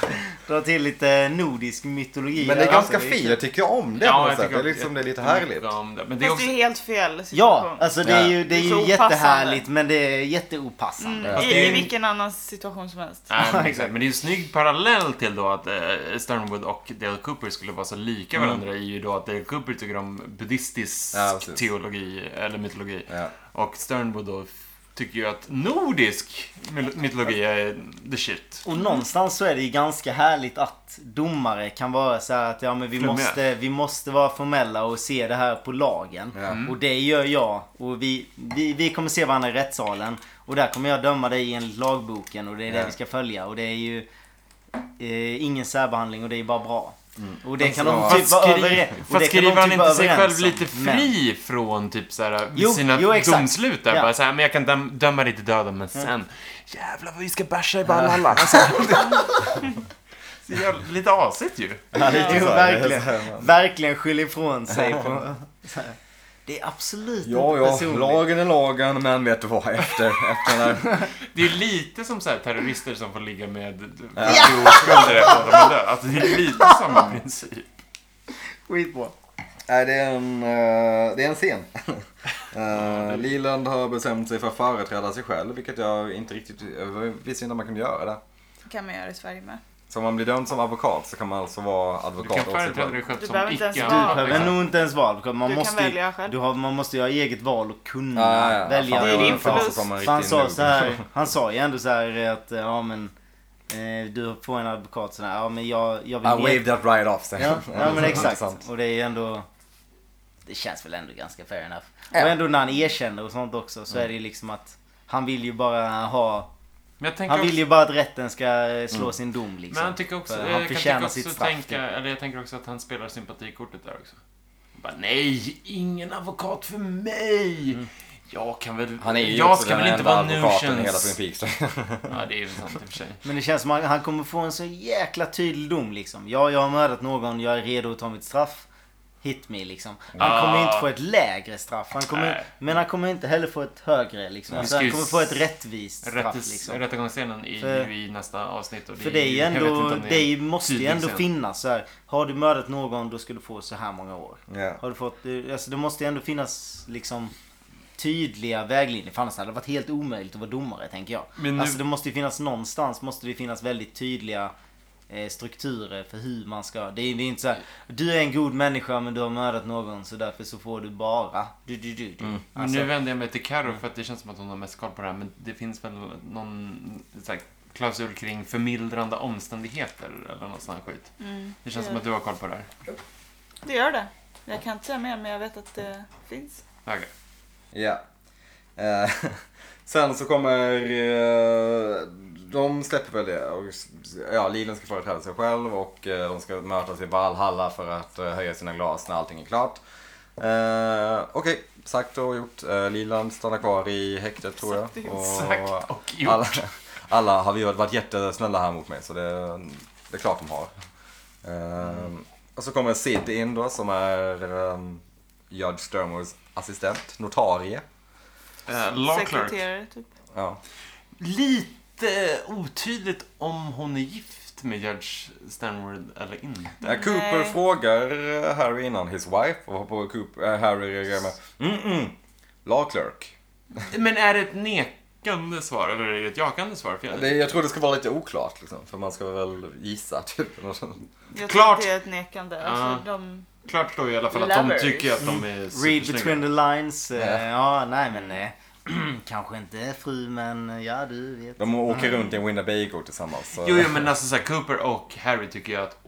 Dra till lite nordisk mytologi.
Men det är
där
Alltså,
alltså,
ganska
också.
fint, jag tycker om det på något sätt. Det är, liksom, det är lite
Mm,
härligt.
Om det. Men det är
Fast det
också...
är helt fel situation.
Ja, alltså det är ju, det är
Det är
ju
så
jättehärligt
opassande.
men det är jätteopassande.
Mm,
Fast
i,
det är-
I vilken annan situation som helst.
Nej, men,
exakt.
exakt. men det är en snygg parallell till då att eh, Sternwood och Dale Cooper skulle vara så lika varandra i ju då att Dale Cooper tycker om buddhistisk
Mm. Ja, precis.
teologi, eller mytologi.
Ja.
Och Sternwood då f- tycker ju att nordisk myl- mytologi är the shit.
Och någonstans så är det ju ganska härligt att domare kan vara så här att ja men vi
Formell.
måste, vi måste vara formella och se det här på lagen.
Ja. Mm.
Och det gör jag. Och vi, vi, vi kommer se varandra i rättssalen. Och där kommer jag döma dig enligt lagboken och det är det
Ja.
vi ska följa. Och det är ju eh, ingen särbehandling och det är bara bra. Och det kan de
Mm. Fast
typ vara överens och det
Fast
kan de
skriver han
typ
inte
vara
sig
överens
själv
om.
lite
Men-
fri från typ såhär,
Jo,
sina
jo, exakt.
domslut där?
Ja.
Bara såhär, men jag kan döm- döma dig till döden, men sen... Jävlar vad vi ska basha i Valhalla. Alltså. *laughs* Så jävla- Lite asigt ju.
Ja, lite
Jo,
så här, det är
verkligen.
så här, man-
Verkligen skyller ifrån
*laughs*
sig på... så här. Det är absolut
Ja,
inte
ja,
personligt.
lagen är lagen, men vet du vad? Efter, efter den här...
Det är lite som så här terrorister som får ligga med *laughs* oskulder efter att de är döda. Alltså, det är lite samma princip.
Skitbra.
*laughs* Nej, det är en, eh, det är en scen. *laughs* Uh, Liland har bestämt sig för att företräda sig själv, vilket jag inte riktigt... Jag visste inte om man kunde göra det.
kan man göra i Sverige med.
Så om man blir dömd som advokat så kan man alltså vara
Du
advokat
kan
åt sig
företräda
själv.
dig själv
Du
som
behöver inte ens
Du
vara
icke-advokat.
behöver nog inte ens val. Man
Du kan
måste, ju-
välja själv.
Du har, man måste ju ha eget val och kunna
Ja, ja, ja.
välja.
Fan,
Det är
jag-
din
fan,
förlust.
som en
För han,
riktig
sa
noob.
så
*laughs*
här, han sa ju ändå så här att eh, ja, men, eh, du får en advokat sådär. Ja men jag, jag
I
vill
waved that right off. säger *laughs*
ja,
han.
ja men exakt.
Intressant.
Och det är ju ändå... Det känns väl ändå ganska fair enough. Och ändå när han erkänner och sånt också
Mm.
så är det ju liksom att han vill ju bara ha...
Men jag tänker
Han
också-
vill ju bara att rätten ska eh, slå
Mm.
sin dom liksom.
Men han tycker också,
För
jag
han
kan
förtjänar
tycka
sitt
också
straff,
tänka, eller jag tänker också att han spelar sympatikortet där också. Bara, nej, ingen advokat för mig!
Mm.
Jag kan väl,
Han är ju
jag
också
ska
den
väl inte
enda
vara
advokaten i hela
nutions.
Twin Peaks.
Ja, det är ju sant i och för sig.
Men det känns som att han kommer få en så jäkla tydlig dom liksom. Ja, jag har mördat någon, jag är redo att ta mitt straff. Hit me liksom. Han
Ah.
kommer ju inte få ett lägre straff. Han kommer,
Nej.
men han kommer inte heller få ett högre liksom.
Vi
Alltså,
ska
han
ju
kommer få ett rättvist *laughs* straff
Rättes,
liksom.
Rättegångsscenen är
För-
ju i nästa avsnitt och det
För det är ju
jag vet inte om
ändå,
är
det är ju- måste ju
tydlig
ändå
scen.
finnas så här. Har du mördat någon då ska du få så här många år.
Ja.
Har du fått, eh, alltså det måste ju ändå finnas liksom tydliga vägledningar. För annars hade det varit helt omöjligt att vara domare tänker jag.
Men nu-
Alltså det måste ju finnas någonstans, måste det finnas väldigt tydliga eh, strukturer för hur man ska. Det är, det är inte så här, du är en god människa men du har mördat någon så därför så får du bara. Du, du, du, du.
Mm. Men
Alltså,
nu vänder jag mig till Karo för att det känns som att hon har mest koll på det här. Men det finns väl någon så här, klausul kring förmildrande omständigheter eller något sånt här skit.
Mm,
Det känns
det
som
gör
att du har koll på det här.
det. Det gör det. Jag kan inte säga mer men jag vet att det finns.
Okej.
*laughs* Ja. Eh, sen så kommer eh, de släpper väl det. Och, ja, Lilen ska företräda sig själv och eh, de ska mötas i Valhalla för att eh, höja sina glas när allting är klart. Eh, Okej, sagt och gjort. Eh, Lilan stannar kvar i häktet tror jag.
Sagt och gjort.
Sagt och gjort.
Alla, alla har vi varit jättesnälla här mot mig så det, det är klart de har. Eh, Och så kommer Sid in då som är um, Judge Sturmers assistent, notarie.
Eh, law clerk.
Sekreterare, typ.
Ja. Eh,
Lite otydligt om hon är gift med Judge Stanward eller inte.
Ja, Cooper
Nej.
frågar eh, Harry innan his wife och på Cooper, eh, Harry reagerar med mm-mm, law clerk.
Men är det ett nekande svar eller är det ett jakande svar? För jag-
Det, jag tror det ska vara lite oklart liksom, för man ska väl gissa typ. eller något sånt.
Jag
Klart.
tror att det är ett nekande. Alltså, de...
Klart står ju i alla fall att de
Lovers.
tycker att de är
Mm. Read between
supersnygga.
the lines. eh, Ja, nej men eh, *clears throat* kanske inte fru men eh, ja du vet.
De åker runt i en Winnebago tillsammans. Så.
Jo, jo, men alltså så här, Cooper och Harry tycker ju att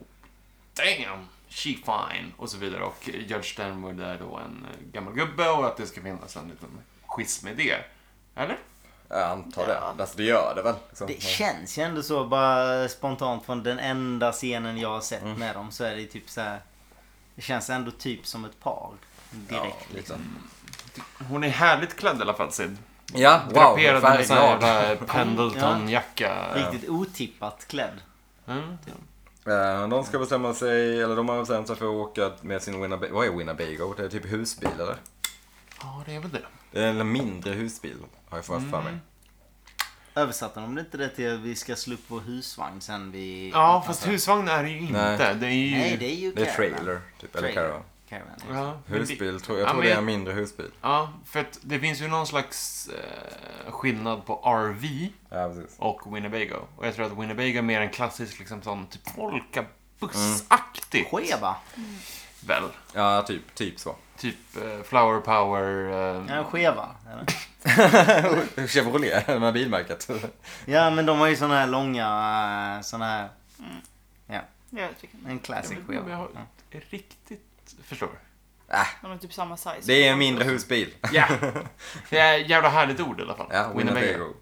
Damn, she fine. Och så vidare. Och Judge Stanward är då en eh, gammal gubbe och att det ska finnas en liten schism i det. Eller?
Jag antar det. Alltså, det gör det väl. Liksom.
Det känns ju ändå så bara spontant från den enda scenen jag har sett
Mm.
med dem så är det typ så här. Det känns ändå typ som ett par. Direkt
Ja,
liksom.
lite.
Hon är härligt klädd i alla fall, Sid.
Ja, wow,
Draperad med sån
färgglad.
här Pendleton-jacka.
Riktigt otippat klädd.
Mm.
Eh, De ska bestämma sig, eller de har bestämt sig för att åka med sin Winnebago. Vad är Winnebago? Det är typ husbil eller?
Ja, det är väl det.
Det är en mindre husbil, har jag fått för
Mm.
mig.
Översatte de det inte det till att vi ska slå upp vår husvagn sen vi...
Ja, fast husvagn är det ju inte.
Nej.
Det är ju...
Nej det är ju
Det är
caravan.
trailer, typ. Eller
Trailer.
caravan.
Caravan, ja.
Ja, men det-
Husbil, tror jag.
Ja,
tror
men
det är
jag-
en mindre husbil.
Ja, för att det finns ju någon slags eh, skillnad på RV
Ja, precis.
och Winnebago. Och jag tror att Winnebago är mer en klassisk liksom sån typ folkabussaktigt.
Cheva.
Väl?
Ja, typ, typ så. *laughs*
Typ eh, flower power. Eh,
Ja, Cheva. eller?
Chevrolet, det här bilmärket.
Ja, men de har ju såna här långa... eh, Såna här...
Jag tycker inte.
En classic
jag vet inte om
Cheva.
jag
Ja.
har- riktigt förstår.
De är typ samma size.
Det är en mindre husbil.
Ja! Det är ett jävla härligt ord i alla fall.
*laughs* Ja, Winnebago.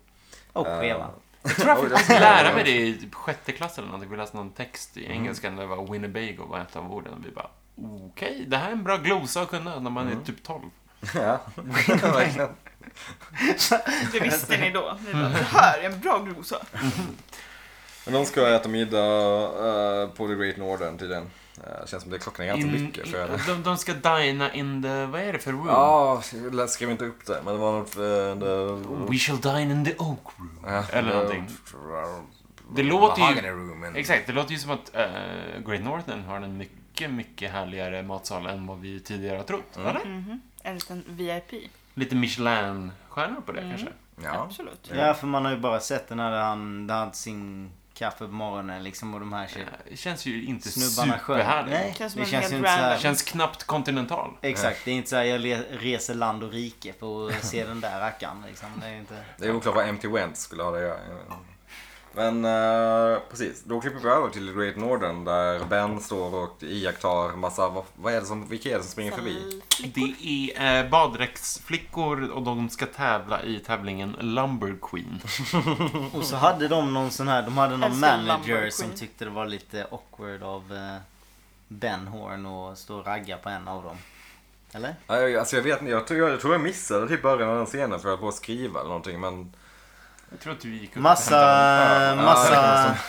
Och
Eh,
Cheva.
Jag tror jag
Oj,
fick
det var-
*laughs* lära mig det i typ sjätte klass eller någonting. Vi läste någon text i engelskan där det var Winnebago var ett av orden. Och vi bara okej, det här är en bra glosa att kunna när man är typ 12.
*laughs* *laughs* Ja, verkligen.
Det visste ni då. Ni bara, det här är en bra glosa.
Men de ska äta middag eh, på The Great Northern tydligen. Eh, känns som det klockan är ganska
In-
mycket för
i- de, de ska dina in the... Vad är det för room?
Ja, jag skrev inte upp det, men det var något... eh, det-
We shall dine in the oak room.
Ja,
Eller
det-
någonting. Det låter ju-
Mahogany Roomen.
Exakt, det låter ju som att eh, Great Northern har en mycket, mycket härligare matsal än vad vi tidigare har trott. Eller?
Mhm. En liten VIP.
Lite Michelin-stjärnor på det kanske.
Ja.
Absolut.
Ja, för man har ju bara sett den här där han, där han hade sin kaffe på morgonen liksom och de här tjejerna.
Eh, Det känns ju inte
Snubbarna sjöng.
superhärligt.
Nej,
Känns som
det
en
känns
helt
ju inte så
Det
här.
random.
känns knappt kontinental.
Exakt, det är inte så här jag le- reser land och rike för att se den där rackaren liksom. Det är inte...
Det är oklart vad Empty Went skulle ha det att göra. Men eh, precis, då klipper vi över till Great Northern där Ben står och iakttar massa, vad, vad är det som, vilka är det som springer förbi?
Det är eh, baddräktsflickor och de ska tävla i tävlingen Lumber Queen.
Och så hade de någon sån här, de hade någon
Älskar
manager
Lumber
som
Queen.
tyckte det var lite awkward av eh, Ben Horn och stå och ragga på en av dem. Eller?
Ja, jag- Alltså jag vet inte, jag tror jag, jag, tror jag missade typ början av den scenen för jag höll på att skriva eller någonting men
Jag tror att du gick upp och
Massa,
hämtade
Ja, det
massa,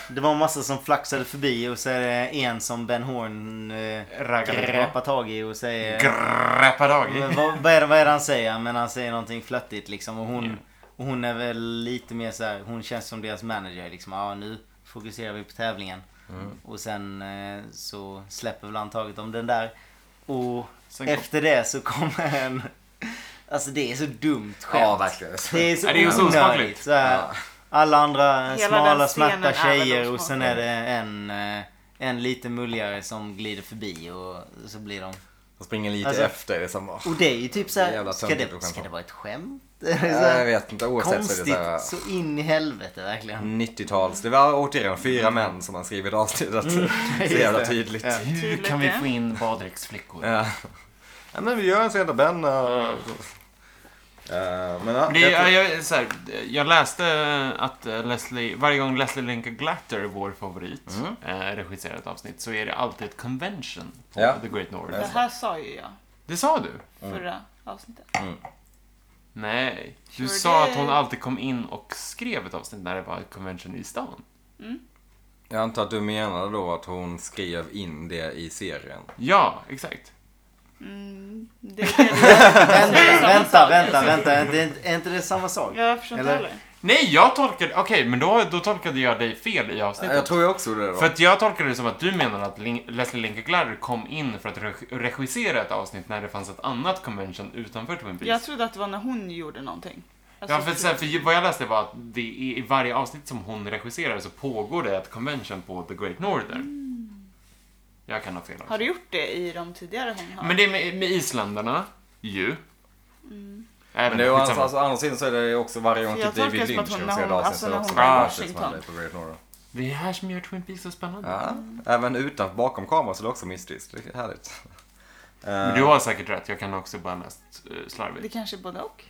kan
det var massa som flaxade förbi och så är det en som Ben Horn eh,
en raggare.
greppar tag i och säger
Greppa dag
Men
i.
vad, vad, är det, vad är det han säger? Men han säger någonting flörtigt liksom. Och hon, och hon är väl lite mer så här, hon känns som deras manager liksom. Ja, nu fokuserar vi på tävlingen.
Mm.
Och sen eh, så släpper väl han taget om den där. Och
Sen kom-
efter det så kommer en... Alltså det är så dumt skämt.
ja verkligen.
Det är så
Ja, det är ju så
onödigt.
osmakligt.
Så här, Alla andra
Hela
smala
den scenen
smärta
är väl
tjejer och sen
osmaklig.
är det en, eh, en lite mulligare som glider förbi och så blir de
De springer lite
Alltså-
efter, det är som, åh,
och det är ju typ
Det är
såhär,
jävla
ska
töntigt
det,
att skämta
ska det
om.
vara ett skämt? *laughs* Det är så
jag
här
vet inte, oavsett så Mm, är det
Konstigt
såhär
så in i helvete verkligen. *laughs*
90-tals, det var återigen fyra män som man skrivit avsnittet. Så jävla tydligt.
Ja.
Hur
Tydligt,
kan vi
ja.
få in baddräktsflickor?
Ja. Ja, men vi gör en scen där Ben eh, Eh, men ja,
Det,
jag
jag,
tror-
jag, så här, jag läste att eh, Leslie, varje gång Leslie Linka Glatter, vår favorit, eh, regisserar ett avsnitt så är det alltid ett convention på
Ja.
The Great North.
Det här sa ju jag
Det sa du?
förra avsnittet.
Nej. Du
Sure
sa att
did.
hon alltid kom in och skrev ett avsnitt när det var ett convention i stan.
jag antar att du menar då att hon skrev in det i serien.
Ja, exakt.
Mm, det är det du-
Alltså,
Vänta, vänta, vänta. Är inte, är inte det samma sak?
jag förstår inte
Eller-
heller.
Nej, jag tolkade... Okej, men då, då tolkade jag dig fel i avsnittet.
Jag tror jag också det då.
För att jag tolkade det som att du menar att Lin- Leslie Linka-Glatter kom in för att reg- regissera ett avsnitt när det fanns ett annat convention utanför Twin Peaks.
Jag trodde att det var när hon gjorde någonting. Alltså,
Ja, för, så här, för vad jag läste var att det är, i varje avsnitt som hon regisserar så pågår det ett convention på The Great Northern. Jag kan ha fel också.
Mm. Har du gjort det i de tidigare hon har?
Men det är med, med isländarna, ju. Mm.
Men
Även
det är ju alltså,
skitsamma.
alltså, å andra sidan så är det ju också varje gång
För jag
typ David
tolkar det som
Lynch
att hon-
regisserade
när hon-
avsnitt
alltså
så är det
när
också en
hon var i
avsnitt som
Washington.
hände på Great Northern.
det är det här som gör Twin Peaks så spännande.
Ja, även utanför bakom kameran så är det också mystiskt. Det är härligt.
Men du har säkert rätt, jag kan också bara mest eh,
Det
slarvigt.
kanske är både och.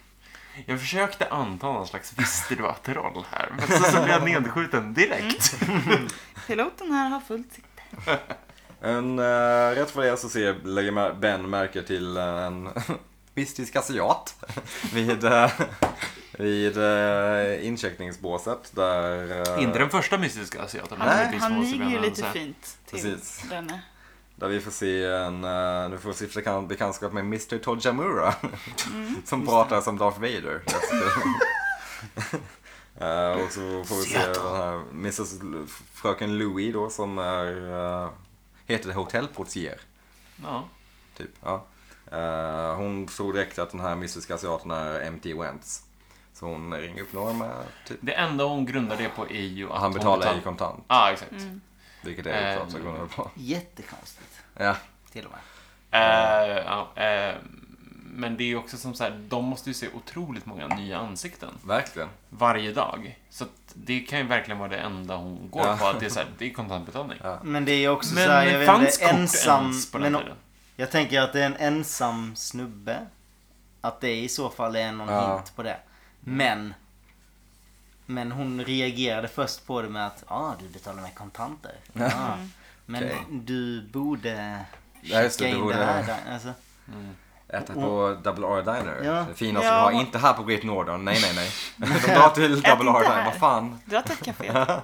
Jag försökte anta någon slags visste du att-roll här, men så, så blev jag nedskjuten direkt.
Piloten här har fullt sitt.
En, eh, rätt för det så ser, lägger ma- Ben märke till en *laughs* mystisk asiat *laughs* vid, eh, vid eh, incheckningsbåset där... eh,
Inte den första mystiska asiaten. men
Han,
det finns
han
måste
niger
vi
ju
ändå
lite
säga.
fint till
Precis.
denne.
Där vi får se en, eh, nu får vi se bekan- bekantskap med Mr *laughs* Tojamura. som pratar som Darth Vader. Eh, och så får vi se den här Mrs L- Fröken Louie då som är, eh, heter det hotellportier.
Ja.
Typ, ja. Eh, hon tror direkt att den här mystiska asiaten är M.T. Wentz. Så hon ringer upp Norma, typ.
Det enda hon grundar det på är ju att
Han
hon
betalar i kontant,
Ja, exakt.
Mm.
vilket är
Eh,
klart så grundar på.
Jättekonstigt.
Ja.
Till och med.
Eh, ja, eh, men det är ju också som så här, de måste ju se otroligt många nya ansikten
Verkligen.
varje dag. Så att det kan ju verkligen vara det enda hon går
Ja.
på, att det är, så här, det är kontantbetalning.
Ja.
Men det är också
Men
så här, jag vet
fanns
inte,
kort
ensam...
ens på den
Men, *laughs*
tiden?
jag tänker att det är en ensam snubbe. Att det i så fall är någon
Ja.
hint på det. Men... Men hon reagerade först på det med att ja, ah, du betalar med
*laughs*
kontanter. Ah, men
Okej.
du borde
Ja, just det,
checka
du
in
borde-
det här. där." Alltså,
Äta på Double R Diner.
Ja.
Det finaste
Ja.
de har. Inte här på Great Northern. Nej, nej, nej. De drar till Double
inte
R Diner.
här.
Vad fan.
Dra till
*laughs*
caféet.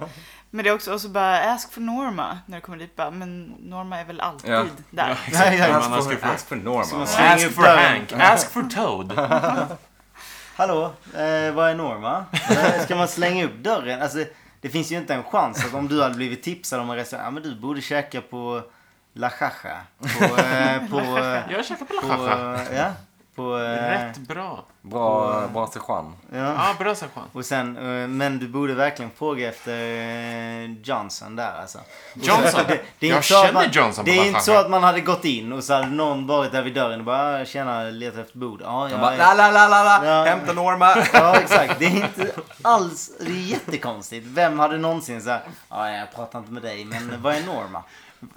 Men det är också, och så bara ask för Norma när du kommer dit bara, men Norma är väl alltid
Ja.
där. *laughs*
Nej, nej,
Man
Ask
askar
for,
för,
ask for Norma.
Så-
ask
Släng
for
upp dörren.
Hank, ask for Toad.
Hallå, eh, vad är Norma? Eh, Ska man slänga upp dörren? Alltså, det finns ju inte en chans att om du hade blivit tipsad om en restaurang, ja men du borde käka på La Chacha. På, eh, på, eh,
Jag käkar på
på,
Lachacha.
eh, ja, på, eh,
Rätt bra.
Bra, bra session.
ja.
Ja, bra Sejan.
Och sen, eh, men du borde verkligen fråga efter eh, Johnson där alltså. Och så- *laughs*
Johnson? Jag
inte så att
känner
man,
Johnson på
Det
La
är inte så
Chacha.
att man hade gått in och så hade någon varit där vid dörren och bara "Ah, tjena, letar efter bord. Ja,
De
jag
bara
är-
la la la la la.
Ja.
Hämta Norma.
Ja exakt, det är inte alls, det är jättekonstigt. Vem hade någonsin såhär, ja jag pratar inte med dig men vad är Norma?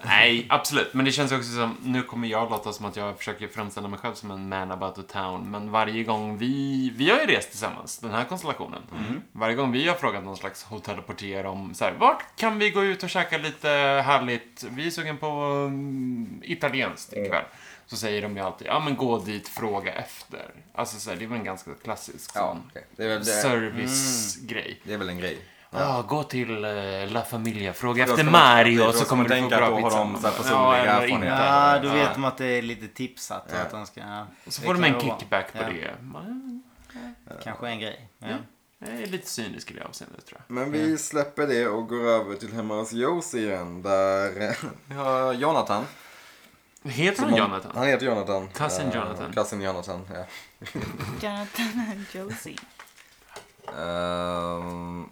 Nej, absolut. Men det känns också som, nu kommer jag låta som att jag försöker framställa mig själv som en man about the town. Men varje gång vi, vi har ju rest tillsammans, den här konstellationen.
Mm.
Varje gång vi har frågat någon slags hotellportier om så här, vart kan vi gå ut och käka lite härligt? Vi är sugen på mm, italienskt ikväll. Så säger de ju alltid, ja men gå dit, fråga efter. Alltså så här, det är väl en ganska klassisk
Ja,
sån
okej. det, är Mm. väl, det,
servicegrej.
det är väl en grej.
Ja, gå till eh, La Familia, fråga
Då
efter
ska man-
Mario
då
och så
ska
kommer
man
du få
tänka
bra
att då har
pizza.
de så här personliga
Ja, eller
erfarenheter.
inte.
Ja då vet de att det är lite tipsat och att de ska, ja,
Så
Det
får de
kan
en
det vara.
kickback på
Ja.
det. Man,
kanske en grej. Ja.
jag är lite cynisk i det avseendet tror jag.
Men vi släpper det och går över till hemma hos Josie igen. Där eh, vi har Jonathan.
Heter han Jonathan?
Han heter Jonathan.
Cousin
Eh,
Jonathan.
Cousin Jonathan, ja.
Jonathan and Josie.
Ehm,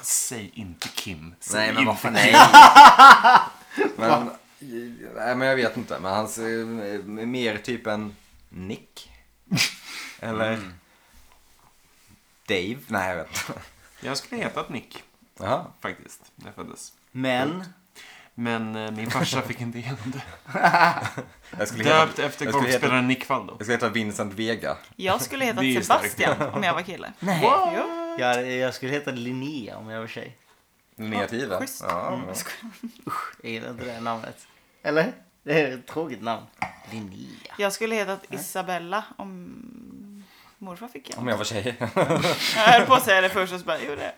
Säg inte Kim. Säg
Nej men
inte
vad fan, nej. men, nej men jag vet inte. Men han ser eh, mer typ en Nick. *laughs* Eller Dave. Nej jag vet inte. *laughs*
Jag skulle hetat Nick
Jaha.
faktiskt, när jag föddes.
Men,
Men eh, min farsa fick inte igenom det.
Jag skulle
Döpt
heta,
efter
jag skulle heta-
golfspelaren Nick Faldo.
jag skulle heta Vincent Vega.
Jag skulle heta
Det är ju
Sebastian om jag var kille.
Nej.
Jo.
Jag, jag skulle heta Linnea om jag var tjej.
Negativa.
schysst.
Ja, Mm. ja.
Jag gillar inte det namnet. Eller? Det är ett tråkigt namn. Linnea.
Jag skulle hetat Isabella om morfar fick
Om
jag.
jag var tjej.
Jag höll på att säga det först och så bara, jo det.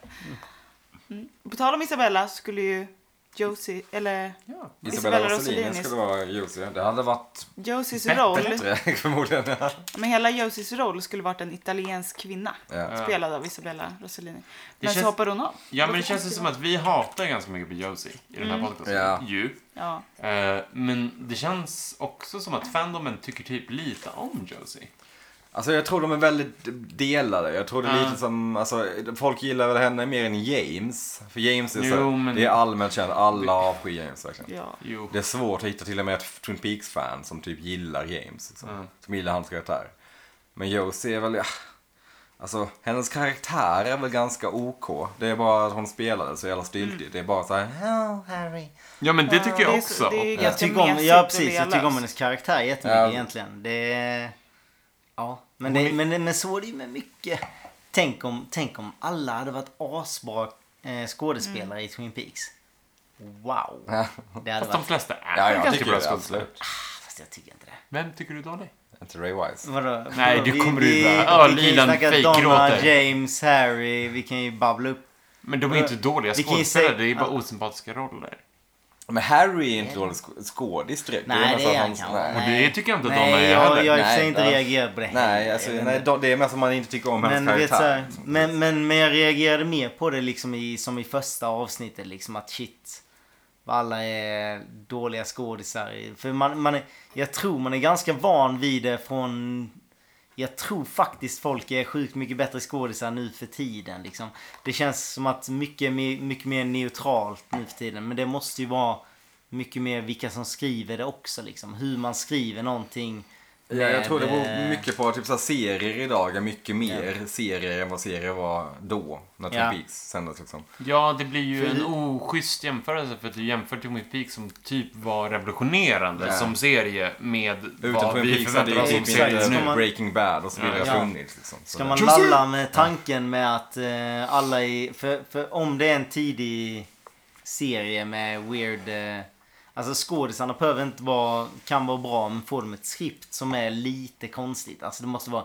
Mm. På tal om Isabella så skulle ju Josie, eller
Ja.
Isabella Rossellini
Rossellini.
skulle vara Josie. Det hade varit
Josies roll.
bättre *laughs* förmodligen. Ja.
Men hela Josies roll skulle varit en italiensk kvinna.
Ja.
Spelad av Isabella Rossellini.
Det
Men
känns-
så hoppar hon av.
Ja, men det känns ju som att vi hatar ganska mycket på Josie i den här podcasten.
Mm. Ja.
Ju.
Ja.
Eh, men det känns också som att fandomen tycker typ lite om Josie.
Alltså jag tror de är väldigt delade. Jag tror det är
Ja.
lite som, alltså folk gillar väl henne mer än James. För James är så,
Jo, men-
det är allmänt känt. Alla avskyr James verkligen.
ja.
Jo.
Det är svårt att hitta till och med ett Twin Peaks-fan som typ gillar James. Liksom.
Mm.
Som gillar hans karaktär. Men Josie är väl, ja, alltså hennes karaktär är väl ganska OK. Det är bara att hon spelade så jävla styltigt.
Mm.
Det är bara så här, *laughs*
Oh, Harry.
Ja, men det tycker
Ja,
jag
det är så-
också.
det är ju
Jag
ganska
tycker om,
mesigt
ja
och
precis, jag
lealöst.
tycker om hennes karaktär jättemycket
Ja.
egentligen. Det... Ja, men, det, men, men så är det ju med mycket. Tänk om, tänk om alla hade varit asbra eh, skådespelare i Twin Peaks. Wow! Det hade
Fast de
varit...
flesta är
ja,
väl
jag
ganska
tycker
bra
det
skådespelare.
absolut.
Fast jag tycker inte det.
Vem tycker du då det?
Inte Ray Wise.
Vadå?
Nej,
Vadå?
du
Vi-
kommer
vi-
ju bara,
vi
"Åh,
kan ju
Lilan
snacka
fejkgråter."
Donna, James, Harry. Vi kan ju babbla upp.
Men de är inte dåliga
Vi kan ju
skådespelare,
säga-
det är bara
Ja.
osympatiska roller.
Men Harry är inte dålig sk- skådis direkt.
Nej,
mest
det
att
är han
hans-
kanske.
nej.
Och det tycker jag inte att Donna
Nej,
är
jag,
heller.
jag har i och för
Nej,
sig inte
det-
reagerat på det
Nej, alltså,
Jag vet
nej,
inte.
då- det är mest att man inte tycker om hennes
Men, du vet, så
karaktär.
här, men, men, men jag reagerade mer på det liksom i, som i första avsnittet. Liksom att shit. vad Alla är dåliga skådisar. För man, man är, jag tror man är ganska van vid det från... Jag tror faktiskt folk är sjukt mycket bättre skådisar nu för tiden. Liksom. Det känns som att mycket, är mer- mycket mer neutralt nu för tiden. Men det måste ju vara mycket mer vilka som skriver det också. Liksom. Hur man skriver någonting.
Ja, jag tror det
med-
beror mycket på typ så här, serier idag är mycket mer serier än vad serier var då. När Twin
Ja.
Peaks sändes liksom.
Ja, det blir ju
För-
en oschysst jämförelse för att du jämför Twin Peaks som typ var revolutionerande
Ja.
som serie med
Utan
vad
Twin
vi
Peaks hade
förväntar
ju
oss som
typ
exakt.
serie
inte
Ska
nu.
man-
Breaking Bad och så vidare
Ja.
funnits. Liksom. Så
Ska
det- *laughs*
man lalla med tanken med att eh, alla i... För, för om det är en tidig serie med weird... Eh, alltså skådisarna behöver inte vara... Kan vara bra men får de ett skript som är lite konstigt. Alltså det måste vara...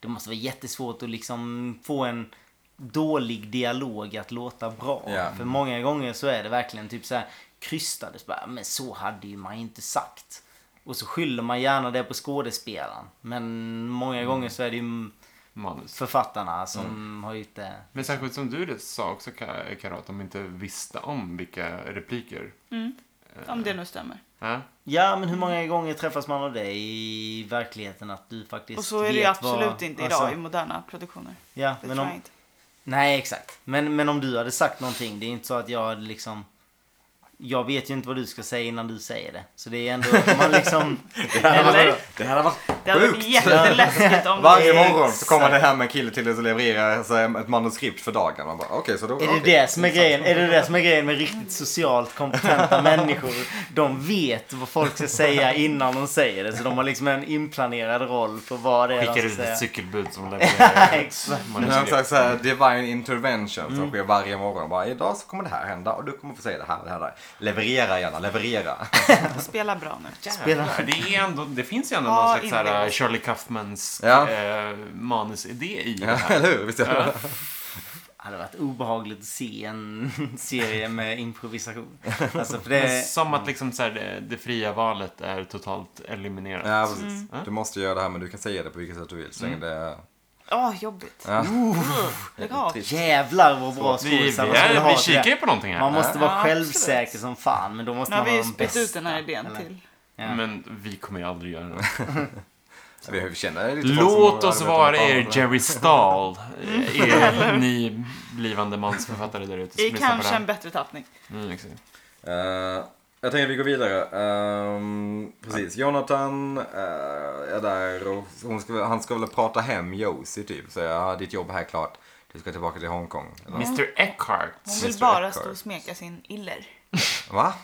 Det måste vara jättesvårt att liksom få en dålig dialog att låta bra.
Ja.
För många gånger så är det verkligen typ så här krystades bara, men så hade ju man inte sagt. Och så skyller man gärna det på skådespelaren. Men många gånger så är det ju
Manus.
författarna som
Mm.
har gjort det.
Men särskilt som du det sa också, Ka- Karo, att de inte visste om vilka repliker.
Om det nu stämmer.
Ja.
Ja, men hur många gånger träffas man av det i verkligheten att du faktiskt
Och så är det ju
vet
absolut
vad,
inte idag
alltså,
i moderna produktioner.
Ja,
Det
men
tror jag
om,
inte.
nej, exakt. Men, men om du hade sagt någonting, det är inte så att jag hade liksom... Jag vet ju inte vad du ska säga innan du säger det. Så det är ändå att man liksom...
det, hade
Eller?
varit, det hade varit
Det hade
sjukt.
varit jätteläskigt
*laughs*
om
Varje
det...
morgon så kommer det hem en kille till dig och levererar alltså, ett manuskript för dagen. Man bara, okej, så då...
Är det
okej.
det som är grejen? Är det det som är grejen med riktigt socialt
*laughs*
kompetenta människor? De vet vad folk ska säga innan de säger det. Så de har liksom en inplanerad roll på vad det är
Skickar
de
ut
ska säga.
ett cykelbud *laughs* som levererar liksom
Exakt.
Men det är en
manuskript.
slags så här divine intervention som
Mm.
sker varje morgon. Bara, idag så kommer det här hända och du kommer få säga det här, det här, det här. Leverera gärna, leverera.
Spela bra nu.
Spelar-
Det, är ändå, det finns ju ändå
Ja,
någon slags så här,
invändning.
Shirley Kaufmans
Ja.
eh, manusidé i det
Ja, *laughs*
här.
eller hur? Visst är det?
Det hade varit obehagligt att se en *laughs* serie med
*laughs*
improvisation. Alltså för
Men
det...
Som att liksom så här, det, det fria valet är totalt eliminerat.
Ja,
Mm.
precis. Du måste göra det här men du kan säga det på vilket sätt du vill. Så länge det är...
Åh, jobbigt.
Ja.
Lägg av.
Jävlar vad bra
Vi, vi,
skådisar man skulle
är,
ha
vi
till
kikar
det.
ju på någonting här.
Man måste vara
Ja,
självsäker
absolut.
som fan men då måste
Nu har
man
vi
vara
ju
de
spett
bästa.
ut den här idén
eller?
till.
Ja.
Men vi kommer ju aldrig göra det.
Vi har ju- känner lite folk som
Låt oss
arbetar
vara
med
er
barn.
Jerry Stahl. Er, ni blivande mansförfattare där ute. som
I
lyssnar på
kanske
det
en
här.
bättre tappning.
Mm, exakt.
Eh, jag tänker att vi går vidare. Ehm, precis, Jonathan eh, är där och hon ska, väl- han ska väl prata hem Josie typ. Säga, ja ditt jobb här är klart. Du ska tillbaka till Hongkong. Eller,
Mr Eckhart.
Hon
Mr.
vill bara
Eckhart.
stå och smeka sin iller.
Va?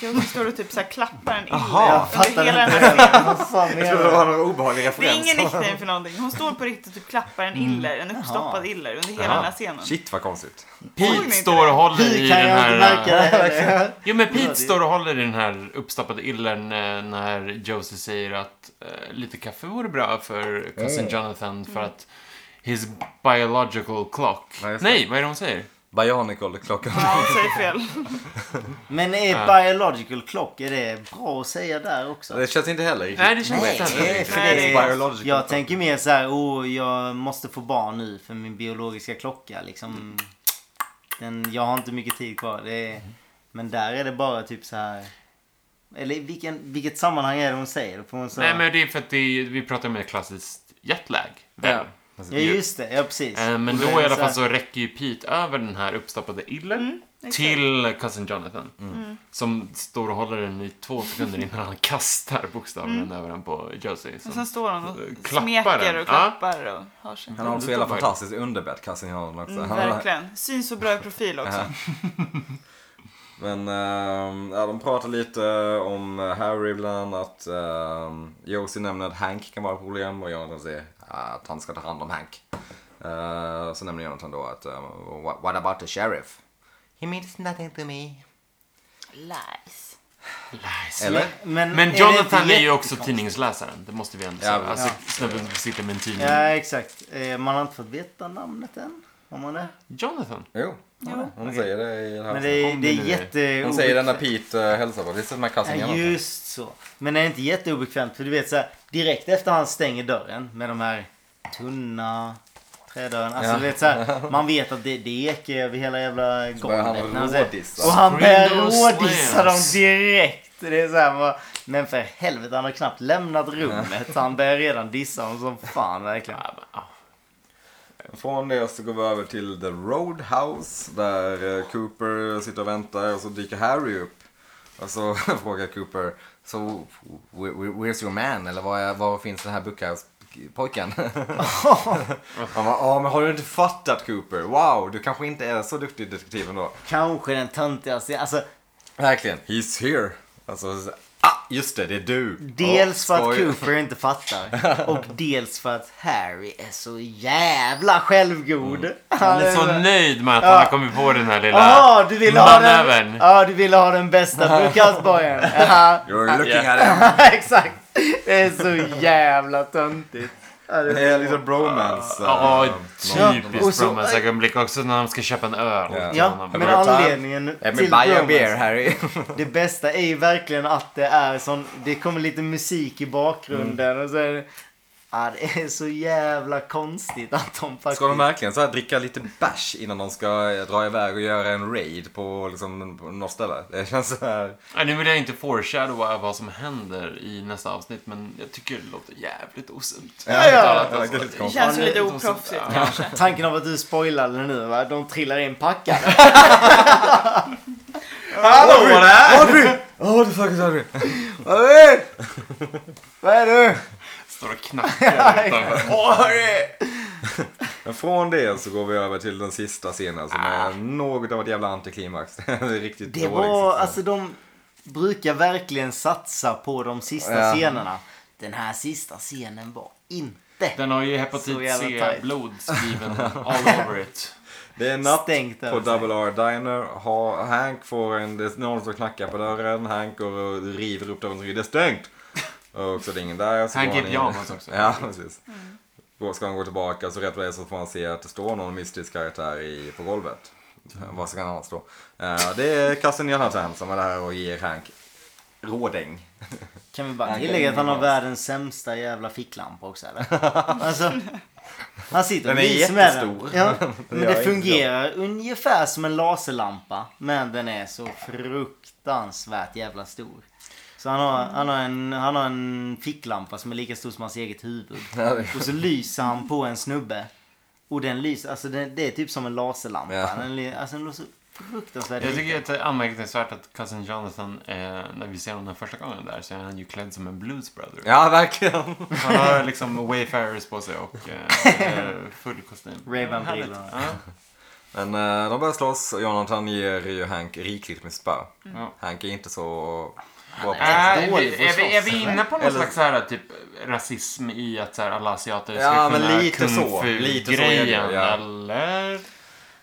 Joker står och typ så här klappar en illa
Aha, jag
under hela den här
*laughs* heller. *laughs* Vad fan
Jag
menar
trodde det
du?
var någon obehaglig
Det är
referens.
ingen nickname för någonting. Hon står på riktigt och typ klappar en iller, en uppstoppad iller under hela
Jaha.
den här scenen.
Shit vad konstigt.
Såg ni
Pete
inte
står
det?
och håller i
Hur kan
den
jag inte
här...
märka det
äh, *laughs*
heller?
Jo men
Ja,
Pete
det-
står och håller i den här uppstoppade illen eh, när Josie säger att eh, lite kaffe vore bra för cousin
Mm.
Jonathan
Mm.
för att his biological clock...
Ja, just det.
Nej, vad är det hon säger?
Bionicle klockan.
Ja, hon säger fel.
Men är biological clock, är det bra att säga där också?
Det känns inte heller riktigt.
Nej, det känns inte
Nej,
heller.
för det
Biological
är, jag
clock.
tänker mer så här, oh, jag måste få barn nu för min biologiska klocka liksom. Den, jag har inte mycket tid kvar. Det är, men där är det bara typ så här. Eller i vilken, vilket sammanhang är det hon säger? det? För hon sa,
Nej, men det är för att det är, vi pratar om ett klassiskt jetlag. väl?
Ja. ja just det, ja precis.
Eh, Men
Och
då
det är
i
så
alla
här- Mm,
fall så räcker ju Pete över den här uppstoppade illen
exakt.
till cousin Jonathan. mm, Som står och håller den i två sekunder innan han kastar bokstavligen
Mm.
över den på Josie.
Och
som-
sen
Alltså,
står hon och
Klappar
smeker
den.
och klappar och har sig.
Han har också hela fantastiskt underbett, Kassin Holland också.
Mm,
Han har-
verkligen. Syns så bra i profil också.
Men ehm, ja, de pratar lite eh, om Harry bland annat. Um, Josie nämner att Hank kan vara ett problem och Jonathan säger att han ska ta hand om Hank. Eh, så nämner Jonathan då att ehm, "Wha- What about the sheriff? He means nothing to me.
Mm.
Lies.
Lies.
Eller?
men,
Men
är det
Jonathan
inte
är ju också
jättekonstigt?
tidningsläsaren. Det måste vi ändå
Ja,
säga.
men-
Alltså snubben som sitter med en tidning.
Ja exakt. Eh, Man har inte fått veta namnet än. Har man det?
Jonathan.
Jo, hon säger det i det här
Men det är,
Om
det
det
är
Alltså, nu är-
jätte...
Hon säger det när Pete uh, hälsar på. This is my cousin
Ja,
Jonathan.
just så. Men är det inte jätteobekvämt? För du vet så här, direkt efter han stänger dörren med de här tunna trädörren. Alltså
Ja.
du vet så här, man vet att det, det ekar över hela jävla
börjar han
golvet. när han säger-
rådissa.
Och han börjar
Windows
rådissa dem
slams.
direkt. Det är så här, bara, men för helvete, han har knappt lämnat rummet. Han börjar redan dissa dem som fan verkligen.
Ja, men, ja.
Från det så går vi över till The Roadhouse där eh, Cooper sitter och väntar och så dyker Harry upp. Och så *laughs* frågar Cooper, so, wh- wh- where's your man? Eller var, är, var finns den här Buckhouse-pojken? Han bara, ja men har du inte fattat Cooper? Wow, du kanske inte är så duktig detektiv ändå.
Kanske den töntigaste. Alltså,
Verkligen, he's here. Alltså, så- ah, just det, det är du.
Dels
Ja,
för att
skoj.
Cooper inte fattar och dels för att Harry är så jävla självgod.
Han är så nöjd med att han
Ja.
har kommit på den här lilla
Jaha, du ville ha den,
manövern.
ja, du ville ha den bästa brukastborgen. Jaha.
You're looking at him.
*laughs* Exakt. Det är så jävla töntigt. Ja, det är-
Det är lite bromance.
Ja,
eh,
Ja, och
typiskt
så-
bromance-ögonblick också när de ska köpa en öl.
Ja.
till
Ja,
honom.
men
Every time.
anledningen
Let me
till
buy a
bromance-
beer Harry.
Det bästa är ju verkligen att det är sån, det kommer lite musik i bakgrunden och så är det, ja, det är så jävla konstigt att de faktiskt...
Ska de verkligen så här dricka lite bärs innan de ska eh, dra iväg och göra en raid på, liksom, på något ställe? Det känns så här...
Ja, nu vill jag inte foreshadowa vad som händer i nästa avsnitt, men jag tycker det låter jävligt osunt.
Ja, ja, ja.
det verkar lite
Det
konstigt.
känns ju lite
Osunt.
oproffsigt
Ja.
kanske.
Tanken av att du spoilade nu va? De trillar in packade.
Hallå där! Audrey! Åh, du
*laughs*
fucking Audrey!
Hörru! Vad är du?
Står
*laughs*
och knackar utanför. Åh, hörru!
Men från det så går vi över till den sista scenen
Ah.
som är något av ett jävla antiklimax. *laughs* det är riktigt
Det
dålig
var,
sista.
alltså de brukar verkligen satsa på de sista
Ja.
scenerna. Den här sista scenen var inte
Den har ju
Så
hepatit
jävla tajt.
C-blod
*laughs*
skriven all over it.
Det är natt
stängt
på
över sig.
Double R Diner. Ha, Hank får en... Det är någon som knackar på dörren. Hank går och river upp dörren. och säger, Det är stängt! Och så är det ingen där. Så
Hank
går
i
han in.
pyjamas också.
*laughs* Ja, precis. Då ska han gå tillbaka så rätt vad det är så får han se att det står någon mystisk karaktär i, på golvet. Vad ska han annars stå? Eh, det är Kassen Jonathan som är där och ger Hank rådäng.
Kan vi bara
Han kan
tillägga att han har
ingen alls.
världens sämsta jävla ficklampa också eller? *laughs* Alltså, han sitter och
Den är
myser med
jättestor.
den. Ja, men
*laughs* Ja, inte
det fungerar ungefär som en laserlampa. Men den är så fruktansvärt jävla stor. Så han har, han har, en, han har en ficklampa som är lika stor som hans eget huvud.
Ja, det-
Och så lyser han på en snubbe. Och den lyser, alltså det, det är typ som en laserlampa.
Ja.
Den, ly- alltså den låter så fruktansvärt
Jag
liten.
tycker att det är anmärkningsvärt att Cousin Jonathan, eh, när vi ser honom första gången där, så är han ju klädd som en blues brother.
Ja, *laughs* verkligen.
Han
*laughs*
har liksom Wayfarers på sig och eh, eh, full kostym.
Ray-Ban-brillor.
Härligt. Ja.
Men eh, de börjar slåss och Jonathan ger ju Hank rikligt med spö.
Ja.
Hank är inte så bra på
Dålig
Är,
på
vi- Äh, är, vi, är vi
slåss,
inne på någon
eller?
slags så här, typ, rasism i att så här, alla asiater ska
Ja, men
kunna
lite så. Lite så är det,
grejen,
ja.
eller?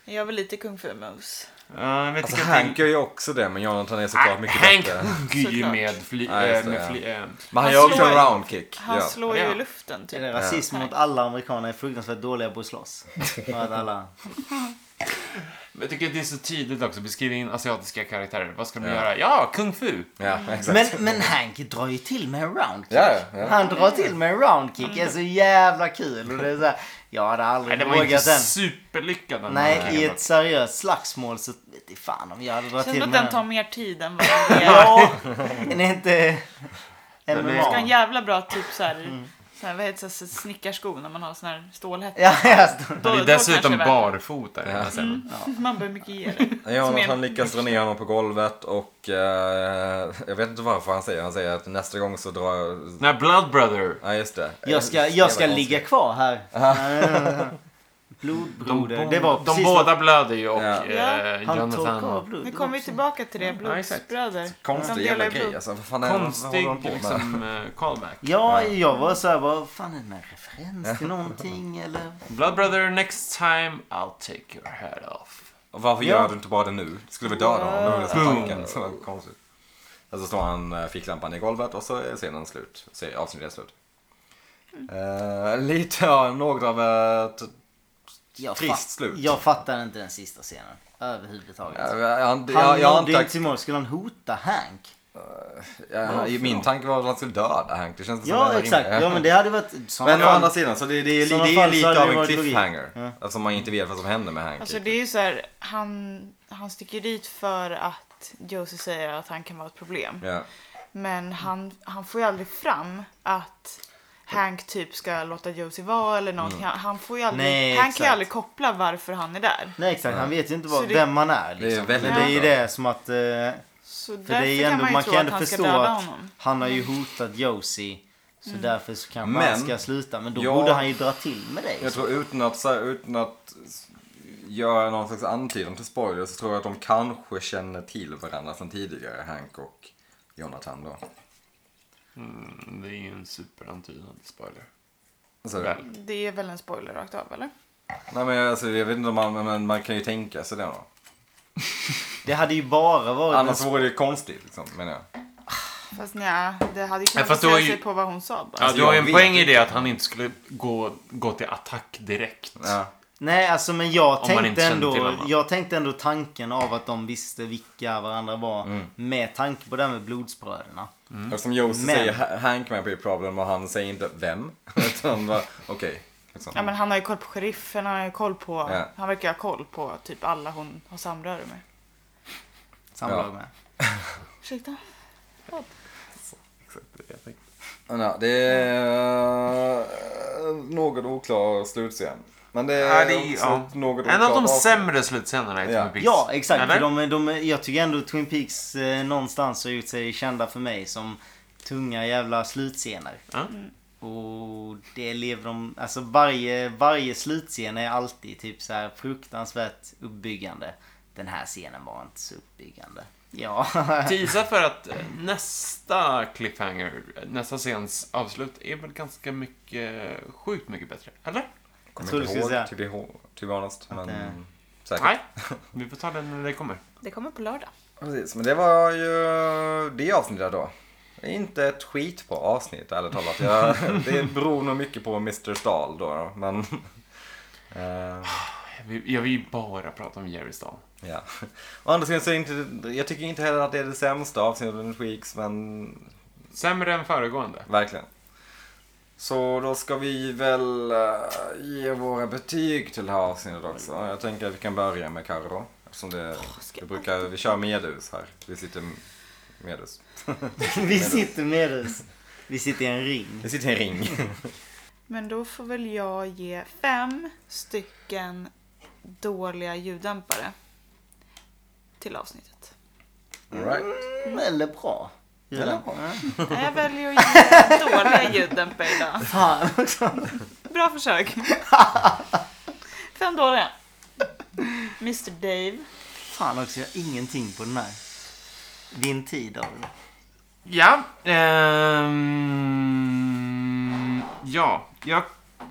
Jag är väl lite kung fu moves.
Ja, jag vet
Alltså
inte.
Hank gör ju också det men Jonathan är såklart
Ah,
mycket
Hank
bättre.
hugger ju
Såklart.
med fly...
Ja, just det,
eh, med
ja.
fly eh,
Men han
Han
gör också
slår-
en roundkick.
Han
Ja.
slår
Ja.
ju i luften
Det är
typ.
rasism mot alla amerikaner är fruktansvärt dåliga på att slåss. Och att alla...
men jag tycker att det är så tydligt också. Beskriv in asiatiska karaktärer. Vad ska de
Ja.
göra? Ja, kung fu!
ja, exakt.
Men, men Hank drar ju till med en roundkick.
Ja, ja, ja.
Han drar till med en roundkick. Det är så jävla kul. Och det är så här, jag hade
Nej,
aldrig
det var inte
vågat den.
superlyckad den här
Nej, i
killen.
ett seriöst slagsmål så vet jag fan om jag hade dragit
Känns
till
som att
med
den tar
den.
mer tid än vad den ger.
Ja, den är inte
Den är-
MMA.
Ska en jävla bra typ så här, så här vad heter det, så här, snickarsko när man har sån här stålhätta.
Mm. Ja, jag står-
Då-
Han är
då kanske
dessutom
det är värt
barfota. i den här scenen.
det. Man behöver mycket ge det.
Jonathan
Som är-
lyckas dra ner honom på golvet och eh, jag vet inte varför han säger Han säger att nästa gång så drar jag...
Nej, Blood Brother.
Ja just det.
Jag ska,
Jävla
jag ska
konstigt.
ligga kvar här.
De,
*laughs* Blodbroder.
bo-
Det var
de
precis vad-
båda blöder ju och
Ja.
eh,
Han torkade av
Jonathan...
blod.
Nu kommer vi tillbaka till det,
exakt.
blodsbröder.
Konstig
De
jävla
delar
grej
blod.
alltså. Vad fan är det- vad
Konstig
håller de på med?
liksom, eh, callback.
Ja, jag var så här, vad fan är det med referens till
*laughs*
någonting eller?
Blood Brother, next time I'll take your head off.
Och Varför
Ja.
gör du inte bara det nu? Skulle vi döda honom? Det var nästan
Boom.
tanken. Så konstigt. Och så slår han eh, ficklampan i golvet och så är scenen slut. Se- Avsnittet är slut. Eh, lite av några av ett...
Jag
Trist
fatt-
slut.
Jag fattar inte den sista scenen överhuvudtaget.
Jag, jag,
han
jag, jag,
nådde inte
antar-
till mål. Skulle han hota Hank?
jag, jag, min tanke var att han skulle döda Hank. Det känns inte som
Ja,
en
exakt.
rimlig-
Ja, men det hade varit... såna
*laughs* Men å
fall-
andra sidan, så det, det är,
I sådana
det är
fall så hade
lite av
det
en
varit logik.
cliffhanger.
Ja.
Eftersom man inte vet vad som händer med Hank.
Alltså det är ju så här, han, han sticker dit för att Josie säger att han kan vara ett problem.
ja.
Men han, han får ju aldrig fram att Hank typ ska låta Josie vara eller någonting. Han, han får ju aldrig,
Mm. Nej,
han kan
exakt.
ju aldrig koppla varför han är där.
Nej, exakt. Han vet ju inte
Så
vad,
det-
vem man är.
Det är
Liksom.
väldigt
Det är ju
oklart.
det som att... eh,
Så
För det är
därför
ju
kan
ändå,
man ju
man
tro
kan
att
ändå
han ska
förstå
döda
att
honom. Mm.
han har ju hotat Josie. Så därför så kanske
Men-
han ska sluta. Men då
Ja.
borde han ju dra till med det.
Jag tror utan att, så här, utan att s- göra någon slags antydan till spoiler så tror jag att de kanske känner till varandra från tidigare, Hank och Jonathan då.
Mm, Det är ju en superantydande spoiler.
Alltså,
Väl.
Det är väl en spoiler rakt av eller?
nej men alltså, jag vet inte om man, men man kan ju tänka sig det då.
Det hade ju bara varit... en
Annars vore det ju konstigt liksom, menar jag.
Fast nja, det hade ju kunnat
fast då är
basera
ju-
sig på vad hon sa bara.
Ja,
Alltså,
du har ju
jag
en
vet
poäng i
inte.
det att han inte skulle gå, gå till attack direkt.
Ja.
Nej, alltså men jag
Om man
tänkte,
inte känner till
ändå,
varandra.
jag tänkte ändå tanken av att de visste vilka varandra var.
Mm.
Med tanke på det här med blodsbröderna.
Eftersom Josef
Men-
säger "Ha- Hank might be a problem och han säger inte vem. *laughs* Utan bara, okej. liksom.
Ja men han har ju koll på sheriffen, han har ju koll på,
Ja.
han verkar ha koll på typ alla hon har samröre med.
Samlag
Ja.
med.
Ursäkta?
Exakt det jag tänkte.
Men ja, det är eh, något oklar slutscen. Men det är,
Ja, det är-
också
Eh, ja.
ett något
En av de
oklart
sämre slutscenerna i
Ja.
Twin Peaks.
Ja, exakt.
Eller?
För de, de, jag tycker ändå Twin Peaks eh, någonstans har gjort sig kända för mig som tunga jävla slutscener.
Ja.
Och det lever de... Alltså varje, varje slutscen är alltid typ så här fruktansvärt uppbyggande. Den här scenen var inte så uppbyggande. Ja. *laughs*
Tisa för att eh, nästa cliffhanger, eh, nästa scens avslut är väl ganska mycket, sjukt mycket bättre. Eller?
tror
Jag kommer
du
inte
skulle
ihåg,
säga-
to be, ho- to be honest. Men
det-
säkert.
Nej, vi får ta den när det kommer.
Det kommer på lördag.
Precis, men det var ju det avsnittet då. Det är Inte ett skitbra avsnitt ärligt talat. Jag, *laughs* det beror nog mycket på Mr. Stahl då. då, Men... *laughs* eh,
Vi- Jag vill ju bara prata om Jerry Stahl.
ja. Å andra sidan så är det inte, jag tycker inte heller att det är det sämsta avsnittet av Weeks men
Sämre än föregående.
verkligen. Så då ska vi väl eh, ge våra betyg till det här avsnittet också. Jag tänker att vi kan börja med Carro då. Eftersom det,
ska
vi brukar, vi kör medus här. Vi sitter medus.
Vi sitter med oss. Vi sitter i en ring.
Vi sitter i en ring.
Men då får väl jag ge fem stycken dåliga ljuddämpare till avsnittet.
Alright.
Eller bra. Eller
Nej, jag väljer att ge dåliga ljuddämpare idag.
Fan också.
Bra försök. Fem dåliga. Mr Dave.
Fan också, jag har ingenting på den här. Din tid, David.
Ja. ehm, ja, jag,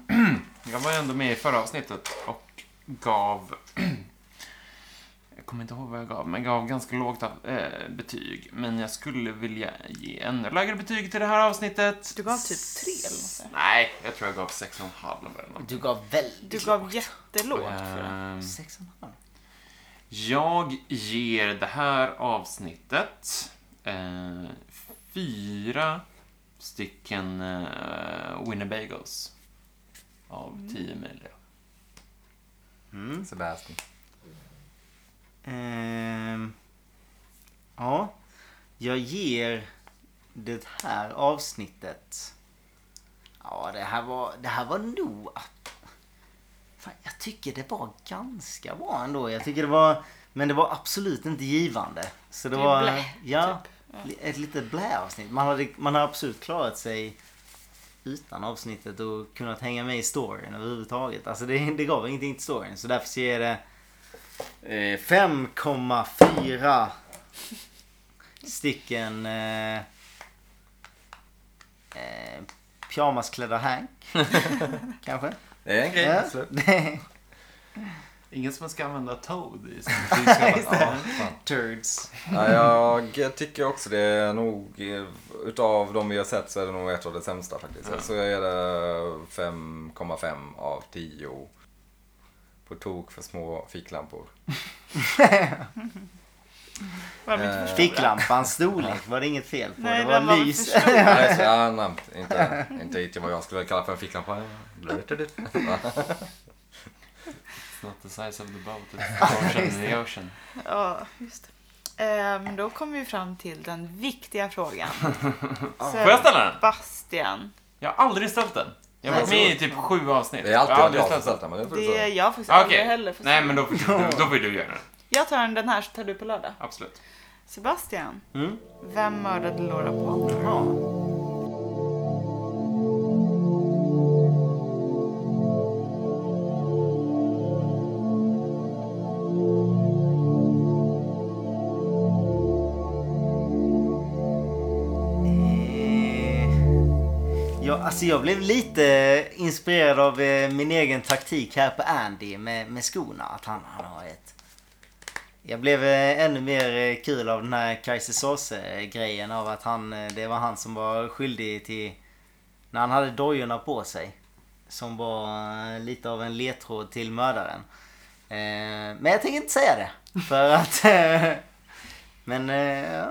*clears throat* jag var ju ändå med i förra avsnittet och gav... *clears throat* jag kommer inte ihåg vad jag gav, men jag gav ganska lågt av, eh, betyg. Men jag skulle vilja ge ännu lägre betyg till det här avsnitt.
Du gav typ tre eller något.
Nej, jag tror jag gav 6,5 eller något.
Du gav väldigt...
Du gav jättelågt för det.
Ehm,
Sex och en halv.
Jag ger det här avsnittet eh, fyra stycken eh, Winnebagos
Mm.
av tio möjliga.
Mm. Sebastian.
Ehm, ja, jag ger det här avsnittet... Ja, det här var, det här var nog... att- Fan, jag tycker det var ganska bra ändå. Jag tycker det var... Men det var absolut inte givande. Så det,
Det är
var...
blä,
ja,
Typ.
li- ett litet blä-avsnitt. Man, hade, man har absolut klarat sig utan avsnittet och kunnat hänga med i storyn överhuvudtaget. Alltså det, det gav ingenting till storyn. Så därför så ger det... Eh, 5,4 stycken eh, eh, pyjamasklädda Hank. Kanske?
*laughs* Det är en grej.
Ja.
Eh,
*laughs*
absolut.
Ingen som ska använda Toad i sin *laughs*
Ja, fan.
Turds.
Ja, jag tycker också det är nog, eh, utav de vi har sett så är det nog ett av de sämsta faktiskt. Så jag ger det 5,5 av 10. På tok för små
*laughs*
ficklampor.
Var det inte för stora?
Ficklampans storlek var det inget fel Eh, på.
Nej,
det
den var
var
väl
lys. *laughs*
för stor.
Nej, så, ja, namn, inte, inte riktigt vad jag skulle kalla för en ficklampa.
It's not the size of the boat, *laughs* it's the portion in the ocean.
Ja, just det. Ehm, då kommer vi fram till den viktiga
*laughs*
frågan.
Får jag ställa den?
Sebastian.
Jag har aldrig ställt den. Jag har varit med i typ sju avsnitt.
Det är alltid
jag har
jag som
den.
sätter men det får du
Det är
så.
jag faktiskt
Okej,
aldrig heller fått
nej
se.
men då, då, då får du göra den.
Jag tar den här så tar du på lördag.
Absolut.
Sebastian,
Mm.
vem mördade Laura Palmer?
Ja. Ja, alltså jag blev lite inspirerad av eh, min egen taktik här på Andy med, med skorna. Att han, han har ett... Jag blev eh, ännu mer eh, kul av den här Kaiser Sauce-grejen av att han, eh, det var han som var skyldig till... När han hade dojorna på sig. Som var eh, lite av en ledtråd till mördaren. Eh, Men jag tänker inte säga det. För att... *laughs* eh, Men... eh, ja,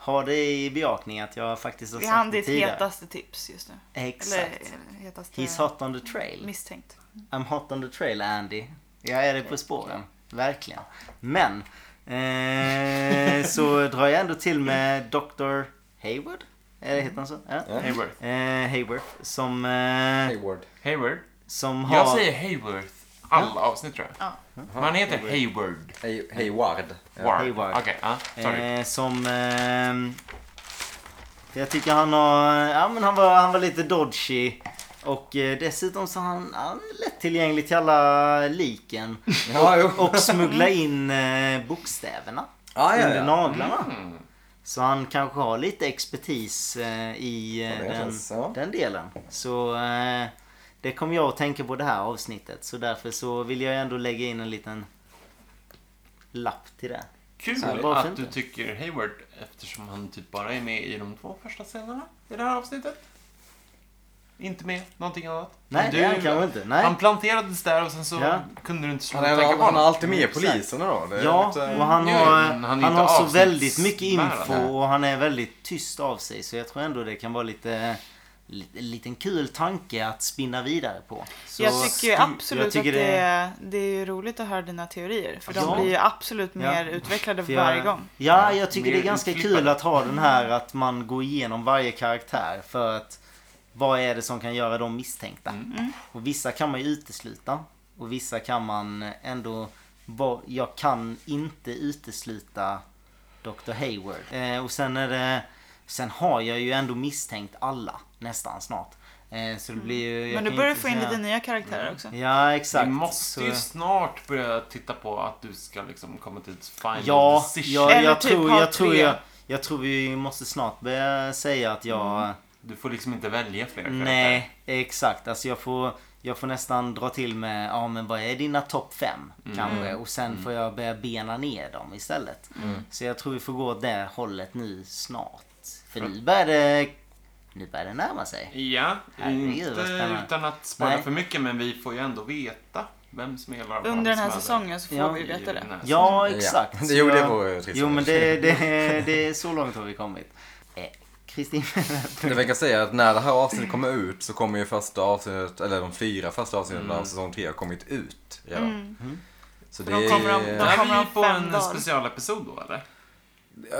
Ha det i beakning att jag faktiskt har
Det är han
sagt det
ditt
tidigare.
hetaste tips just nu.
Exakt.
Eller eh, hetaste
He's hot on the trail.
misstänkt.
I'm hot on the trail Andy. Jag är det på spåren. Verkligen. Men. Eh, så drar jag ändå till med Dr. Hayward. Är det heter han så? Ja.
Hayworth.
Eh, Hayward. Som, eh,
Hayward.
Hayward.
som har...
Jag säger Hayworth alla avsnitt tror jag. Men han heter Hayward.
Hay, Hayward. Ja.
Ward.
Hayward.
Okej, ja. Sorry.
Eh, som... ehm, jag tycker han har... Ja, men han var, han var lite dodgy. Och eh, dessutom så har han, han är lättillgänglig till alla liken.
Ja, jo.
Och smuggla in eh, bokstäverna
Ah, Ja, ja, Mm.
under
ja.
naglarna. Så han kanske har lite expertis eh, i eh,
Ja, det
den,
känns, ja.
den delen. Så eh, det kom jag att tänka på det här avsnittet. Så därför så vill jag ändå lägga in en liten lapp till det.
Kul
Så här, bara
att
fint.
du tycker Hayward eftersom han typ bara är med i de två första scenerna i det här avsnittet. Inte med någonting annat.
Nej,
Men
det är han kanske inte. Nej.
Han planterades där och sen så
Ja.
kunde du inte
Han
sluta
är,
tänka på
han är
honom.
alltid med poliserna då. Det är
Ja,
lite-
och han
Jo,
Mm.
har,
men han
han
är inte
har så
avsnittsbärare.
väldigt mycket info och han är väldigt tyst av sig. Så jag tror ändå det kan vara lite lite- liten kul tanke att spinna vidare på. Så
jag tycker ju
sku-
absolut
jag tycker
att det är, det är ju roligt att höra dina teorier. För
Ja.
de blir ju absolut
Ja.
mer utvecklade
för jag-
varje gång.
Ja, jag tycker
Mer
det är ganska
utklippade.
kul att ha den här att man går igenom varje karaktär för att vad är det som kan göra dem misstänkta?
Mm.
Mm.
Och vissa kan man ju utesluta och vissa kan man ändå... va- Jag kan inte utesluta Dr. Hayward. Eh, och sen är det Sen har jag ju ändå misstänkt alla nästan snart. Eh, så det Mm. blir ju... jag
Mm. Men
kan
du
ju
börjar
inte
få in
säga-
lite nya karaktärer också.
Ja, exakt.
Vi måste ju
Så-
snart börja titta på att du ska liksom komma till ett final
Ja,
decision.
jag,
Eller
jag,
typ
tror,
ha
jag, tror,
tre.
jag, jag tror vi måste snart börja säga att jag...
Du får liksom inte välja fler karaktärer.
Nej, exakt. Alltså jag får, jag får nästan dra till med, ja men vad är dina topp fem? Kanske. Och sen får jag börja bena ner dem istället. Så jag tror vi får gå åt det hållet nu snart. För nu börjar det, nu börjar det närma sig.
Ja,
Herregud, vad
inte
spännande.
utan att spara
Nej.
för mycket men vi får ju ändå veta vem som är våra
Under den här
barns
säsongen så får
Ja.
vi veta det.
mödrar. I-
Ja, exakt.
Ja.
Så
Jo, det
jag-
vore ju trist.
Jo, men det, det, det är så långt har vi kommit. Eh, Kristin.
Det vi kan säga är att när det här avsnittet kommer ut så kommer ju första avsnittet, eller de fyra första avsnitten av säsong tre ha kommit ut redan. Så det
De kommer om-
är...
de-
Är
kommer
vi
om
på
fem
en
dagar.
specialepisod då eller?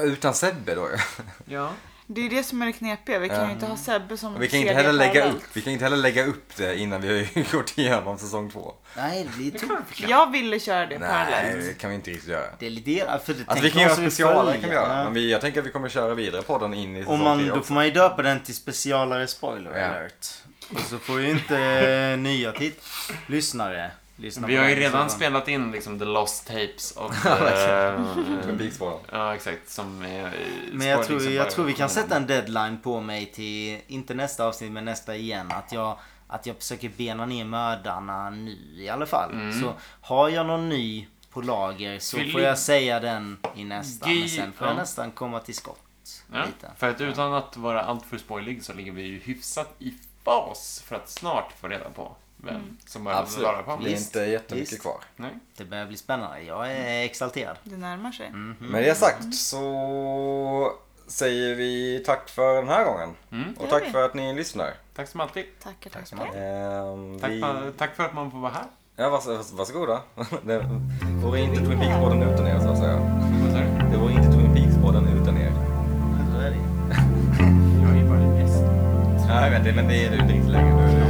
Utan Sebbe då ja.
Ja.
Det är ju det som är det knepiga. Vi kan ju inte ha Sebbe som
Mm. Vi kan, inte
ser
heller
det
lägga
parallellt.
upp, vi kan inte heller lägga upp det innan vi har *laughs* gått igenom säsong två.
Nej, det är, to-
Jag ville köra det
Nej,
parallellt.
det kan vi inte riktigt göra.
det är lite era- för det
Alltså
tänker
vi kan göra
jag så vi
specialer
följer.
kan vi göra.
Ja.
Men vi, jag tänker att vi kommer köra vidare podden in i
Och
säsong
man,
tre
då
också.
får man ju döpa den till specialare spoiler
Ja.
alert. Och så får ju inte eh, nya titt lyssnare lyssna
Vi
på
har ju
den.
redan
Så-
spelat in liksom the lost tapes of... eh,
Publikspåren.
Ja, exakt. Som är, eh,
Men jag tror, jag tror vi kan sätta en deadline på mig till, inte nästa avsnitt men nästa igen. Att jag, att jag försöker bena ner mördarna nu i alla fall.
Mm.
Så har jag någon ny på lager så
Vi
får
lig-
jag säga den i nästa.
Gi-
Men sen får jag
ja.
nästan komma till skott.
Ja,
Lite.
för att utan att vara alltför spoilig så ligger vi ju hyfsat i fas för att snart få reda på vem som börjar
Absolut.
vara på.
Det är inte jättemycket
Visst.
kvar.
Nej.
Det börjar bli spännande. Jag är exalterad.
Det närmar sig.
Med det sagt så säger vi tack för den här gången. Och
Gör
tack
vi.
för att ni lyssnar.
Tack som alltid.
Tackar, tackar.
Ehm,
Tack,
vi...
för- tack för att man får vara här.
Ja, vars, vars, varsågoda. *laughs* Det vore inte Twin Peaks-podden utan er, så att säga.
Vad sa du?
Det vore inte Twin Peaks-podden utan er.
Så är det ju. *laughs*
Jag är bara en gäst.
Nej, jag vet det, men det är du inte riktigt längre. Du- *laughs*